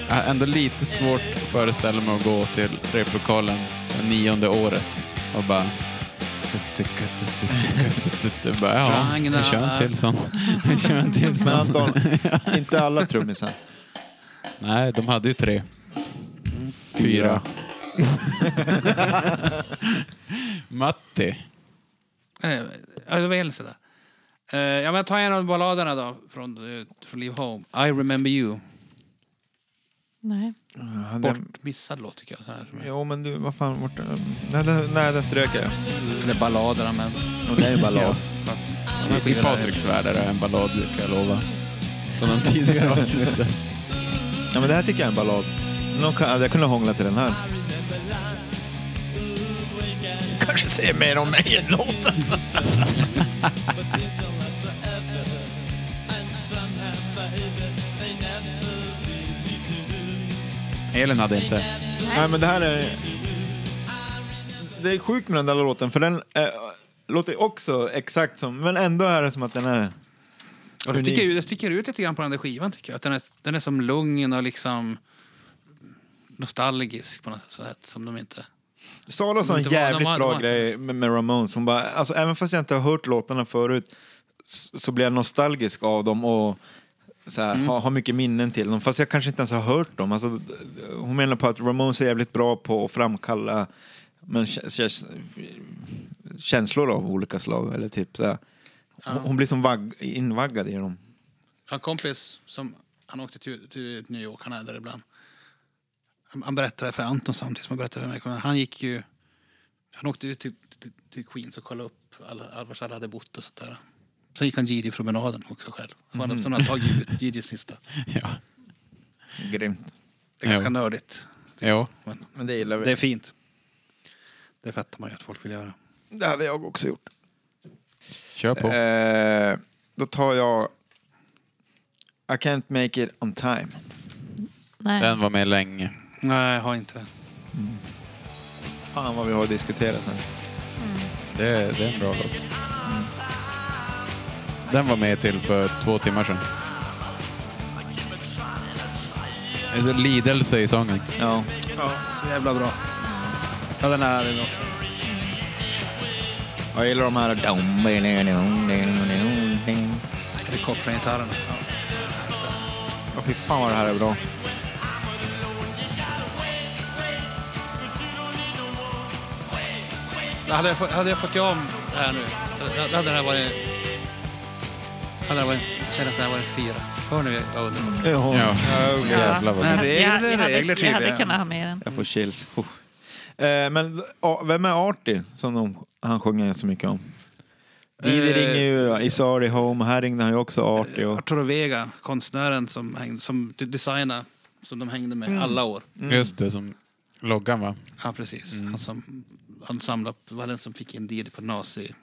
[SPEAKER 7] jag har ändå lite svårt att föreställa mig att gå till replokalen det nionde året och bara... bara ja, vi kör en till sån. Vi kör en till
[SPEAKER 3] Men
[SPEAKER 7] sån.
[SPEAKER 3] Anton, inte alla trummisar.
[SPEAKER 7] Nej, de hade ju tre. Fyra. Matti.
[SPEAKER 5] Eh, Ja, det var en sådär. Eh, Ja, men jag tar en av balladerna då från, eh, från Leave Home. I remember you.
[SPEAKER 4] Nej.
[SPEAKER 5] Bort missad låt tycker jag. Så här. som jag-
[SPEAKER 3] Jo, men du, vad fan, vart... mm. Nej, den, nej, den strök jag.
[SPEAKER 5] Eller balladerna men...
[SPEAKER 3] Och det är ju ballad.
[SPEAKER 7] I, i Patriks värld är det en ballad, kan jag lova. Från de tidigare avsnitten.
[SPEAKER 3] Ja, men det här tycker jag är en ballad. Någon kan, jag kunde hångla till den här.
[SPEAKER 1] Kanske säger mer om mig än låten.
[SPEAKER 7] Elin hade inte.
[SPEAKER 3] Nej, men det här är... Det är sjukt med den där låten, för den eh, låter också exakt som... Men ändå är det som att den är...
[SPEAKER 5] Och det, sticker, ut- det sticker ut lite grann på den där skivan tycker jag. Att den, är, den är som lugn och liksom nostalgisk på något sätt. Som de inte...
[SPEAKER 3] Sara sa en
[SPEAKER 5] Det var-
[SPEAKER 3] jävligt
[SPEAKER 5] de var- de
[SPEAKER 3] bra
[SPEAKER 5] var-
[SPEAKER 3] grej med, med Ramones. Hon bara, alltså, även fast jag inte har hört låtarna förut så, så blir jag nostalgisk av dem och så här,
[SPEAKER 5] Mm.
[SPEAKER 3] har, har mycket minnen till dem. Fast jag kanske inte ens har hört dem. Alltså, d- d- hon menar på att Ramones är jävligt bra på att framkalla men, kä- kä- känslor av olika slag. Eller typ, så här. Hon, hon blir som vagg, invaggad i dem.
[SPEAKER 5] Jag har en kompis som han åkte till, till New York, han är där ibland. Han, han berättade för Anton samtidigt som han berättade för mig. Men Han gick ju... Han åkte ut till, till, till Queens och kollade upp alla, all- vars alla hade bott och sånt där. Sen gick han Gigi-promenaden också själv. Så han, så han tog Gigi- Gigi's sista.
[SPEAKER 7] Ja.
[SPEAKER 3] Grymt.
[SPEAKER 5] Det är ganska
[SPEAKER 7] Ja.
[SPEAKER 5] nördigt.
[SPEAKER 7] Jo.
[SPEAKER 5] Men
[SPEAKER 3] Men det gillar vi.
[SPEAKER 5] det är
[SPEAKER 3] Det,
[SPEAKER 5] fint. Det fattar man ju att folk vill göra.
[SPEAKER 3] hade jag också gjort.
[SPEAKER 7] Kör på.
[SPEAKER 3] Eh, då tar jag I can't make it on time.
[SPEAKER 4] Nej.
[SPEAKER 7] Den var med länge.
[SPEAKER 5] Nej, jag har inte det.
[SPEAKER 3] Fan vad vi har att diskutera sen.
[SPEAKER 7] Det, det är en bra låt. Den var med till för två timmar sedan. Det är så lidelse i sången.
[SPEAKER 3] Ja.
[SPEAKER 5] Ja, så jävla bra. Ja, den här är det också.
[SPEAKER 3] Jag gillar de här...
[SPEAKER 5] Helikoptergitarrerna. Ja.
[SPEAKER 3] Åh, fy fan vad det här är bra.
[SPEAKER 5] Hade jag, fått- hade jag fått göra om det här nu, då hade det här varit... Hade det här varit jag känner att det här varit en fyra. Hör nu vad underbart.
[SPEAKER 7] Ja. Jävlar vad
[SPEAKER 5] Men
[SPEAKER 7] bra.
[SPEAKER 5] regler
[SPEAKER 4] jag, jag,
[SPEAKER 5] är regler
[SPEAKER 4] hade, jag hade
[SPEAKER 5] tydligen.
[SPEAKER 4] kunnat ha med den.
[SPEAKER 3] Jag får chills. Oh. Eh, men ja, vem är Artie som de, han sjunger så mycket om? Didi
[SPEAKER 5] Eh.
[SPEAKER 3] ringer ju i Sorry Home. Här ringde han ju också Artie. Och,
[SPEAKER 5] Arturo Vega, konstnären som, hängde, som de- designade, som de hängde med alla år.
[SPEAKER 7] Just det, som loggan va?
[SPEAKER 5] Ja, precis. Han, som, han samlade, det var den som fick in Didi på nazi...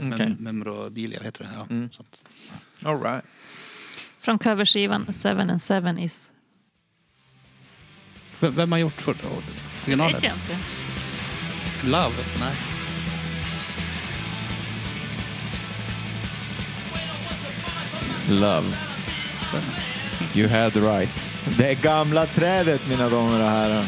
[SPEAKER 3] Okej.
[SPEAKER 5] Mem, memorabilia, heter det. Ja, sånt.
[SPEAKER 3] all right.
[SPEAKER 4] Från coverskivan Seven and Seven is...
[SPEAKER 5] V- Vem har gjort första året?
[SPEAKER 4] Vet
[SPEAKER 5] Originalet?
[SPEAKER 4] jag inte.
[SPEAKER 5] Love? Nej.
[SPEAKER 7] Love. You had right.
[SPEAKER 3] Det gamla trädet mina damer och herrar.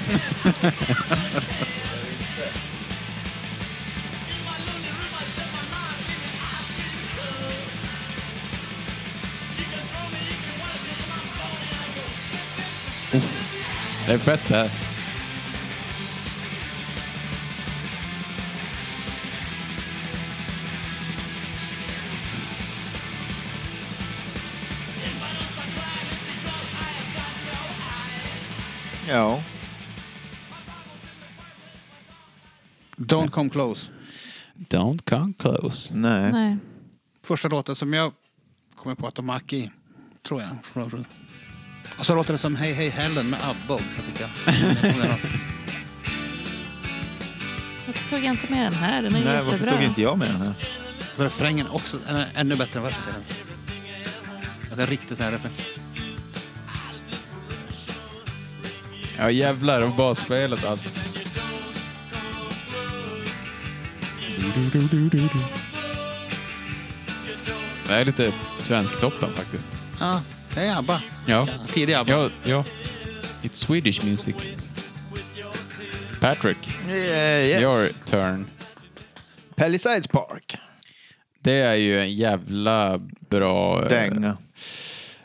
[SPEAKER 7] Det är fett det här.
[SPEAKER 3] Ja.
[SPEAKER 5] Don't come close.
[SPEAKER 7] Don't come close.
[SPEAKER 3] Nej.
[SPEAKER 4] Nej.
[SPEAKER 5] första låten som jag kommer på att de hack i. Tror jag. Från- från- Och så låter det som Hej Hej Helen med ABBA också tycker jag. Om det är någon-
[SPEAKER 4] Varför tog jag inte med den här? Den är
[SPEAKER 3] Nej, varför
[SPEAKER 4] jättebra.
[SPEAKER 3] tog inte jag med den här?
[SPEAKER 5] För Refrängen också än- ännu bättre än första delen. Ja, Det är riktigt sån här refräng.
[SPEAKER 7] Ja jävlar, och basspelet och allt. Det är lite Svensktoppen faktiskt.
[SPEAKER 5] Ja, det är ABBA.
[SPEAKER 7] Ja.
[SPEAKER 5] Tidig ABBA.
[SPEAKER 7] Ja, ja. It's Swedish music. Patrick,
[SPEAKER 3] Eh, yes.
[SPEAKER 7] your turn.
[SPEAKER 3] Palisades Park.
[SPEAKER 7] Det är ju en jävla bra... eh,
[SPEAKER 3] Dänga.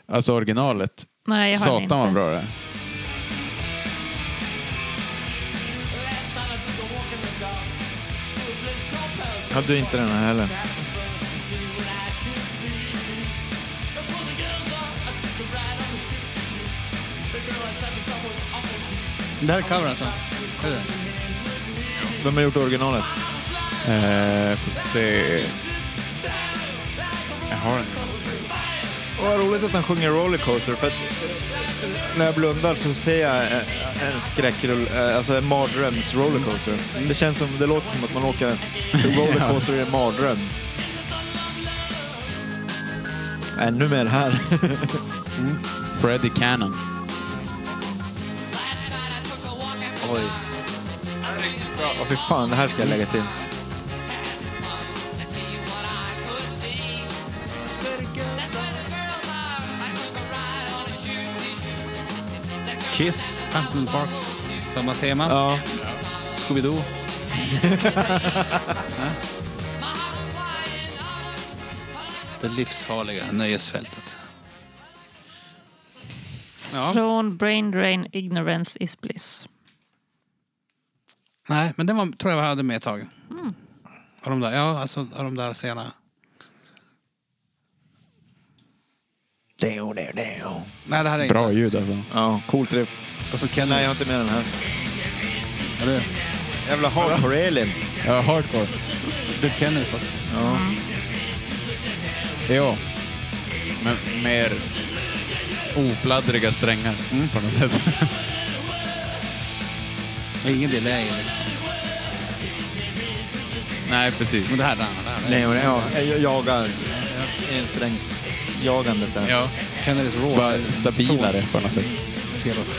[SPEAKER 7] Alltså originalet.
[SPEAKER 4] Nej, jag har den
[SPEAKER 7] Satan vad
[SPEAKER 4] inte.
[SPEAKER 7] bra det är.
[SPEAKER 3] Hade du inte den här heller?
[SPEAKER 5] Det här är cover alltså. Är det?
[SPEAKER 3] Vem har gjort originalet?
[SPEAKER 7] Eh, får se. Jag har den.
[SPEAKER 3] Och vad roligt att han sjunger Rollercoaster. För att eh, när jag blundar så ser jag eh, en skräckrull, eh, alltså en mardröms rollercoaster. Det känns som, det låter som att man åker en rollercoaster i en mardröm. Ännu Äh, mer här.
[SPEAKER 7] Freddie Cannon.
[SPEAKER 3] Oj. Åh fy fan, det här ska jag lägga till.
[SPEAKER 5] Kiss, Phantom Park. Samma tema.
[SPEAKER 3] Ja.
[SPEAKER 5] Scooby-Doo. Ja. Det livsfarliga nöjesfältet. Ja,
[SPEAKER 4] Från Brain Drain Ignorance is Bliss.
[SPEAKER 5] nej, men det var, tror jag jag hade med ett tag. Av de där, ja, alltså av de där sena. Nej, det här är
[SPEAKER 7] Bra ljud alltså.
[SPEAKER 3] Ja, cool träff.
[SPEAKER 5] inte. Alltså, Och så Kenny.
[SPEAKER 3] Nej, jag har inte med den här.
[SPEAKER 5] det,
[SPEAKER 3] Jävla hardcore Elin.
[SPEAKER 7] Ja, hardcore.
[SPEAKER 5] det är Kennys låt.
[SPEAKER 7] Ja. Men mer ofladdriga strängar på något sätt.
[SPEAKER 5] Det är ingen delay liksom.
[SPEAKER 7] Nej, precis.
[SPEAKER 5] Men det här, det här, det här.
[SPEAKER 3] Nej, men ja, jag jagar ensträngs jagandet där.
[SPEAKER 7] Ja.
[SPEAKER 5] Kennedys Raw.
[SPEAKER 7] Bara stabilare på något sätt.
[SPEAKER 5] Fel låt.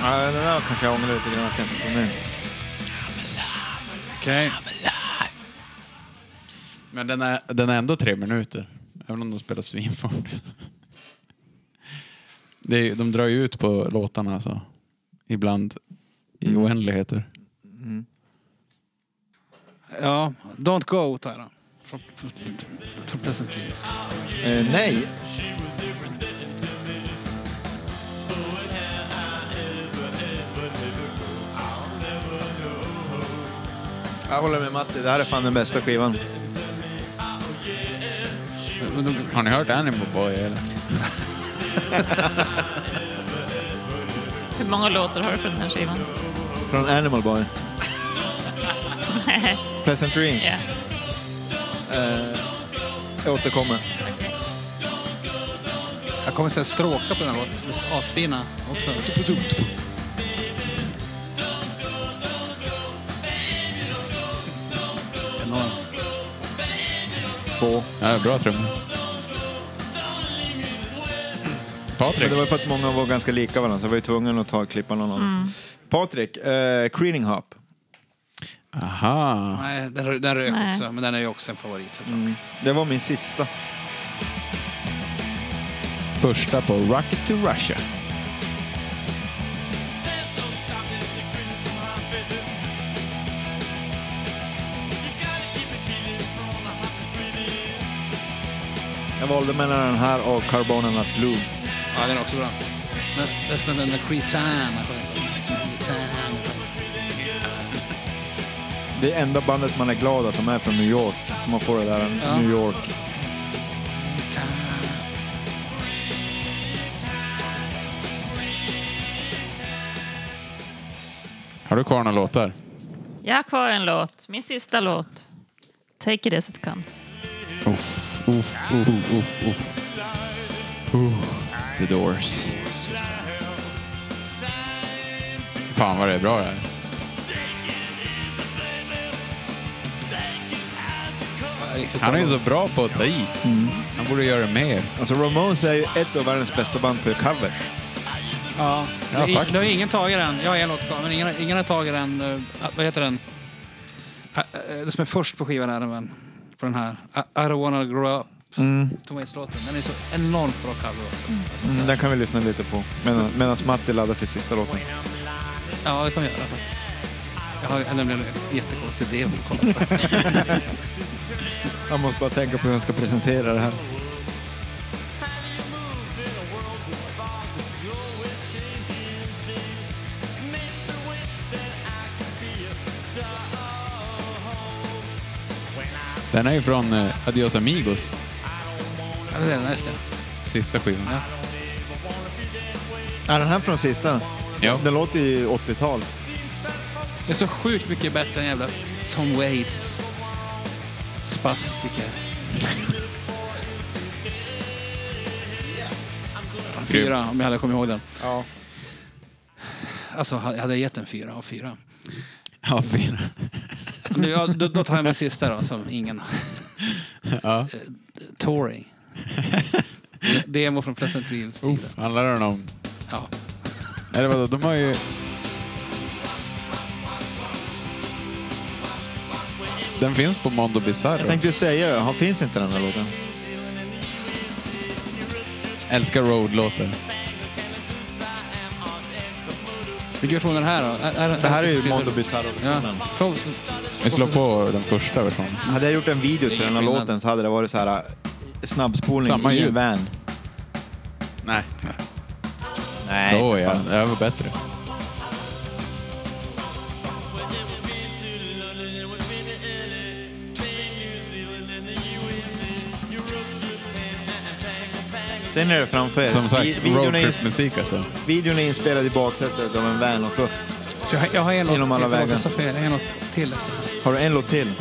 [SPEAKER 3] Ja, den där kanske jag ångrar lite grann att jag inte tog med.
[SPEAKER 5] Okej.
[SPEAKER 7] Men den är, den är ändå tre minuter. Även om de spelar svinfort. Det är, de drar ju ut på låtarna alltså. Ibland i oändligheter.
[SPEAKER 5] Ja, Don't Go tar jag då. Från- från- Från Pleasant Dreams.
[SPEAKER 3] Eh, nej. Jag håller med Matti, det här är fan den bästa skivan.
[SPEAKER 5] Men de-
[SPEAKER 7] Har ni hört Animal Boy eller?
[SPEAKER 4] Hur många låtar har du från den här skivan?
[SPEAKER 3] Från Animal Boy. Pleasant Dreams.
[SPEAKER 4] Ja.
[SPEAKER 3] Jag återkommer.
[SPEAKER 5] Jag kommer säga stråkar på den här låten som är asfina också. Enorm.
[SPEAKER 3] Två.
[SPEAKER 7] Ja, bra trummor.
[SPEAKER 3] Men
[SPEAKER 7] Patrik.
[SPEAKER 3] det var för att många var ganska lika varandra, så jag var ju tvungen att ta klippa någon annan. Patrik, eh, Creaning Hop.
[SPEAKER 7] Aha.
[SPEAKER 5] Nej, den, den rök
[SPEAKER 4] Nej.
[SPEAKER 5] också, men den är ju också en favorit. såklart.
[SPEAKER 3] Det var min sista.
[SPEAKER 7] Första på Rocket to Russia.
[SPEAKER 3] Jag valde mellan den här och Carbon and Not Blue.
[SPEAKER 5] Ja, den är också bra. Men det är som den där Cretan. Cretan.
[SPEAKER 3] Det är enda bandet man är glad att de är från New York. Så man får det där
[SPEAKER 5] Ja.
[SPEAKER 3] New York.
[SPEAKER 5] Cretan.
[SPEAKER 7] Har du kvar några låtar?
[SPEAKER 4] Jag har kvar en låt, min sista låt. Take it as it comes.
[SPEAKER 7] Uff, uff, uff, uff. The Doors. Fan vad det är bra det här.
[SPEAKER 5] Riktigt
[SPEAKER 7] Han är
[SPEAKER 5] bra.
[SPEAKER 7] ju så bra på att ta i. Han borde göra mer.
[SPEAKER 3] Alltså Ramones är ju ett av världens bästa band på cover.
[SPEAKER 5] Ja,
[SPEAKER 7] Ja,
[SPEAKER 5] det,
[SPEAKER 7] faktiskt.
[SPEAKER 5] det har ingen tagit den. Jag har en låt kvar, men ingen, ingen har tagit den. eh, Vad heter den? Ah, eh, Det som är först på skivan är den, men, på den här. I, I don't wanna grow up. Tomates-låten. Den är så enormt bra cover också. Alltså,
[SPEAKER 3] Mm, den kan vi lyssna lite på medan, medan Matti laddar för sista låten.
[SPEAKER 5] Ja, det kan vi göra faktiskt. Jag har nämligen en jättekonstig idé om att kolla på.
[SPEAKER 3] Jag måste bara tänka på hur jag ska presentera det här.
[SPEAKER 7] Den är ju från eh, Adios Amigos,
[SPEAKER 5] Ja, det är den, just det.
[SPEAKER 7] sista skivan.
[SPEAKER 3] Är den här från sista?
[SPEAKER 7] Ja.
[SPEAKER 3] Den låter ju 80-tal.
[SPEAKER 5] Det är så sjukt mycket bättre än jävla Tom Waits spastiker. Fyra, om jag hade kommit ihåg den.
[SPEAKER 3] Ja.
[SPEAKER 5] Alltså, ha- jag hade gett en fyra av fyra.
[SPEAKER 7] Ja, fyra.
[SPEAKER 5] Nu, ja, då, då tar jag min sista då, som ingen... Eh,
[SPEAKER 7] Ja.
[SPEAKER 5] Touring. Demo från Pleasant Reeves-tiden.
[SPEAKER 7] Handlar den om...
[SPEAKER 5] Ja.
[SPEAKER 7] Eller vadå, de har ju... Den finns på Mondo Bizarro.
[SPEAKER 3] Jag tänkte ju säga han finns inte den här låten?
[SPEAKER 7] Älskar Road-låten.
[SPEAKER 5] Vilken version är det här då? Är-
[SPEAKER 3] Det här är ju
[SPEAKER 5] Pleasant
[SPEAKER 3] Mondo
[SPEAKER 5] Reeves?
[SPEAKER 3] Bizarro.
[SPEAKER 5] Ja. Från-
[SPEAKER 7] Vi slår på den första versionen.
[SPEAKER 3] Hade jag gjort en video till den här
[SPEAKER 5] skillnad.
[SPEAKER 3] låten så hade det varit så här äh, snabbspolning
[SPEAKER 7] Samma
[SPEAKER 3] i en
[SPEAKER 7] ljud.
[SPEAKER 3] van.
[SPEAKER 7] Nej.
[SPEAKER 3] Nej,
[SPEAKER 7] Så
[SPEAKER 3] för
[SPEAKER 7] ja,
[SPEAKER 3] fan.
[SPEAKER 7] det här var bättre.
[SPEAKER 3] Sen är det framför er.
[SPEAKER 7] Som
[SPEAKER 3] Eh, Vi-
[SPEAKER 7] sagt,
[SPEAKER 3] videon, är ins-
[SPEAKER 7] roadtrip-musik alltså.
[SPEAKER 3] videon är inspelad i baksätet av en van och så
[SPEAKER 5] Så jag, jag har en låt till.
[SPEAKER 3] Genom alla
[SPEAKER 5] Förlåt,
[SPEAKER 3] vägar.
[SPEAKER 5] jag sa fel. Jag har en låt till.
[SPEAKER 3] har du en låt till.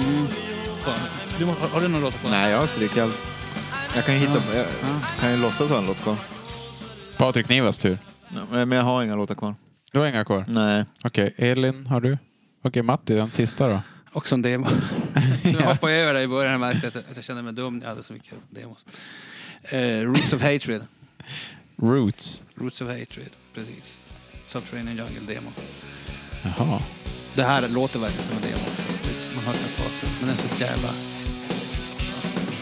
[SPEAKER 5] Kvar. Du, har, har du någon låt kvar?
[SPEAKER 3] Nej, jag har strykt allt. Jag kan ju hitta... Jag kan ju låtsas ha en låt kvar.
[SPEAKER 7] Patrik Nivas tur.
[SPEAKER 3] Ja, Men jag har inga låtar kvar.
[SPEAKER 7] Du har inga kvar?
[SPEAKER 3] Nej.
[SPEAKER 7] Okej, Elin har du? Okej, Matti, den sista då.
[SPEAKER 5] Också en demo. jag hoppade över det i början. Jag märkte att jag, att jag kände mig dum. Jag hade så mycket demos. Eh, Roots of Hatred.
[SPEAKER 7] Roots.
[SPEAKER 5] Roots of Hatred, precis. Subterranean Jungle-demo.
[SPEAKER 7] Jaha.
[SPEAKER 5] Det här låter verkligen som en demo också. Det- Man hör knappt på sig. Men den är så jävla...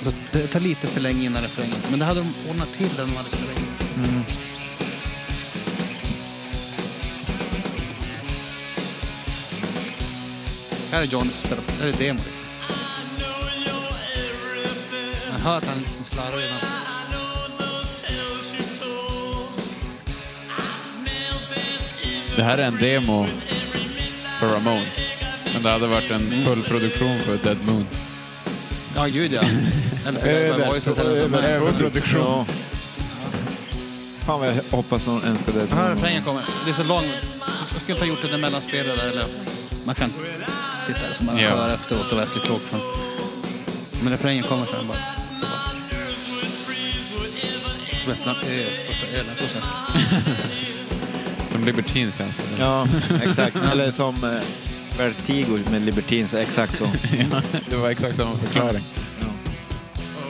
[SPEAKER 5] Så Det tar lite för länge innan refrängen. Men det hade de ordnat till den de hade Mm. refrängen. Här är Johnny som spelar på. Det här är demo. Man hör att han liksom slarvar innan.
[SPEAKER 7] Det här är en demo för Ramones. Men det hade varit en full produktion för Dead Moon.
[SPEAKER 5] Ja, gud ja. Eller för Dead Voices eller för mig.
[SPEAKER 3] Överproduktion. Ja. Fan vad jag hoppas någon önskar det.
[SPEAKER 5] Hör refrängen kommer. Det är så lång. Jag skulle inte ha gjort det där mellanspelet där. Eller man kan sitta där så man
[SPEAKER 7] Ja.
[SPEAKER 5] hör efteråt och vara efterklok. Men, men refrängen kommer sen bara. Så bara. Som öppnar ö, första ölen. Så sen.
[SPEAKER 7] Som Libertine känns det.
[SPEAKER 3] Ja, exakt. Eller som eh, Vertigo med Libertines, exakt så.
[SPEAKER 7] Det var exakt samma förklaring.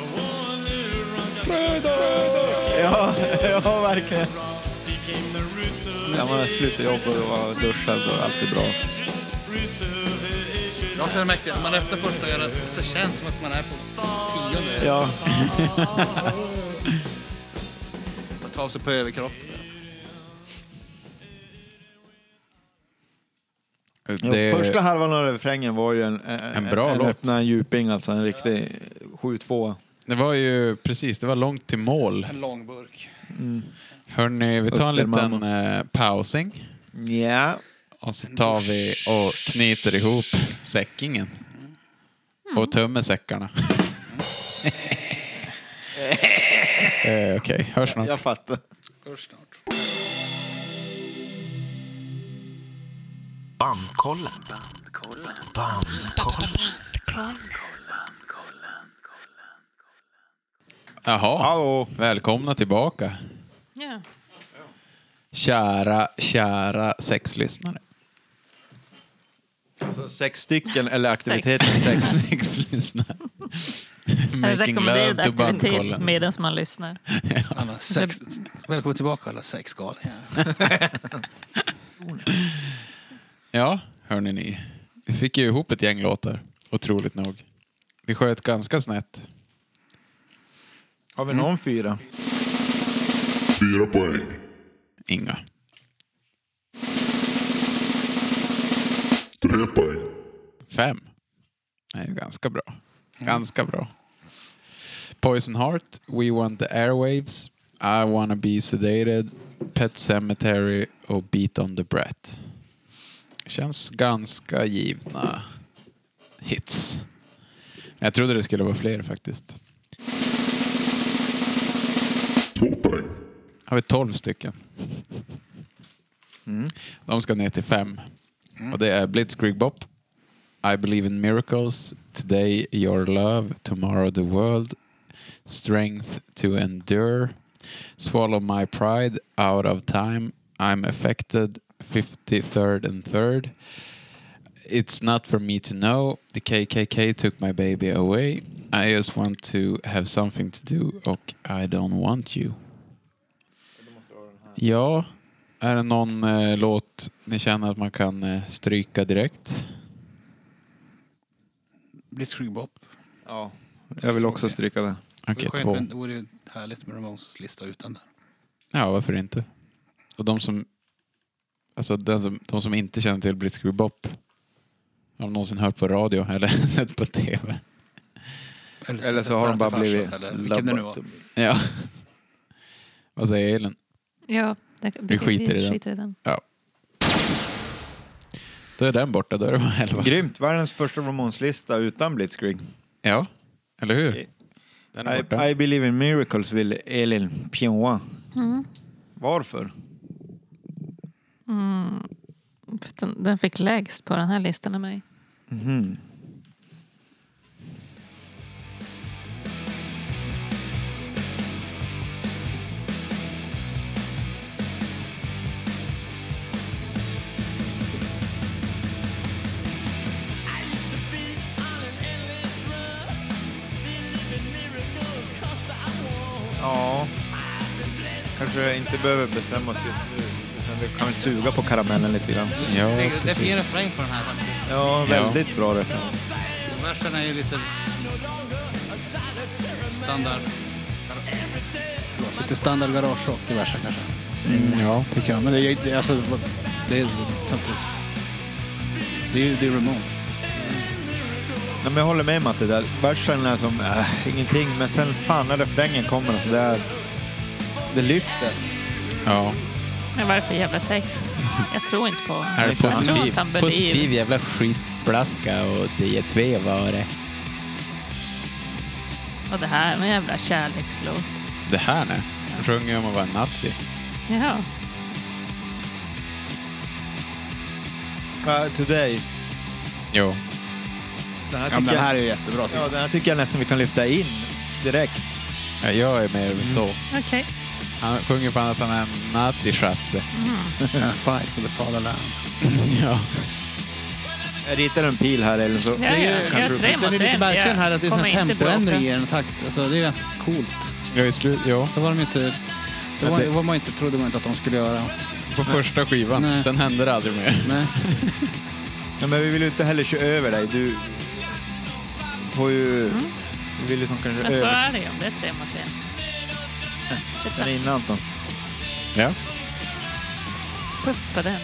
[SPEAKER 3] ja, ja, verkligen. När man slutar jobb och var duschad och allt är bra.
[SPEAKER 5] Jag känner mäktigt. När man öppnar första ölen så känns det som att man är på tionde ölen.
[SPEAKER 3] Ja.
[SPEAKER 5] Man tar av sig på överkroppen.
[SPEAKER 7] Det-
[SPEAKER 3] Första halvan av refrängen var ju en, eh,
[SPEAKER 7] En bra
[SPEAKER 3] en,
[SPEAKER 7] låt.
[SPEAKER 3] öppna en djuping, alltså en riktig 7-2.
[SPEAKER 7] Det var ju precis, det var långt till mål.
[SPEAKER 5] En lång burk.
[SPEAKER 7] Hörni, vi tar en
[SPEAKER 3] Upp till
[SPEAKER 7] liten
[SPEAKER 3] mamma.
[SPEAKER 7] eh, pausing.
[SPEAKER 3] Ja.
[SPEAKER 7] Och så tar vi och knyter ihop säckingen. Och tömmer säckarna. eh, Okej, hörs snart.
[SPEAKER 3] Jag fattar.
[SPEAKER 5] Hörs snart.
[SPEAKER 10] Bandkollen. Bandkollen. Bandkollen.
[SPEAKER 7] Jaha,
[SPEAKER 3] Hallå.
[SPEAKER 7] välkomna tillbaka.
[SPEAKER 4] Ja.
[SPEAKER 7] Kära, kära sexlyssnare.
[SPEAKER 3] Alltså sex stycken, eller aktiviteten sex.
[SPEAKER 7] Sexlyssnare.
[SPEAKER 4] En
[SPEAKER 7] Making love
[SPEAKER 4] rekommenderad
[SPEAKER 7] to
[SPEAKER 4] aktivitet
[SPEAKER 7] bandkollen.
[SPEAKER 4] medan man lyssnar.
[SPEAKER 5] Alla sex, Välkommen tillbaka alla sex galningar.
[SPEAKER 7] Ja, hörni ni. Vi fick ju ihop ett gäng låtar, otroligt nog. Vi sköt ganska snett.
[SPEAKER 3] Har vi någon fyra?
[SPEAKER 6] Fyra poäng.
[SPEAKER 7] Inga.
[SPEAKER 6] Tre poäng.
[SPEAKER 7] Fem. Det är ju ganska bra. Ganska bra. Poison Heart, We Want The Airwaves, I Wanna Be Sedated, Pet Cemetery och Beat On The Brat. Känns ganska givna hits. Jag trodde det skulle vara fler faktiskt.
[SPEAKER 6] Två poäng.
[SPEAKER 7] Har vi tolv stycken. De ska ner till fem. Och det är Blitzkrieg Bop, I Believe In Miracles, Today Your Love, Tomorrow The World, Strength To Endure, Swallow My Pride, Out Of Time, I'm Affected, 53rd and 3rd, It's Not For Me To Know, The KKK Took My Baby Away, I Just Want To Have Something To Do och I Don't Want You. Ja, är det någon eh, låt ni känner att man kan eh, stryka direkt?
[SPEAKER 5] Blitzkrieg Bop.
[SPEAKER 3] Ja. Jag vill också stryka det.
[SPEAKER 7] Okej,
[SPEAKER 5] det, vore
[SPEAKER 7] två.
[SPEAKER 5] skönt, men det vore ju härligt med Ramones lista utan den.
[SPEAKER 7] Ja, varför inte? Och de som... Alltså den som, de som inte känner till Blitzkrieg Bop. Har de någonsin hört på radio eller sett på TV?
[SPEAKER 3] Eller så har de bara blivit...
[SPEAKER 5] Eller vilken det nu var.
[SPEAKER 3] lobotomi.
[SPEAKER 7] Ja. Vad säger Elin?
[SPEAKER 4] Ja, det,
[SPEAKER 7] Vi skiter i den.
[SPEAKER 4] skiter i den.
[SPEAKER 7] Då är den borta, då är det bara elva.
[SPEAKER 3] Grymt! Världens första Ramones-lista utan Blitzkrieg.
[SPEAKER 7] Ja, eller hur? Den är borta.
[SPEAKER 3] I, I believe in miracles vill Elin Pinoa. Varför?
[SPEAKER 4] För Den, den fick lägst på den här listan av mig.
[SPEAKER 3] Ja, kanske inte behöver bestämma oss just nu. Utan vi kan väl suga på karamellen lite grann.
[SPEAKER 7] Ja,
[SPEAKER 5] det, det är fin
[SPEAKER 7] precis.
[SPEAKER 5] refräng på den här faktiskt.
[SPEAKER 3] Ja, väldigt bra det.
[SPEAKER 5] Versen är ju lite... Standard... Förlåt, Lite standard garagerock i versen kanske.
[SPEAKER 7] Ja.
[SPEAKER 5] Tycker jag. Men det, är- det, är- alltså, det är samtidigt... Det är ju det är Ramones.
[SPEAKER 3] Ja, men jag håller med Matte där. Versen är som äh, ingenting, men sen fan när refrängen kommer så det, är, det lyfter.
[SPEAKER 7] ja.
[SPEAKER 4] Men varför jävla text? Jag tror inte på honom.
[SPEAKER 7] Här är
[SPEAKER 4] Jag tror
[SPEAKER 7] positiv,
[SPEAKER 4] att han believe.
[SPEAKER 7] positiv jävla skitblaska och det är tvevare.
[SPEAKER 4] Och det här med jävla kärlekslåt.
[SPEAKER 7] Det här nu? Han sjunger ju om att vara en nazi.
[SPEAKER 4] Jaha.
[SPEAKER 3] Uh, today.
[SPEAKER 7] Jo.
[SPEAKER 3] Den här,
[SPEAKER 5] Ja, men
[SPEAKER 3] tycker
[SPEAKER 5] den här
[SPEAKER 3] jag,
[SPEAKER 5] är ju jättebra tycker
[SPEAKER 3] ja,
[SPEAKER 5] jag.
[SPEAKER 3] den här tycker jag nästan vi kan lyfta in direkt.
[SPEAKER 7] Ja, Jag är mer så.
[SPEAKER 4] Okej.
[SPEAKER 7] Han sjunger fan att han är en nazi-schatze.
[SPEAKER 5] Fight for the fatherland.
[SPEAKER 7] Ja.
[SPEAKER 3] Jag ritar en pil här eller så.
[SPEAKER 4] Ja, ja. Jag är tre
[SPEAKER 5] Det är
[SPEAKER 4] mot
[SPEAKER 5] lite
[SPEAKER 4] en.
[SPEAKER 5] verkligen här att det är sån
[SPEAKER 4] kommer inte
[SPEAKER 5] tempoändring i
[SPEAKER 4] bråka.
[SPEAKER 5] den takt. Alltså, det är ganska coolt.
[SPEAKER 7] Jag är slut. Ja.
[SPEAKER 5] Det var de inte... Det var, det var man inte, trodde man inte att de skulle göra.
[SPEAKER 7] På första skivan.
[SPEAKER 5] Nej.
[SPEAKER 7] Sen hände det aldrig mer.
[SPEAKER 5] Nej.
[SPEAKER 3] Ja, men vi vill ju inte heller köra över dig. Du får ju... Vi vill ju som kanske
[SPEAKER 4] Men så
[SPEAKER 3] över...
[SPEAKER 4] är det ju om det är tre mot en.
[SPEAKER 3] Den är inne Anton.
[SPEAKER 7] Ja.
[SPEAKER 4] Puff på den.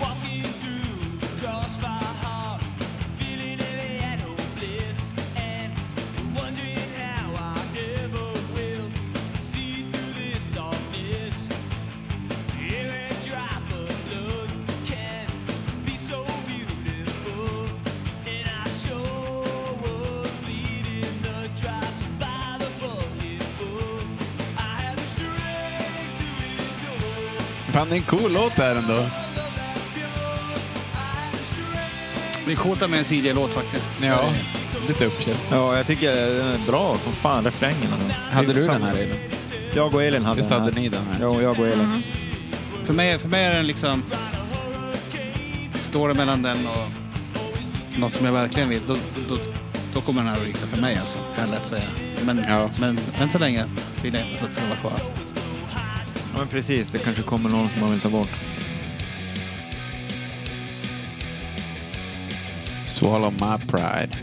[SPEAKER 9] Walking through the crossfire hall, feeling heavy and hopeless, and wondering how I ever will see through this darkness. Every drop of blood can be so beautiful, and I sure was bleeding the drops by the bucketful. I had the strength to endure.
[SPEAKER 7] Fan, det är en cool låt det här ändå.
[SPEAKER 5] Det är coolt att med en CJ-låt faktiskt.
[SPEAKER 7] Ja. Lite uppkäft.
[SPEAKER 3] Ja, jag tycker den är bra som fan, refrängen. Alltså.
[SPEAKER 7] Hade du den här Elin?
[SPEAKER 3] Jag och Elin hade
[SPEAKER 7] Visst
[SPEAKER 3] den här. Mm.
[SPEAKER 7] hade ni den här?
[SPEAKER 3] Ja, och jag och Elin.
[SPEAKER 5] För mig, för mig är den liksom... Står det mellan den och något som jag verkligen vill, då, då, då kommer den här att ryka för mig alltså. Kan jag lätt säga. Men,
[SPEAKER 7] Ja.
[SPEAKER 5] men än så länge vill jag inte att den ska vara kvar.
[SPEAKER 3] Ja, men precis. Det kanske kommer någon som man vill ta bort.
[SPEAKER 7] Swallow my pride.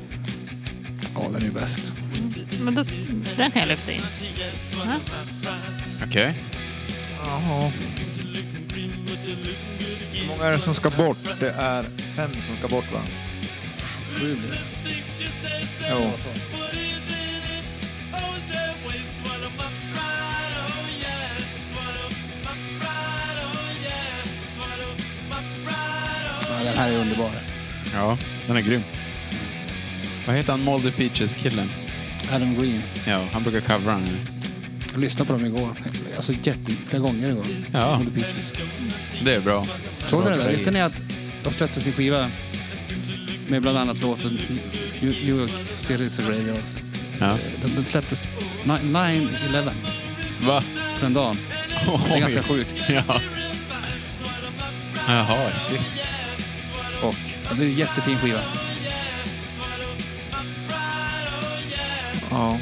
[SPEAKER 5] Ja, den är ju bäst.
[SPEAKER 4] Men då, den kan jag lyfta in.
[SPEAKER 7] Okej.
[SPEAKER 3] Jaha. Hur många är det som ska bort? Det är fem som ska bort, va?
[SPEAKER 5] Sju blir det.
[SPEAKER 3] Jo.
[SPEAKER 5] Ja, den här är underbar.
[SPEAKER 7] Ja, den är grym. Vad heter han, Moldy Peaches-killen?
[SPEAKER 5] Adam Green.
[SPEAKER 7] Ja, han brukar covra den. här.
[SPEAKER 5] Jag lyssnade på dem igår. Alltså jätte, flera gånger igår.
[SPEAKER 7] Ja.
[SPEAKER 5] On the Beaches.
[SPEAKER 7] Det är bra.
[SPEAKER 5] Såg ni det där? Visste ni att de släppte sin skiva med bland annat låten New New York Series of Radios.
[SPEAKER 7] Ja.
[SPEAKER 5] Den, den släpptes ni- 9-11
[SPEAKER 7] Va?
[SPEAKER 5] den dagen. Det är ganska sjukt.
[SPEAKER 7] Ja. Jaha, shit.
[SPEAKER 5] Och ja, det är en jättefin skiva.
[SPEAKER 3] Ja.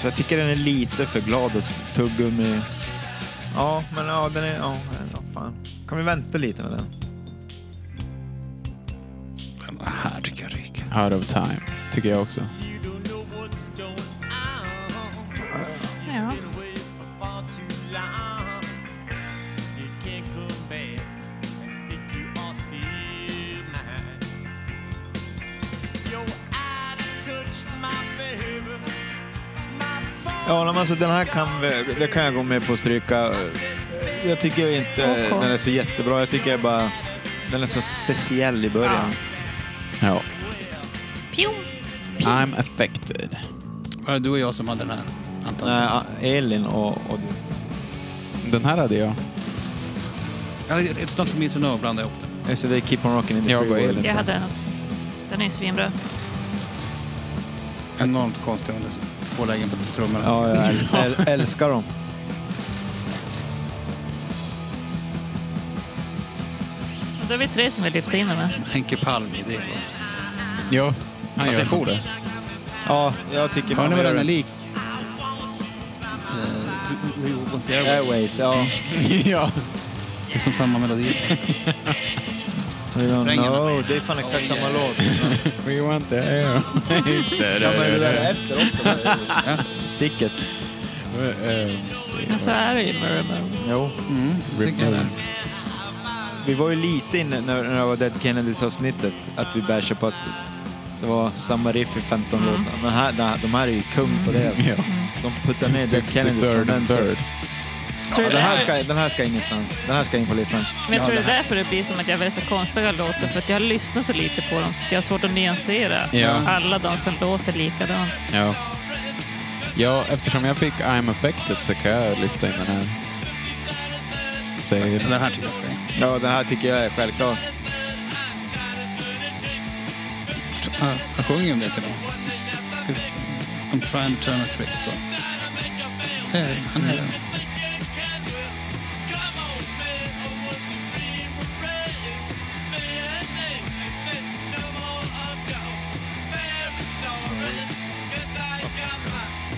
[SPEAKER 3] Så jag tycker den är lite för glad och tuggummi. Ja, men ja, den är... Ja, ja, fan. Kan vi vänta lite med den?
[SPEAKER 5] Den här tycker jag ryker.
[SPEAKER 7] Out of time, tycker jag också.
[SPEAKER 4] Ja.
[SPEAKER 3] Ja, men alltså den här kan vi, det kan jag gå med på att stryka. Jag tycker inte
[SPEAKER 4] Okej.
[SPEAKER 3] den är så jättebra. Jag tycker bara den är så speciell i början.
[SPEAKER 7] Ja.
[SPEAKER 4] Pjong!
[SPEAKER 7] I'm affected.
[SPEAKER 5] Var det du och jag som hade den här? Anton?
[SPEAKER 3] Nej, a- Eh, Elin och, och du.
[SPEAKER 7] Den här hade jag.
[SPEAKER 5] Ja, It's not for me to know blandade jag ihop den.
[SPEAKER 3] Just det, Keep on Rocking in the
[SPEAKER 7] Jag
[SPEAKER 3] Free
[SPEAKER 7] går
[SPEAKER 3] World.
[SPEAKER 7] Elin.
[SPEAKER 4] Jag hade den också. Den är ju svinbra.
[SPEAKER 5] Enormt konstiga under påläggen på trummorna.
[SPEAKER 3] Ja, jag äl- äl- älskar dem.
[SPEAKER 4] Och då är vi tre som vill lyfta in den här.
[SPEAKER 5] Henke Palm i det.
[SPEAKER 7] Ja, han
[SPEAKER 5] Att det
[SPEAKER 7] gör
[SPEAKER 5] är
[SPEAKER 7] sånt
[SPEAKER 5] coolt.
[SPEAKER 7] där.
[SPEAKER 3] Ja, jag tycker
[SPEAKER 5] Hör
[SPEAKER 3] fan
[SPEAKER 5] ni vad
[SPEAKER 3] gör
[SPEAKER 5] den är
[SPEAKER 3] det.
[SPEAKER 5] lik? Eh, we- we won't be able-
[SPEAKER 3] Airways, ja.
[SPEAKER 7] ja.
[SPEAKER 5] Det är som samma melodi.
[SPEAKER 3] We don't
[SPEAKER 5] Refrängen.
[SPEAKER 3] know. Det är fan exakt samma låt.
[SPEAKER 7] We want the air. Just det.
[SPEAKER 3] Ja, men det där
[SPEAKER 7] det-
[SPEAKER 3] är efter också. Ja, Sticket.
[SPEAKER 4] Men så är det ju med Ramones.
[SPEAKER 3] Jo.
[SPEAKER 5] tycker jag det.
[SPEAKER 7] Mm.
[SPEAKER 3] Vi var ju lite inne när, när det var Dead Kennedys-avsnittet att vi bashade på att det var samma riff i 15 låtar. Men här, de här- de här är ju kung på det.
[SPEAKER 7] Ja.
[SPEAKER 3] De puttar ner Dead Kennedys från
[SPEAKER 7] 53rd
[SPEAKER 3] den
[SPEAKER 7] and
[SPEAKER 3] till-
[SPEAKER 7] third.
[SPEAKER 4] Tror
[SPEAKER 3] Ja,
[SPEAKER 4] du
[SPEAKER 3] den, här
[SPEAKER 4] det-
[SPEAKER 3] ska, den här ska in någonstans. Den här ska in på listan.
[SPEAKER 4] Men jag tror det är därför det blir som att jag väljer så konstiga låtar, för att jag lyssnar så lite på dem så att jag har svårt att nyansera
[SPEAKER 7] Ja.
[SPEAKER 4] alla de som låter likadant.
[SPEAKER 7] Ja. ja, eftersom jag fick I'm affected så kan jag lyfta in den här. Säger
[SPEAKER 5] Den här tycker jag ska in.
[SPEAKER 3] Ja, den här tycker jag är självklar.
[SPEAKER 5] Han, han sjunger om det till dem. Fifth- I'm trying to turn a trick. tror jag. Det är- Han är det.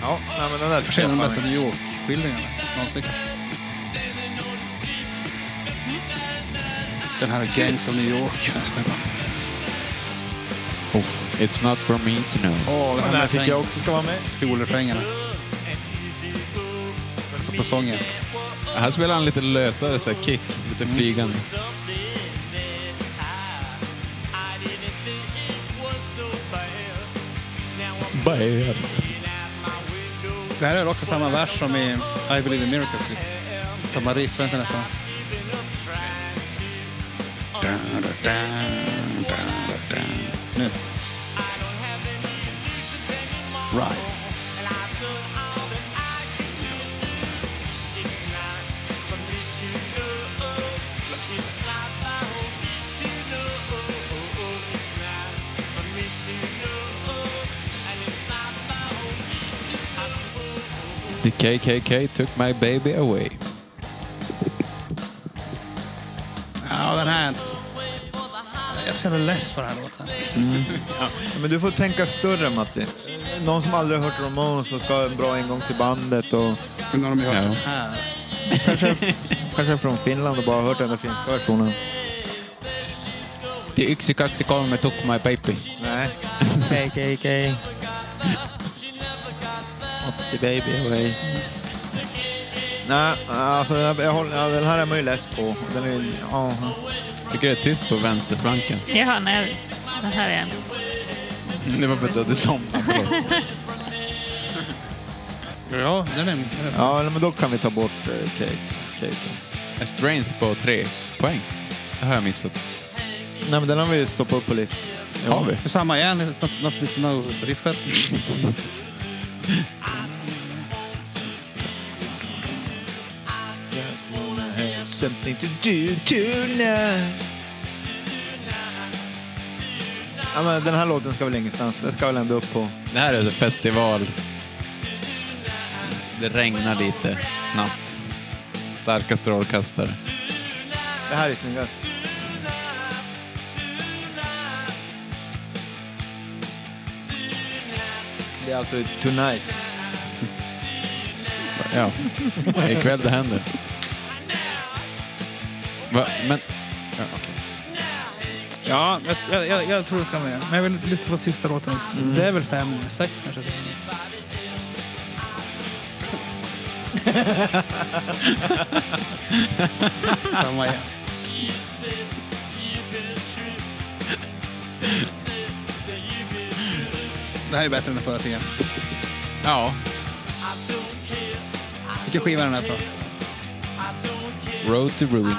[SPEAKER 3] Ja, nej, men den där
[SPEAKER 5] Kanske
[SPEAKER 3] tycker
[SPEAKER 5] en av
[SPEAKER 3] jag
[SPEAKER 5] de
[SPEAKER 3] fan
[SPEAKER 5] bästa
[SPEAKER 3] är-
[SPEAKER 5] New York-skildringarna någonsin. Den här Gangs of New York. Jag skojar bara.
[SPEAKER 7] oh, It's not for me to know.
[SPEAKER 5] Åh, den
[SPEAKER 3] Den här
[SPEAKER 5] här
[SPEAKER 3] tycker jag också ska vara med.
[SPEAKER 5] Fiolrefrängerna. Alltså på sången.
[SPEAKER 7] Här spelar han lite lösare så här kick, lite flygande. Bad.
[SPEAKER 5] Det här är också samma vers som i I Believe in Miracles. typ. Samma riff. Vänta nästan. Nu. Right.
[SPEAKER 7] The KKK took my baby away.
[SPEAKER 5] Ja, den här är inte så... Jag är så jävla less på den här låten.
[SPEAKER 3] Men du får tänka större Matti. Någon som aldrig har hört Ramones och ska ha en bra ingång till bandet och
[SPEAKER 5] Nu har de ju hört
[SPEAKER 7] Ja.
[SPEAKER 5] den här.
[SPEAKER 3] kanske är från Finland och bara har hört den där finska versionen.
[SPEAKER 7] Det är yksi, kaksi, kolme, took my baby.
[SPEAKER 3] Nej. KKK. Up the baby away. Nej, alltså jag, jag håller, ja, den här är man ju less på. Den är, ja.
[SPEAKER 7] Tycker det är tyst på vänsterflanken.
[SPEAKER 4] Jaha, nej. Det här är en.
[SPEAKER 7] Det var för att du hade somnat.
[SPEAKER 5] Ja, den är... den är-
[SPEAKER 3] ja, men då kan vi ta bort eh, cake. cake.
[SPEAKER 7] En strength på tre poäng. Det har jag missat.
[SPEAKER 3] Nej, men den har vi ju stoppat upp på listan.
[SPEAKER 7] Har vi?
[SPEAKER 5] Det är samma igen, det är snart- snart slut med riffet.
[SPEAKER 3] Something to do tonight. Ja, men den här låten ska väl ingenstans. Den ska väl ändå upp på...
[SPEAKER 7] Det här är festival. Det regnar lite. Natt. Starka strålkastare.
[SPEAKER 3] Det här är snyggt. Det är alltså Tonight.
[SPEAKER 7] Ja, det är ikväll det händer. Va? Men... Ja, okej.
[SPEAKER 5] Ja, jag, jag, jag tror det ska med. Men jag vill lyfta på sista låten också. Det är väl fem, sex kanske. Samma igen. Det här är bättre än den förra tiden.
[SPEAKER 7] ja.
[SPEAKER 5] Vilken skiva är den här från?
[SPEAKER 7] Road to Ruin.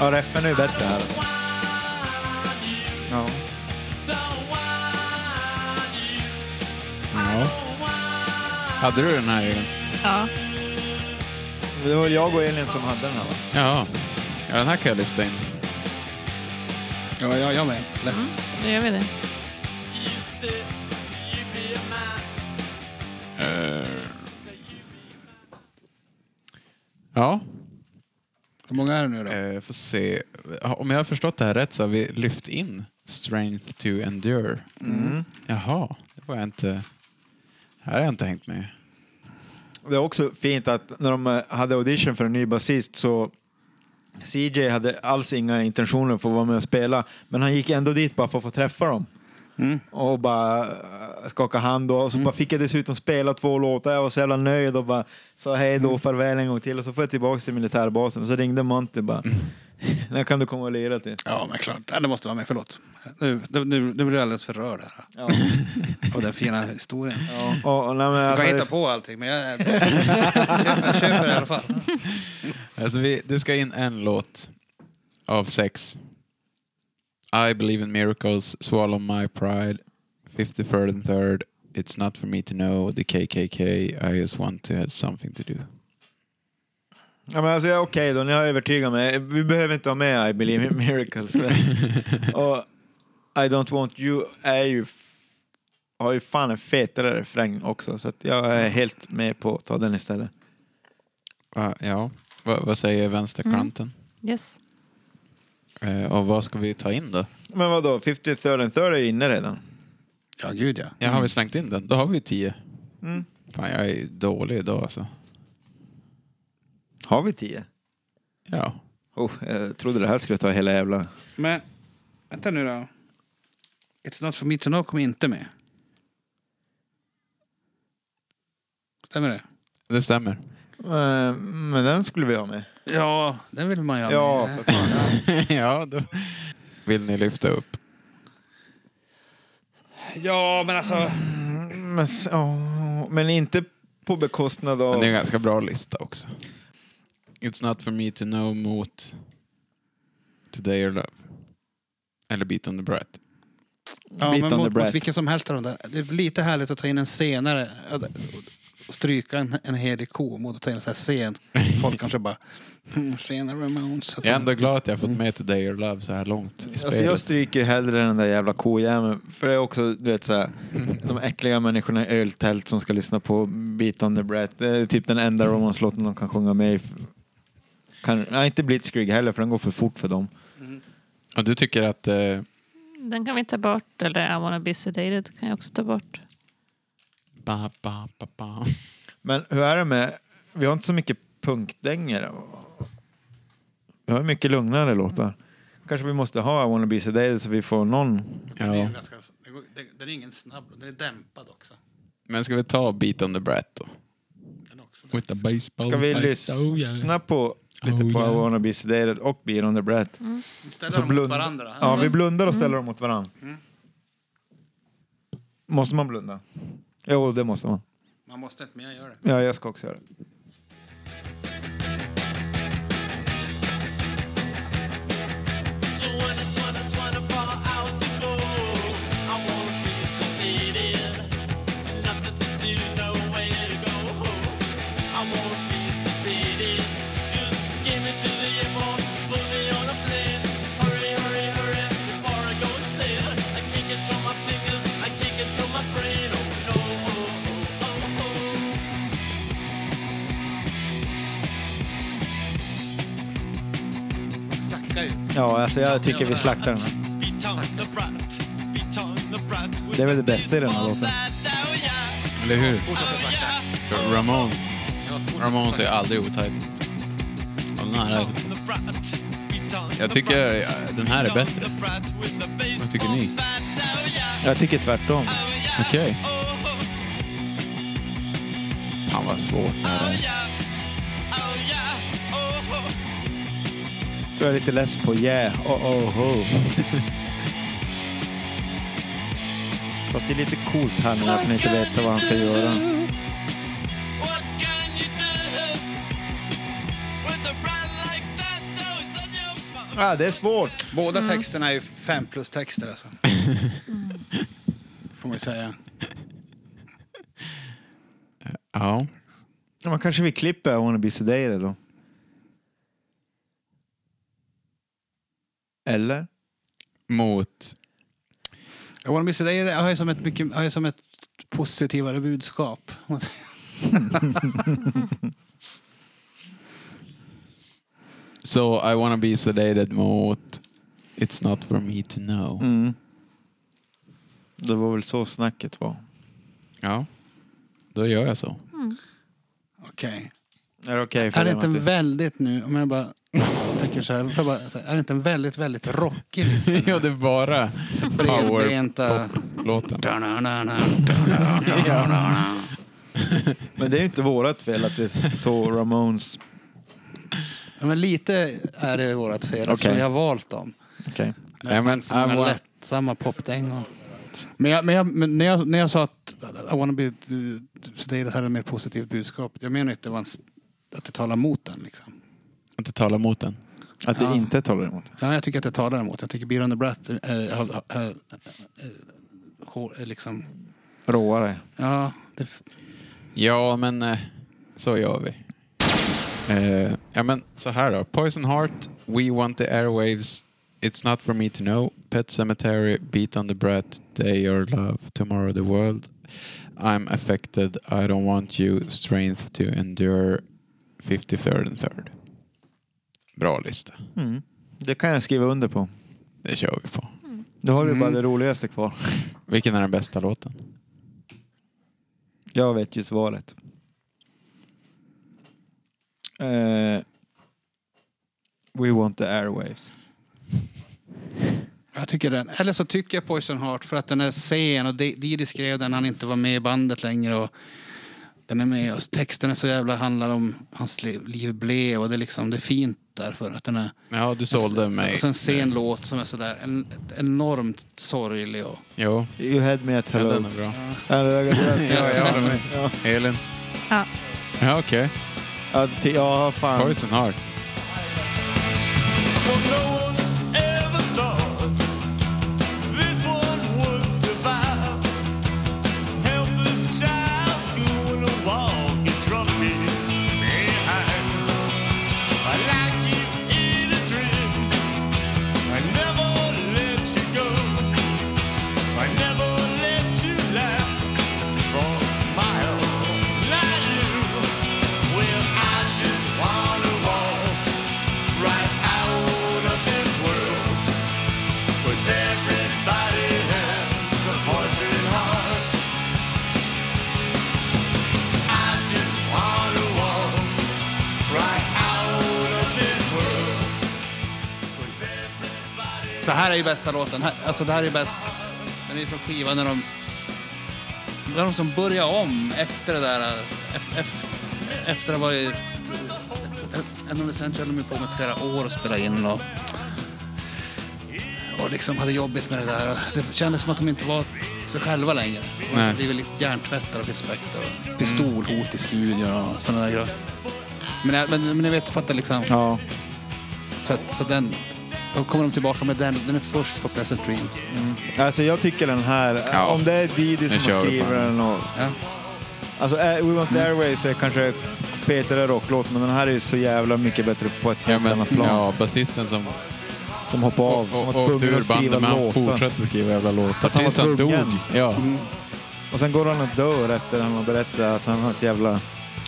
[SPEAKER 3] Ja, reffen är ju bättre här. Ja.
[SPEAKER 7] Ja. Hade du den här Jörgen?
[SPEAKER 4] Ja.
[SPEAKER 3] Det var jag och Elin som hade den här va?
[SPEAKER 7] Ja. ja, den här kan jag lyfta in.
[SPEAKER 5] Ja, jag, jag med. Lätt.
[SPEAKER 4] Nu gör vi det.
[SPEAKER 7] Ja,
[SPEAKER 5] Hur många är det nu då?
[SPEAKER 7] eh, får se. Om jag har förstått det här rätt så har vi lyft in Strength to Endure. Jaha, det var jag inte... Här har jag inte hängt med.
[SPEAKER 3] Det är också fint att när de eh, hade audition för en ny basist så CJ hade alls inga intentioner för att vara med och spela, men han gick ändå dit bara för att få träffa dem.
[SPEAKER 5] Mm.
[SPEAKER 3] Och bara eh, skaka hand och och så bara fick jag dessutom spela två låtar. Jag var så jävla nöjd och bara sa hej
[SPEAKER 5] Mm.
[SPEAKER 3] då, farväl en gång till. Och så får jag tillbaka till militärbasen och så ringde Monty bara.
[SPEAKER 5] Mm.
[SPEAKER 3] När kan du komma och lira till?
[SPEAKER 5] Ja, men klart. Ja, det måste vara med. Förlåt. Nu, nu, nu blir jag alldeles för rörd här.
[SPEAKER 3] Ja.
[SPEAKER 5] Av den fina historien.
[SPEAKER 3] Och, och, nej, men
[SPEAKER 5] Du
[SPEAKER 3] alltså,
[SPEAKER 5] kan
[SPEAKER 3] det,
[SPEAKER 5] hitta på allting, men jag, jag, köper, jag köper det i alla fall.
[SPEAKER 7] Alltså vi, det ska in en låt av sex. I believe in miracles, swallow my pride, 53rd and 3rd, it's not for me to know, the KKK, I just want to have something to do.
[SPEAKER 3] Ja, men alltså, ja, Okej då, ni har övertygat mig. Vi behöver inte ha med I believe in miracles. och I don't want you är ju, har ju fan en fetare refräng också. Så att jag är helt med på att ta den istället.
[SPEAKER 7] Va, ja, Va, vad säger vänsterkanten?
[SPEAKER 4] Yes.
[SPEAKER 7] Mm. Eh, och vad ska vi ta in då?
[SPEAKER 3] Men vadå, 53rd and 3rd är ju inne redan.
[SPEAKER 5] Ja, gud ja.
[SPEAKER 7] Ja, har vi slängt in den? Då har vi ju tio. Mm. Fan, jag är dålig idag alltså.
[SPEAKER 3] Har vi 10?
[SPEAKER 7] Ja.
[SPEAKER 3] Oh, jag trodde det här skulle ta hela jävla...
[SPEAKER 5] Men vänta nu då. It's not for me to know kom inte med. Stämmer det?
[SPEAKER 7] Det stämmer.
[SPEAKER 3] Eh, Men den skulle vi ha med.
[SPEAKER 5] Ja, den vill man ju ha
[SPEAKER 3] Ja,
[SPEAKER 5] med.
[SPEAKER 7] ja, då vill ni lyfta upp.
[SPEAKER 5] Ja, men alltså.
[SPEAKER 3] Mm, men, s- åh, men inte på bekostnad av...
[SPEAKER 7] Men det är en ganska bra lista också. It's not for me to know mot Today or Love. Eller Beat on the Brat.
[SPEAKER 5] Ja,
[SPEAKER 3] Beat
[SPEAKER 5] men
[SPEAKER 3] on the
[SPEAKER 5] mot,
[SPEAKER 3] breath.
[SPEAKER 5] mot vilken som helst av de där. Det är lite härligt att ta in en senare. Ja, det- stryka en, en helig ko mot att ta in en sån här scen. Folk kanske bara, "Hmm, senare Ramones. att
[SPEAKER 7] Jag är
[SPEAKER 5] de-
[SPEAKER 7] ändå glad att jag har fått med Today Your Love så här långt i
[SPEAKER 3] Mm. Alltså jag
[SPEAKER 7] spelet.
[SPEAKER 3] stryker hellre den där jävla kojäveln. För det är också, du vet såhär, de äckliga människorna i öltält som ska lyssna på Beat on the Brat. Det är typ den enda romanslåten de kan sjunga med i. Kan, nej, inte Blitzkrieg heller för den går för fort för dem.
[SPEAKER 7] Och du tycker att... Eh,
[SPEAKER 4] Den kan vi ta bort. Eller I wanna be sedated kan jag också ta bort.
[SPEAKER 7] ba, ba, ba, ba.
[SPEAKER 3] Men hur är det med, vi har inte så mycket punkdänger. Vi har mycket lugnare låtar. Kanske vi måste ha I wanna be sedated så vi får någon.
[SPEAKER 5] Den är
[SPEAKER 7] Ja.
[SPEAKER 5] ju ganska, den går- den- den är ingen snabb, den är dämpad också.
[SPEAKER 7] Men ska vi ta Beat on the Brat då?
[SPEAKER 5] Den är också dämpad.
[SPEAKER 7] With a baseball
[SPEAKER 3] Ska vi
[SPEAKER 7] bat. Oh, yeah.
[SPEAKER 3] lyssna på lite
[SPEAKER 7] Oh,
[SPEAKER 3] på
[SPEAKER 7] yeah.
[SPEAKER 3] I wanna be sedated och Beat on the Brat?
[SPEAKER 5] Ställer
[SPEAKER 3] Så
[SPEAKER 5] dem
[SPEAKER 3] Alltså blund-
[SPEAKER 5] mot varandra. Mm.
[SPEAKER 3] Ja, vi blundar och ställer dem mot varandra. Måste man blunda? Jo, det måste man.
[SPEAKER 5] Man måste inte, men jag gör det.
[SPEAKER 3] Ja, jag ska också göra det.
[SPEAKER 9] Oh,
[SPEAKER 5] Sackar ju.
[SPEAKER 3] Ja, alltså jag tycker vi slaktar den här. Det är väl det bästa i den här låten.
[SPEAKER 7] Eller hur? Ramones. Ramones är aldrig otajt. Och den här är- Jag tycker eh, den här är bättre. Vad tycker ni?
[SPEAKER 3] Jag tycker tvärtom.
[SPEAKER 7] Okej. Fan vad svårt det här är.
[SPEAKER 3] Jag är lite less på yeah, oh oh oh. Fast det är lite coolt här nu att han inte vet vad han ska göra. Ah, det är svårt.
[SPEAKER 5] Båda texterna är ju fem plus texter alltså. Får man ju säga.
[SPEAKER 7] Ja.
[SPEAKER 3] Ja, Man kanske vill klippa I wanna be sedated då. Eller?
[SPEAKER 7] Mot...
[SPEAKER 5] I wanna be sedated har ju som ett, mycket, har ju som ett positivare budskap. om man säger.
[SPEAKER 7] So I wanna be sedated mot... It's not for me to know.
[SPEAKER 3] Mm. Det var väl så snacket var.
[SPEAKER 7] Ja. Då gör jag så.
[SPEAKER 5] Okej.
[SPEAKER 3] Är det okej för
[SPEAKER 5] Är det
[SPEAKER 3] dig,
[SPEAKER 5] inte en
[SPEAKER 3] Matti?
[SPEAKER 5] väldigt nu, om jag bara tänker så här, får jag bara, säga, är det inte en väldigt, väldigt rockig lista?
[SPEAKER 7] ja, det är bara
[SPEAKER 5] Bredbenta...
[SPEAKER 7] låten.
[SPEAKER 3] Men det är ju inte vårat fel att det är så Ramones.
[SPEAKER 5] Ja, men lite är det vårt fel
[SPEAKER 3] Okej.
[SPEAKER 5] eftersom vi har valt dem.
[SPEAKER 3] Okej.
[SPEAKER 5] Det
[SPEAKER 7] Ja, men
[SPEAKER 5] fanns så många
[SPEAKER 7] I wa-
[SPEAKER 5] lättsamma popdängor. Men, jag, men, jag, men när, jag, när jag sa att I wanna be sedated hade ett mer positivt budskap. Jag menar inte att det var en s- att det talar mot den. Liksom.
[SPEAKER 7] Inte tala mot den.
[SPEAKER 3] Att det inte talar emot.
[SPEAKER 5] Ja, jag tycker att det talar emot. Jag tycker Beer on the Brat eh, har- har- har- eh, hår- eh, liksom...
[SPEAKER 3] Råare.
[SPEAKER 5] Ja, det, f-
[SPEAKER 7] Ja, men eh, så gör vi. Eh, ja, men så här då. Poison Heart, We Want The Airwaves, It's Not For Me To Know, Pet Cemetery, Beat On The Brat, Day Your Love, Tomorrow The World, I'm Affected, I Don't Want You, Strength To Endure, 53rd and 3rd. Bra lista.
[SPEAKER 3] Mm. Det kan jag skriva under på.
[SPEAKER 7] Det kör vi på.
[SPEAKER 3] Då har vi
[SPEAKER 7] Mm.
[SPEAKER 3] bara det roligaste kvar.
[SPEAKER 7] Vilken är den bästa låten?
[SPEAKER 3] Jag vet ju svaret. Eh, we want the airwaves.
[SPEAKER 5] jag tycker den. Eller så tycker jag Poison Heart för att den är sen och Di- Didi skrev den när han inte var med i bandet längre. Och den är med och texten är så jävla handlar om hans li- liv blev och det är liksom det är fint därför att den är
[SPEAKER 7] Ja, du sålde mig. Eh,
[SPEAKER 5] Och sen sen låt som är sådär en, enormt sorglig och...
[SPEAKER 7] Jo,
[SPEAKER 3] You had me at
[SPEAKER 7] ja,
[SPEAKER 3] hello.
[SPEAKER 7] den är bra.
[SPEAKER 3] Ja, det
[SPEAKER 7] Ja, jag håller med.
[SPEAKER 3] Ja.
[SPEAKER 7] Elin?
[SPEAKER 4] Ja.
[SPEAKER 7] Ja, okej.
[SPEAKER 3] Ja, t- ja, fan.
[SPEAKER 7] Poison Heart.
[SPEAKER 9] Helpless child going to wall
[SPEAKER 5] Det här är ju bästa låten. Här- Alltså det här är bäst. Den är ju från skivan när de... När de som börjar om efter det där... Efter, efter att ha varit... En av Essential höll de på med flera år och spela in och... Och liksom hade jobbigt med det där. Och Det kändes som att de inte var sig själva längre. De hade
[SPEAKER 7] Nej.
[SPEAKER 5] blivit lite hjärntvättade av Phil Spector. och Pistolhot i studion och sådana där grejer. Men, jag- men, men jag vet, du fattar liksom.
[SPEAKER 3] Ja.
[SPEAKER 5] Så, att- så den, då kommer de tillbaka med den. Den är först på Pleasant Dreams. Mm.
[SPEAKER 3] Alltså jag tycker den här,
[SPEAKER 7] Ja.
[SPEAKER 3] om det är Didi
[SPEAKER 7] Nu
[SPEAKER 3] som
[SPEAKER 7] kör
[SPEAKER 3] har
[SPEAKER 7] vi Mm. på
[SPEAKER 3] skrivit
[SPEAKER 7] den.
[SPEAKER 3] den och...
[SPEAKER 5] Ja.
[SPEAKER 3] Alltså eh, We Want The Airways är kanske fetare rocklåt, men den här är ju så jävla mycket bättre på ett
[SPEAKER 7] Ja,
[SPEAKER 3] helt
[SPEAKER 7] men,
[SPEAKER 3] annat plan.
[SPEAKER 7] ja, basisten som
[SPEAKER 3] Som hoppade av, som
[SPEAKER 7] å-
[SPEAKER 3] var
[SPEAKER 7] åkte
[SPEAKER 3] tvungen
[SPEAKER 7] ur
[SPEAKER 3] att skriva
[SPEAKER 7] bandet, men han
[SPEAKER 3] låtar.
[SPEAKER 7] fortsatte skriva jävla låtar
[SPEAKER 3] Att han var
[SPEAKER 7] tills han dog.
[SPEAKER 3] tvungen. Mm.
[SPEAKER 7] Ja.
[SPEAKER 3] Och sen går han och dör efter han har berättat att han har ett jävla...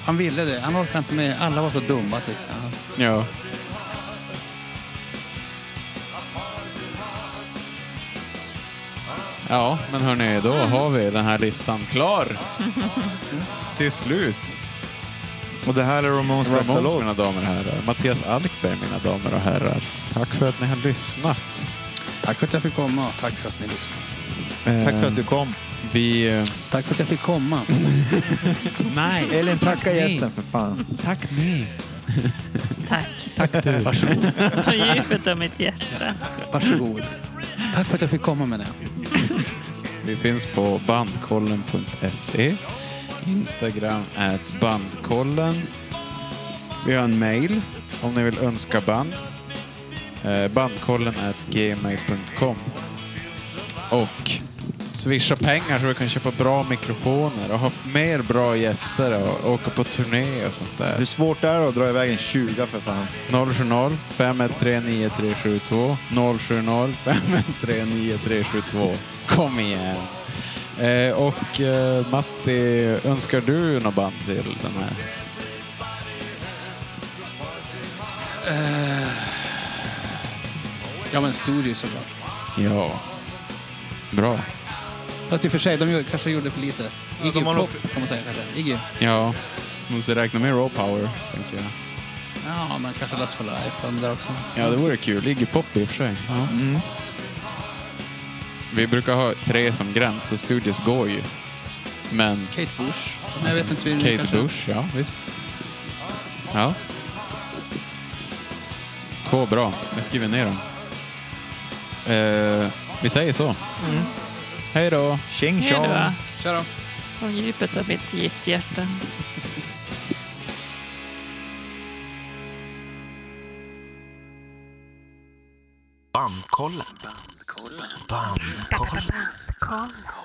[SPEAKER 5] Han ville det. Han orkade inte med. Alla var så dumma tyckte han.
[SPEAKER 7] ja. Ja, men hörni, då har vi den här listan klar. Till slut.
[SPEAKER 3] Och det här är Ramones bästa
[SPEAKER 7] Ramones,
[SPEAKER 3] låt.
[SPEAKER 7] mina damer och herrar. Mattias Alkberg, mina damer och herrar. Tack för att ni har lyssnat.
[SPEAKER 5] Tack för att jag fick komma. och Tack för att ni lyssnade.
[SPEAKER 3] Tack för att du kom.
[SPEAKER 7] Eh, Vi... eh,
[SPEAKER 5] Tack för att jag fick komma.
[SPEAKER 7] Nej.
[SPEAKER 3] Elin, tacka
[SPEAKER 7] ni.
[SPEAKER 3] gästen för fan.
[SPEAKER 7] Tack ni.
[SPEAKER 4] Tack.
[SPEAKER 5] Varsågod.
[SPEAKER 4] Från djupet av mitt hjärta.
[SPEAKER 5] Varsågod. Tack för att jag fick komma med det.
[SPEAKER 7] Vi finns på bandkollen.se. Instagram är bandkollen. Vi har en mail om ni vill önska band. Eh, Bandkollen är gmail.com. Och swisha pengar så vi kan köpa bra mikrofoner och ha mer bra gäster och åka på turné och sånt där.
[SPEAKER 3] Hur svårt är det att dra iväg en 20 för fan?
[SPEAKER 7] 070 513 9372 070 513 9372 Kom igen! Eh, och eh, Matti, önskar du något band till den här?
[SPEAKER 5] Ja, men Studios såklart.
[SPEAKER 7] Ja. Bra.
[SPEAKER 5] Fast i och för sig, de gjorde, kanske gjorde för lite. Iggy
[SPEAKER 3] de har
[SPEAKER 5] Pop kan man säga kanske. Iggy.
[SPEAKER 7] Ja. Måste räkna med Raw Power, tänker jag.
[SPEAKER 5] Ja, men kanske Last for Life. de Där också.
[SPEAKER 7] Ja, det vore kul. Iggy Pop i och för sig. Ja. Vi brukar ha tre som gräns, så Studios går ju. Men
[SPEAKER 5] Kate Bush. Men jag vet inte. hur-
[SPEAKER 7] Kate
[SPEAKER 5] kanske-
[SPEAKER 7] Bush, ja visst. Ja. Två bra. Jag skriver ner dem. Eh, vi säger så. Hej då.
[SPEAKER 3] Tjing
[SPEAKER 4] Hej
[SPEAKER 3] tjong!
[SPEAKER 4] då.
[SPEAKER 5] Mm. Kör då.
[SPEAKER 4] Från djupet av mitt gifthjärta.
[SPEAKER 10] Bandkollen. Bandkollen. Bandkollen.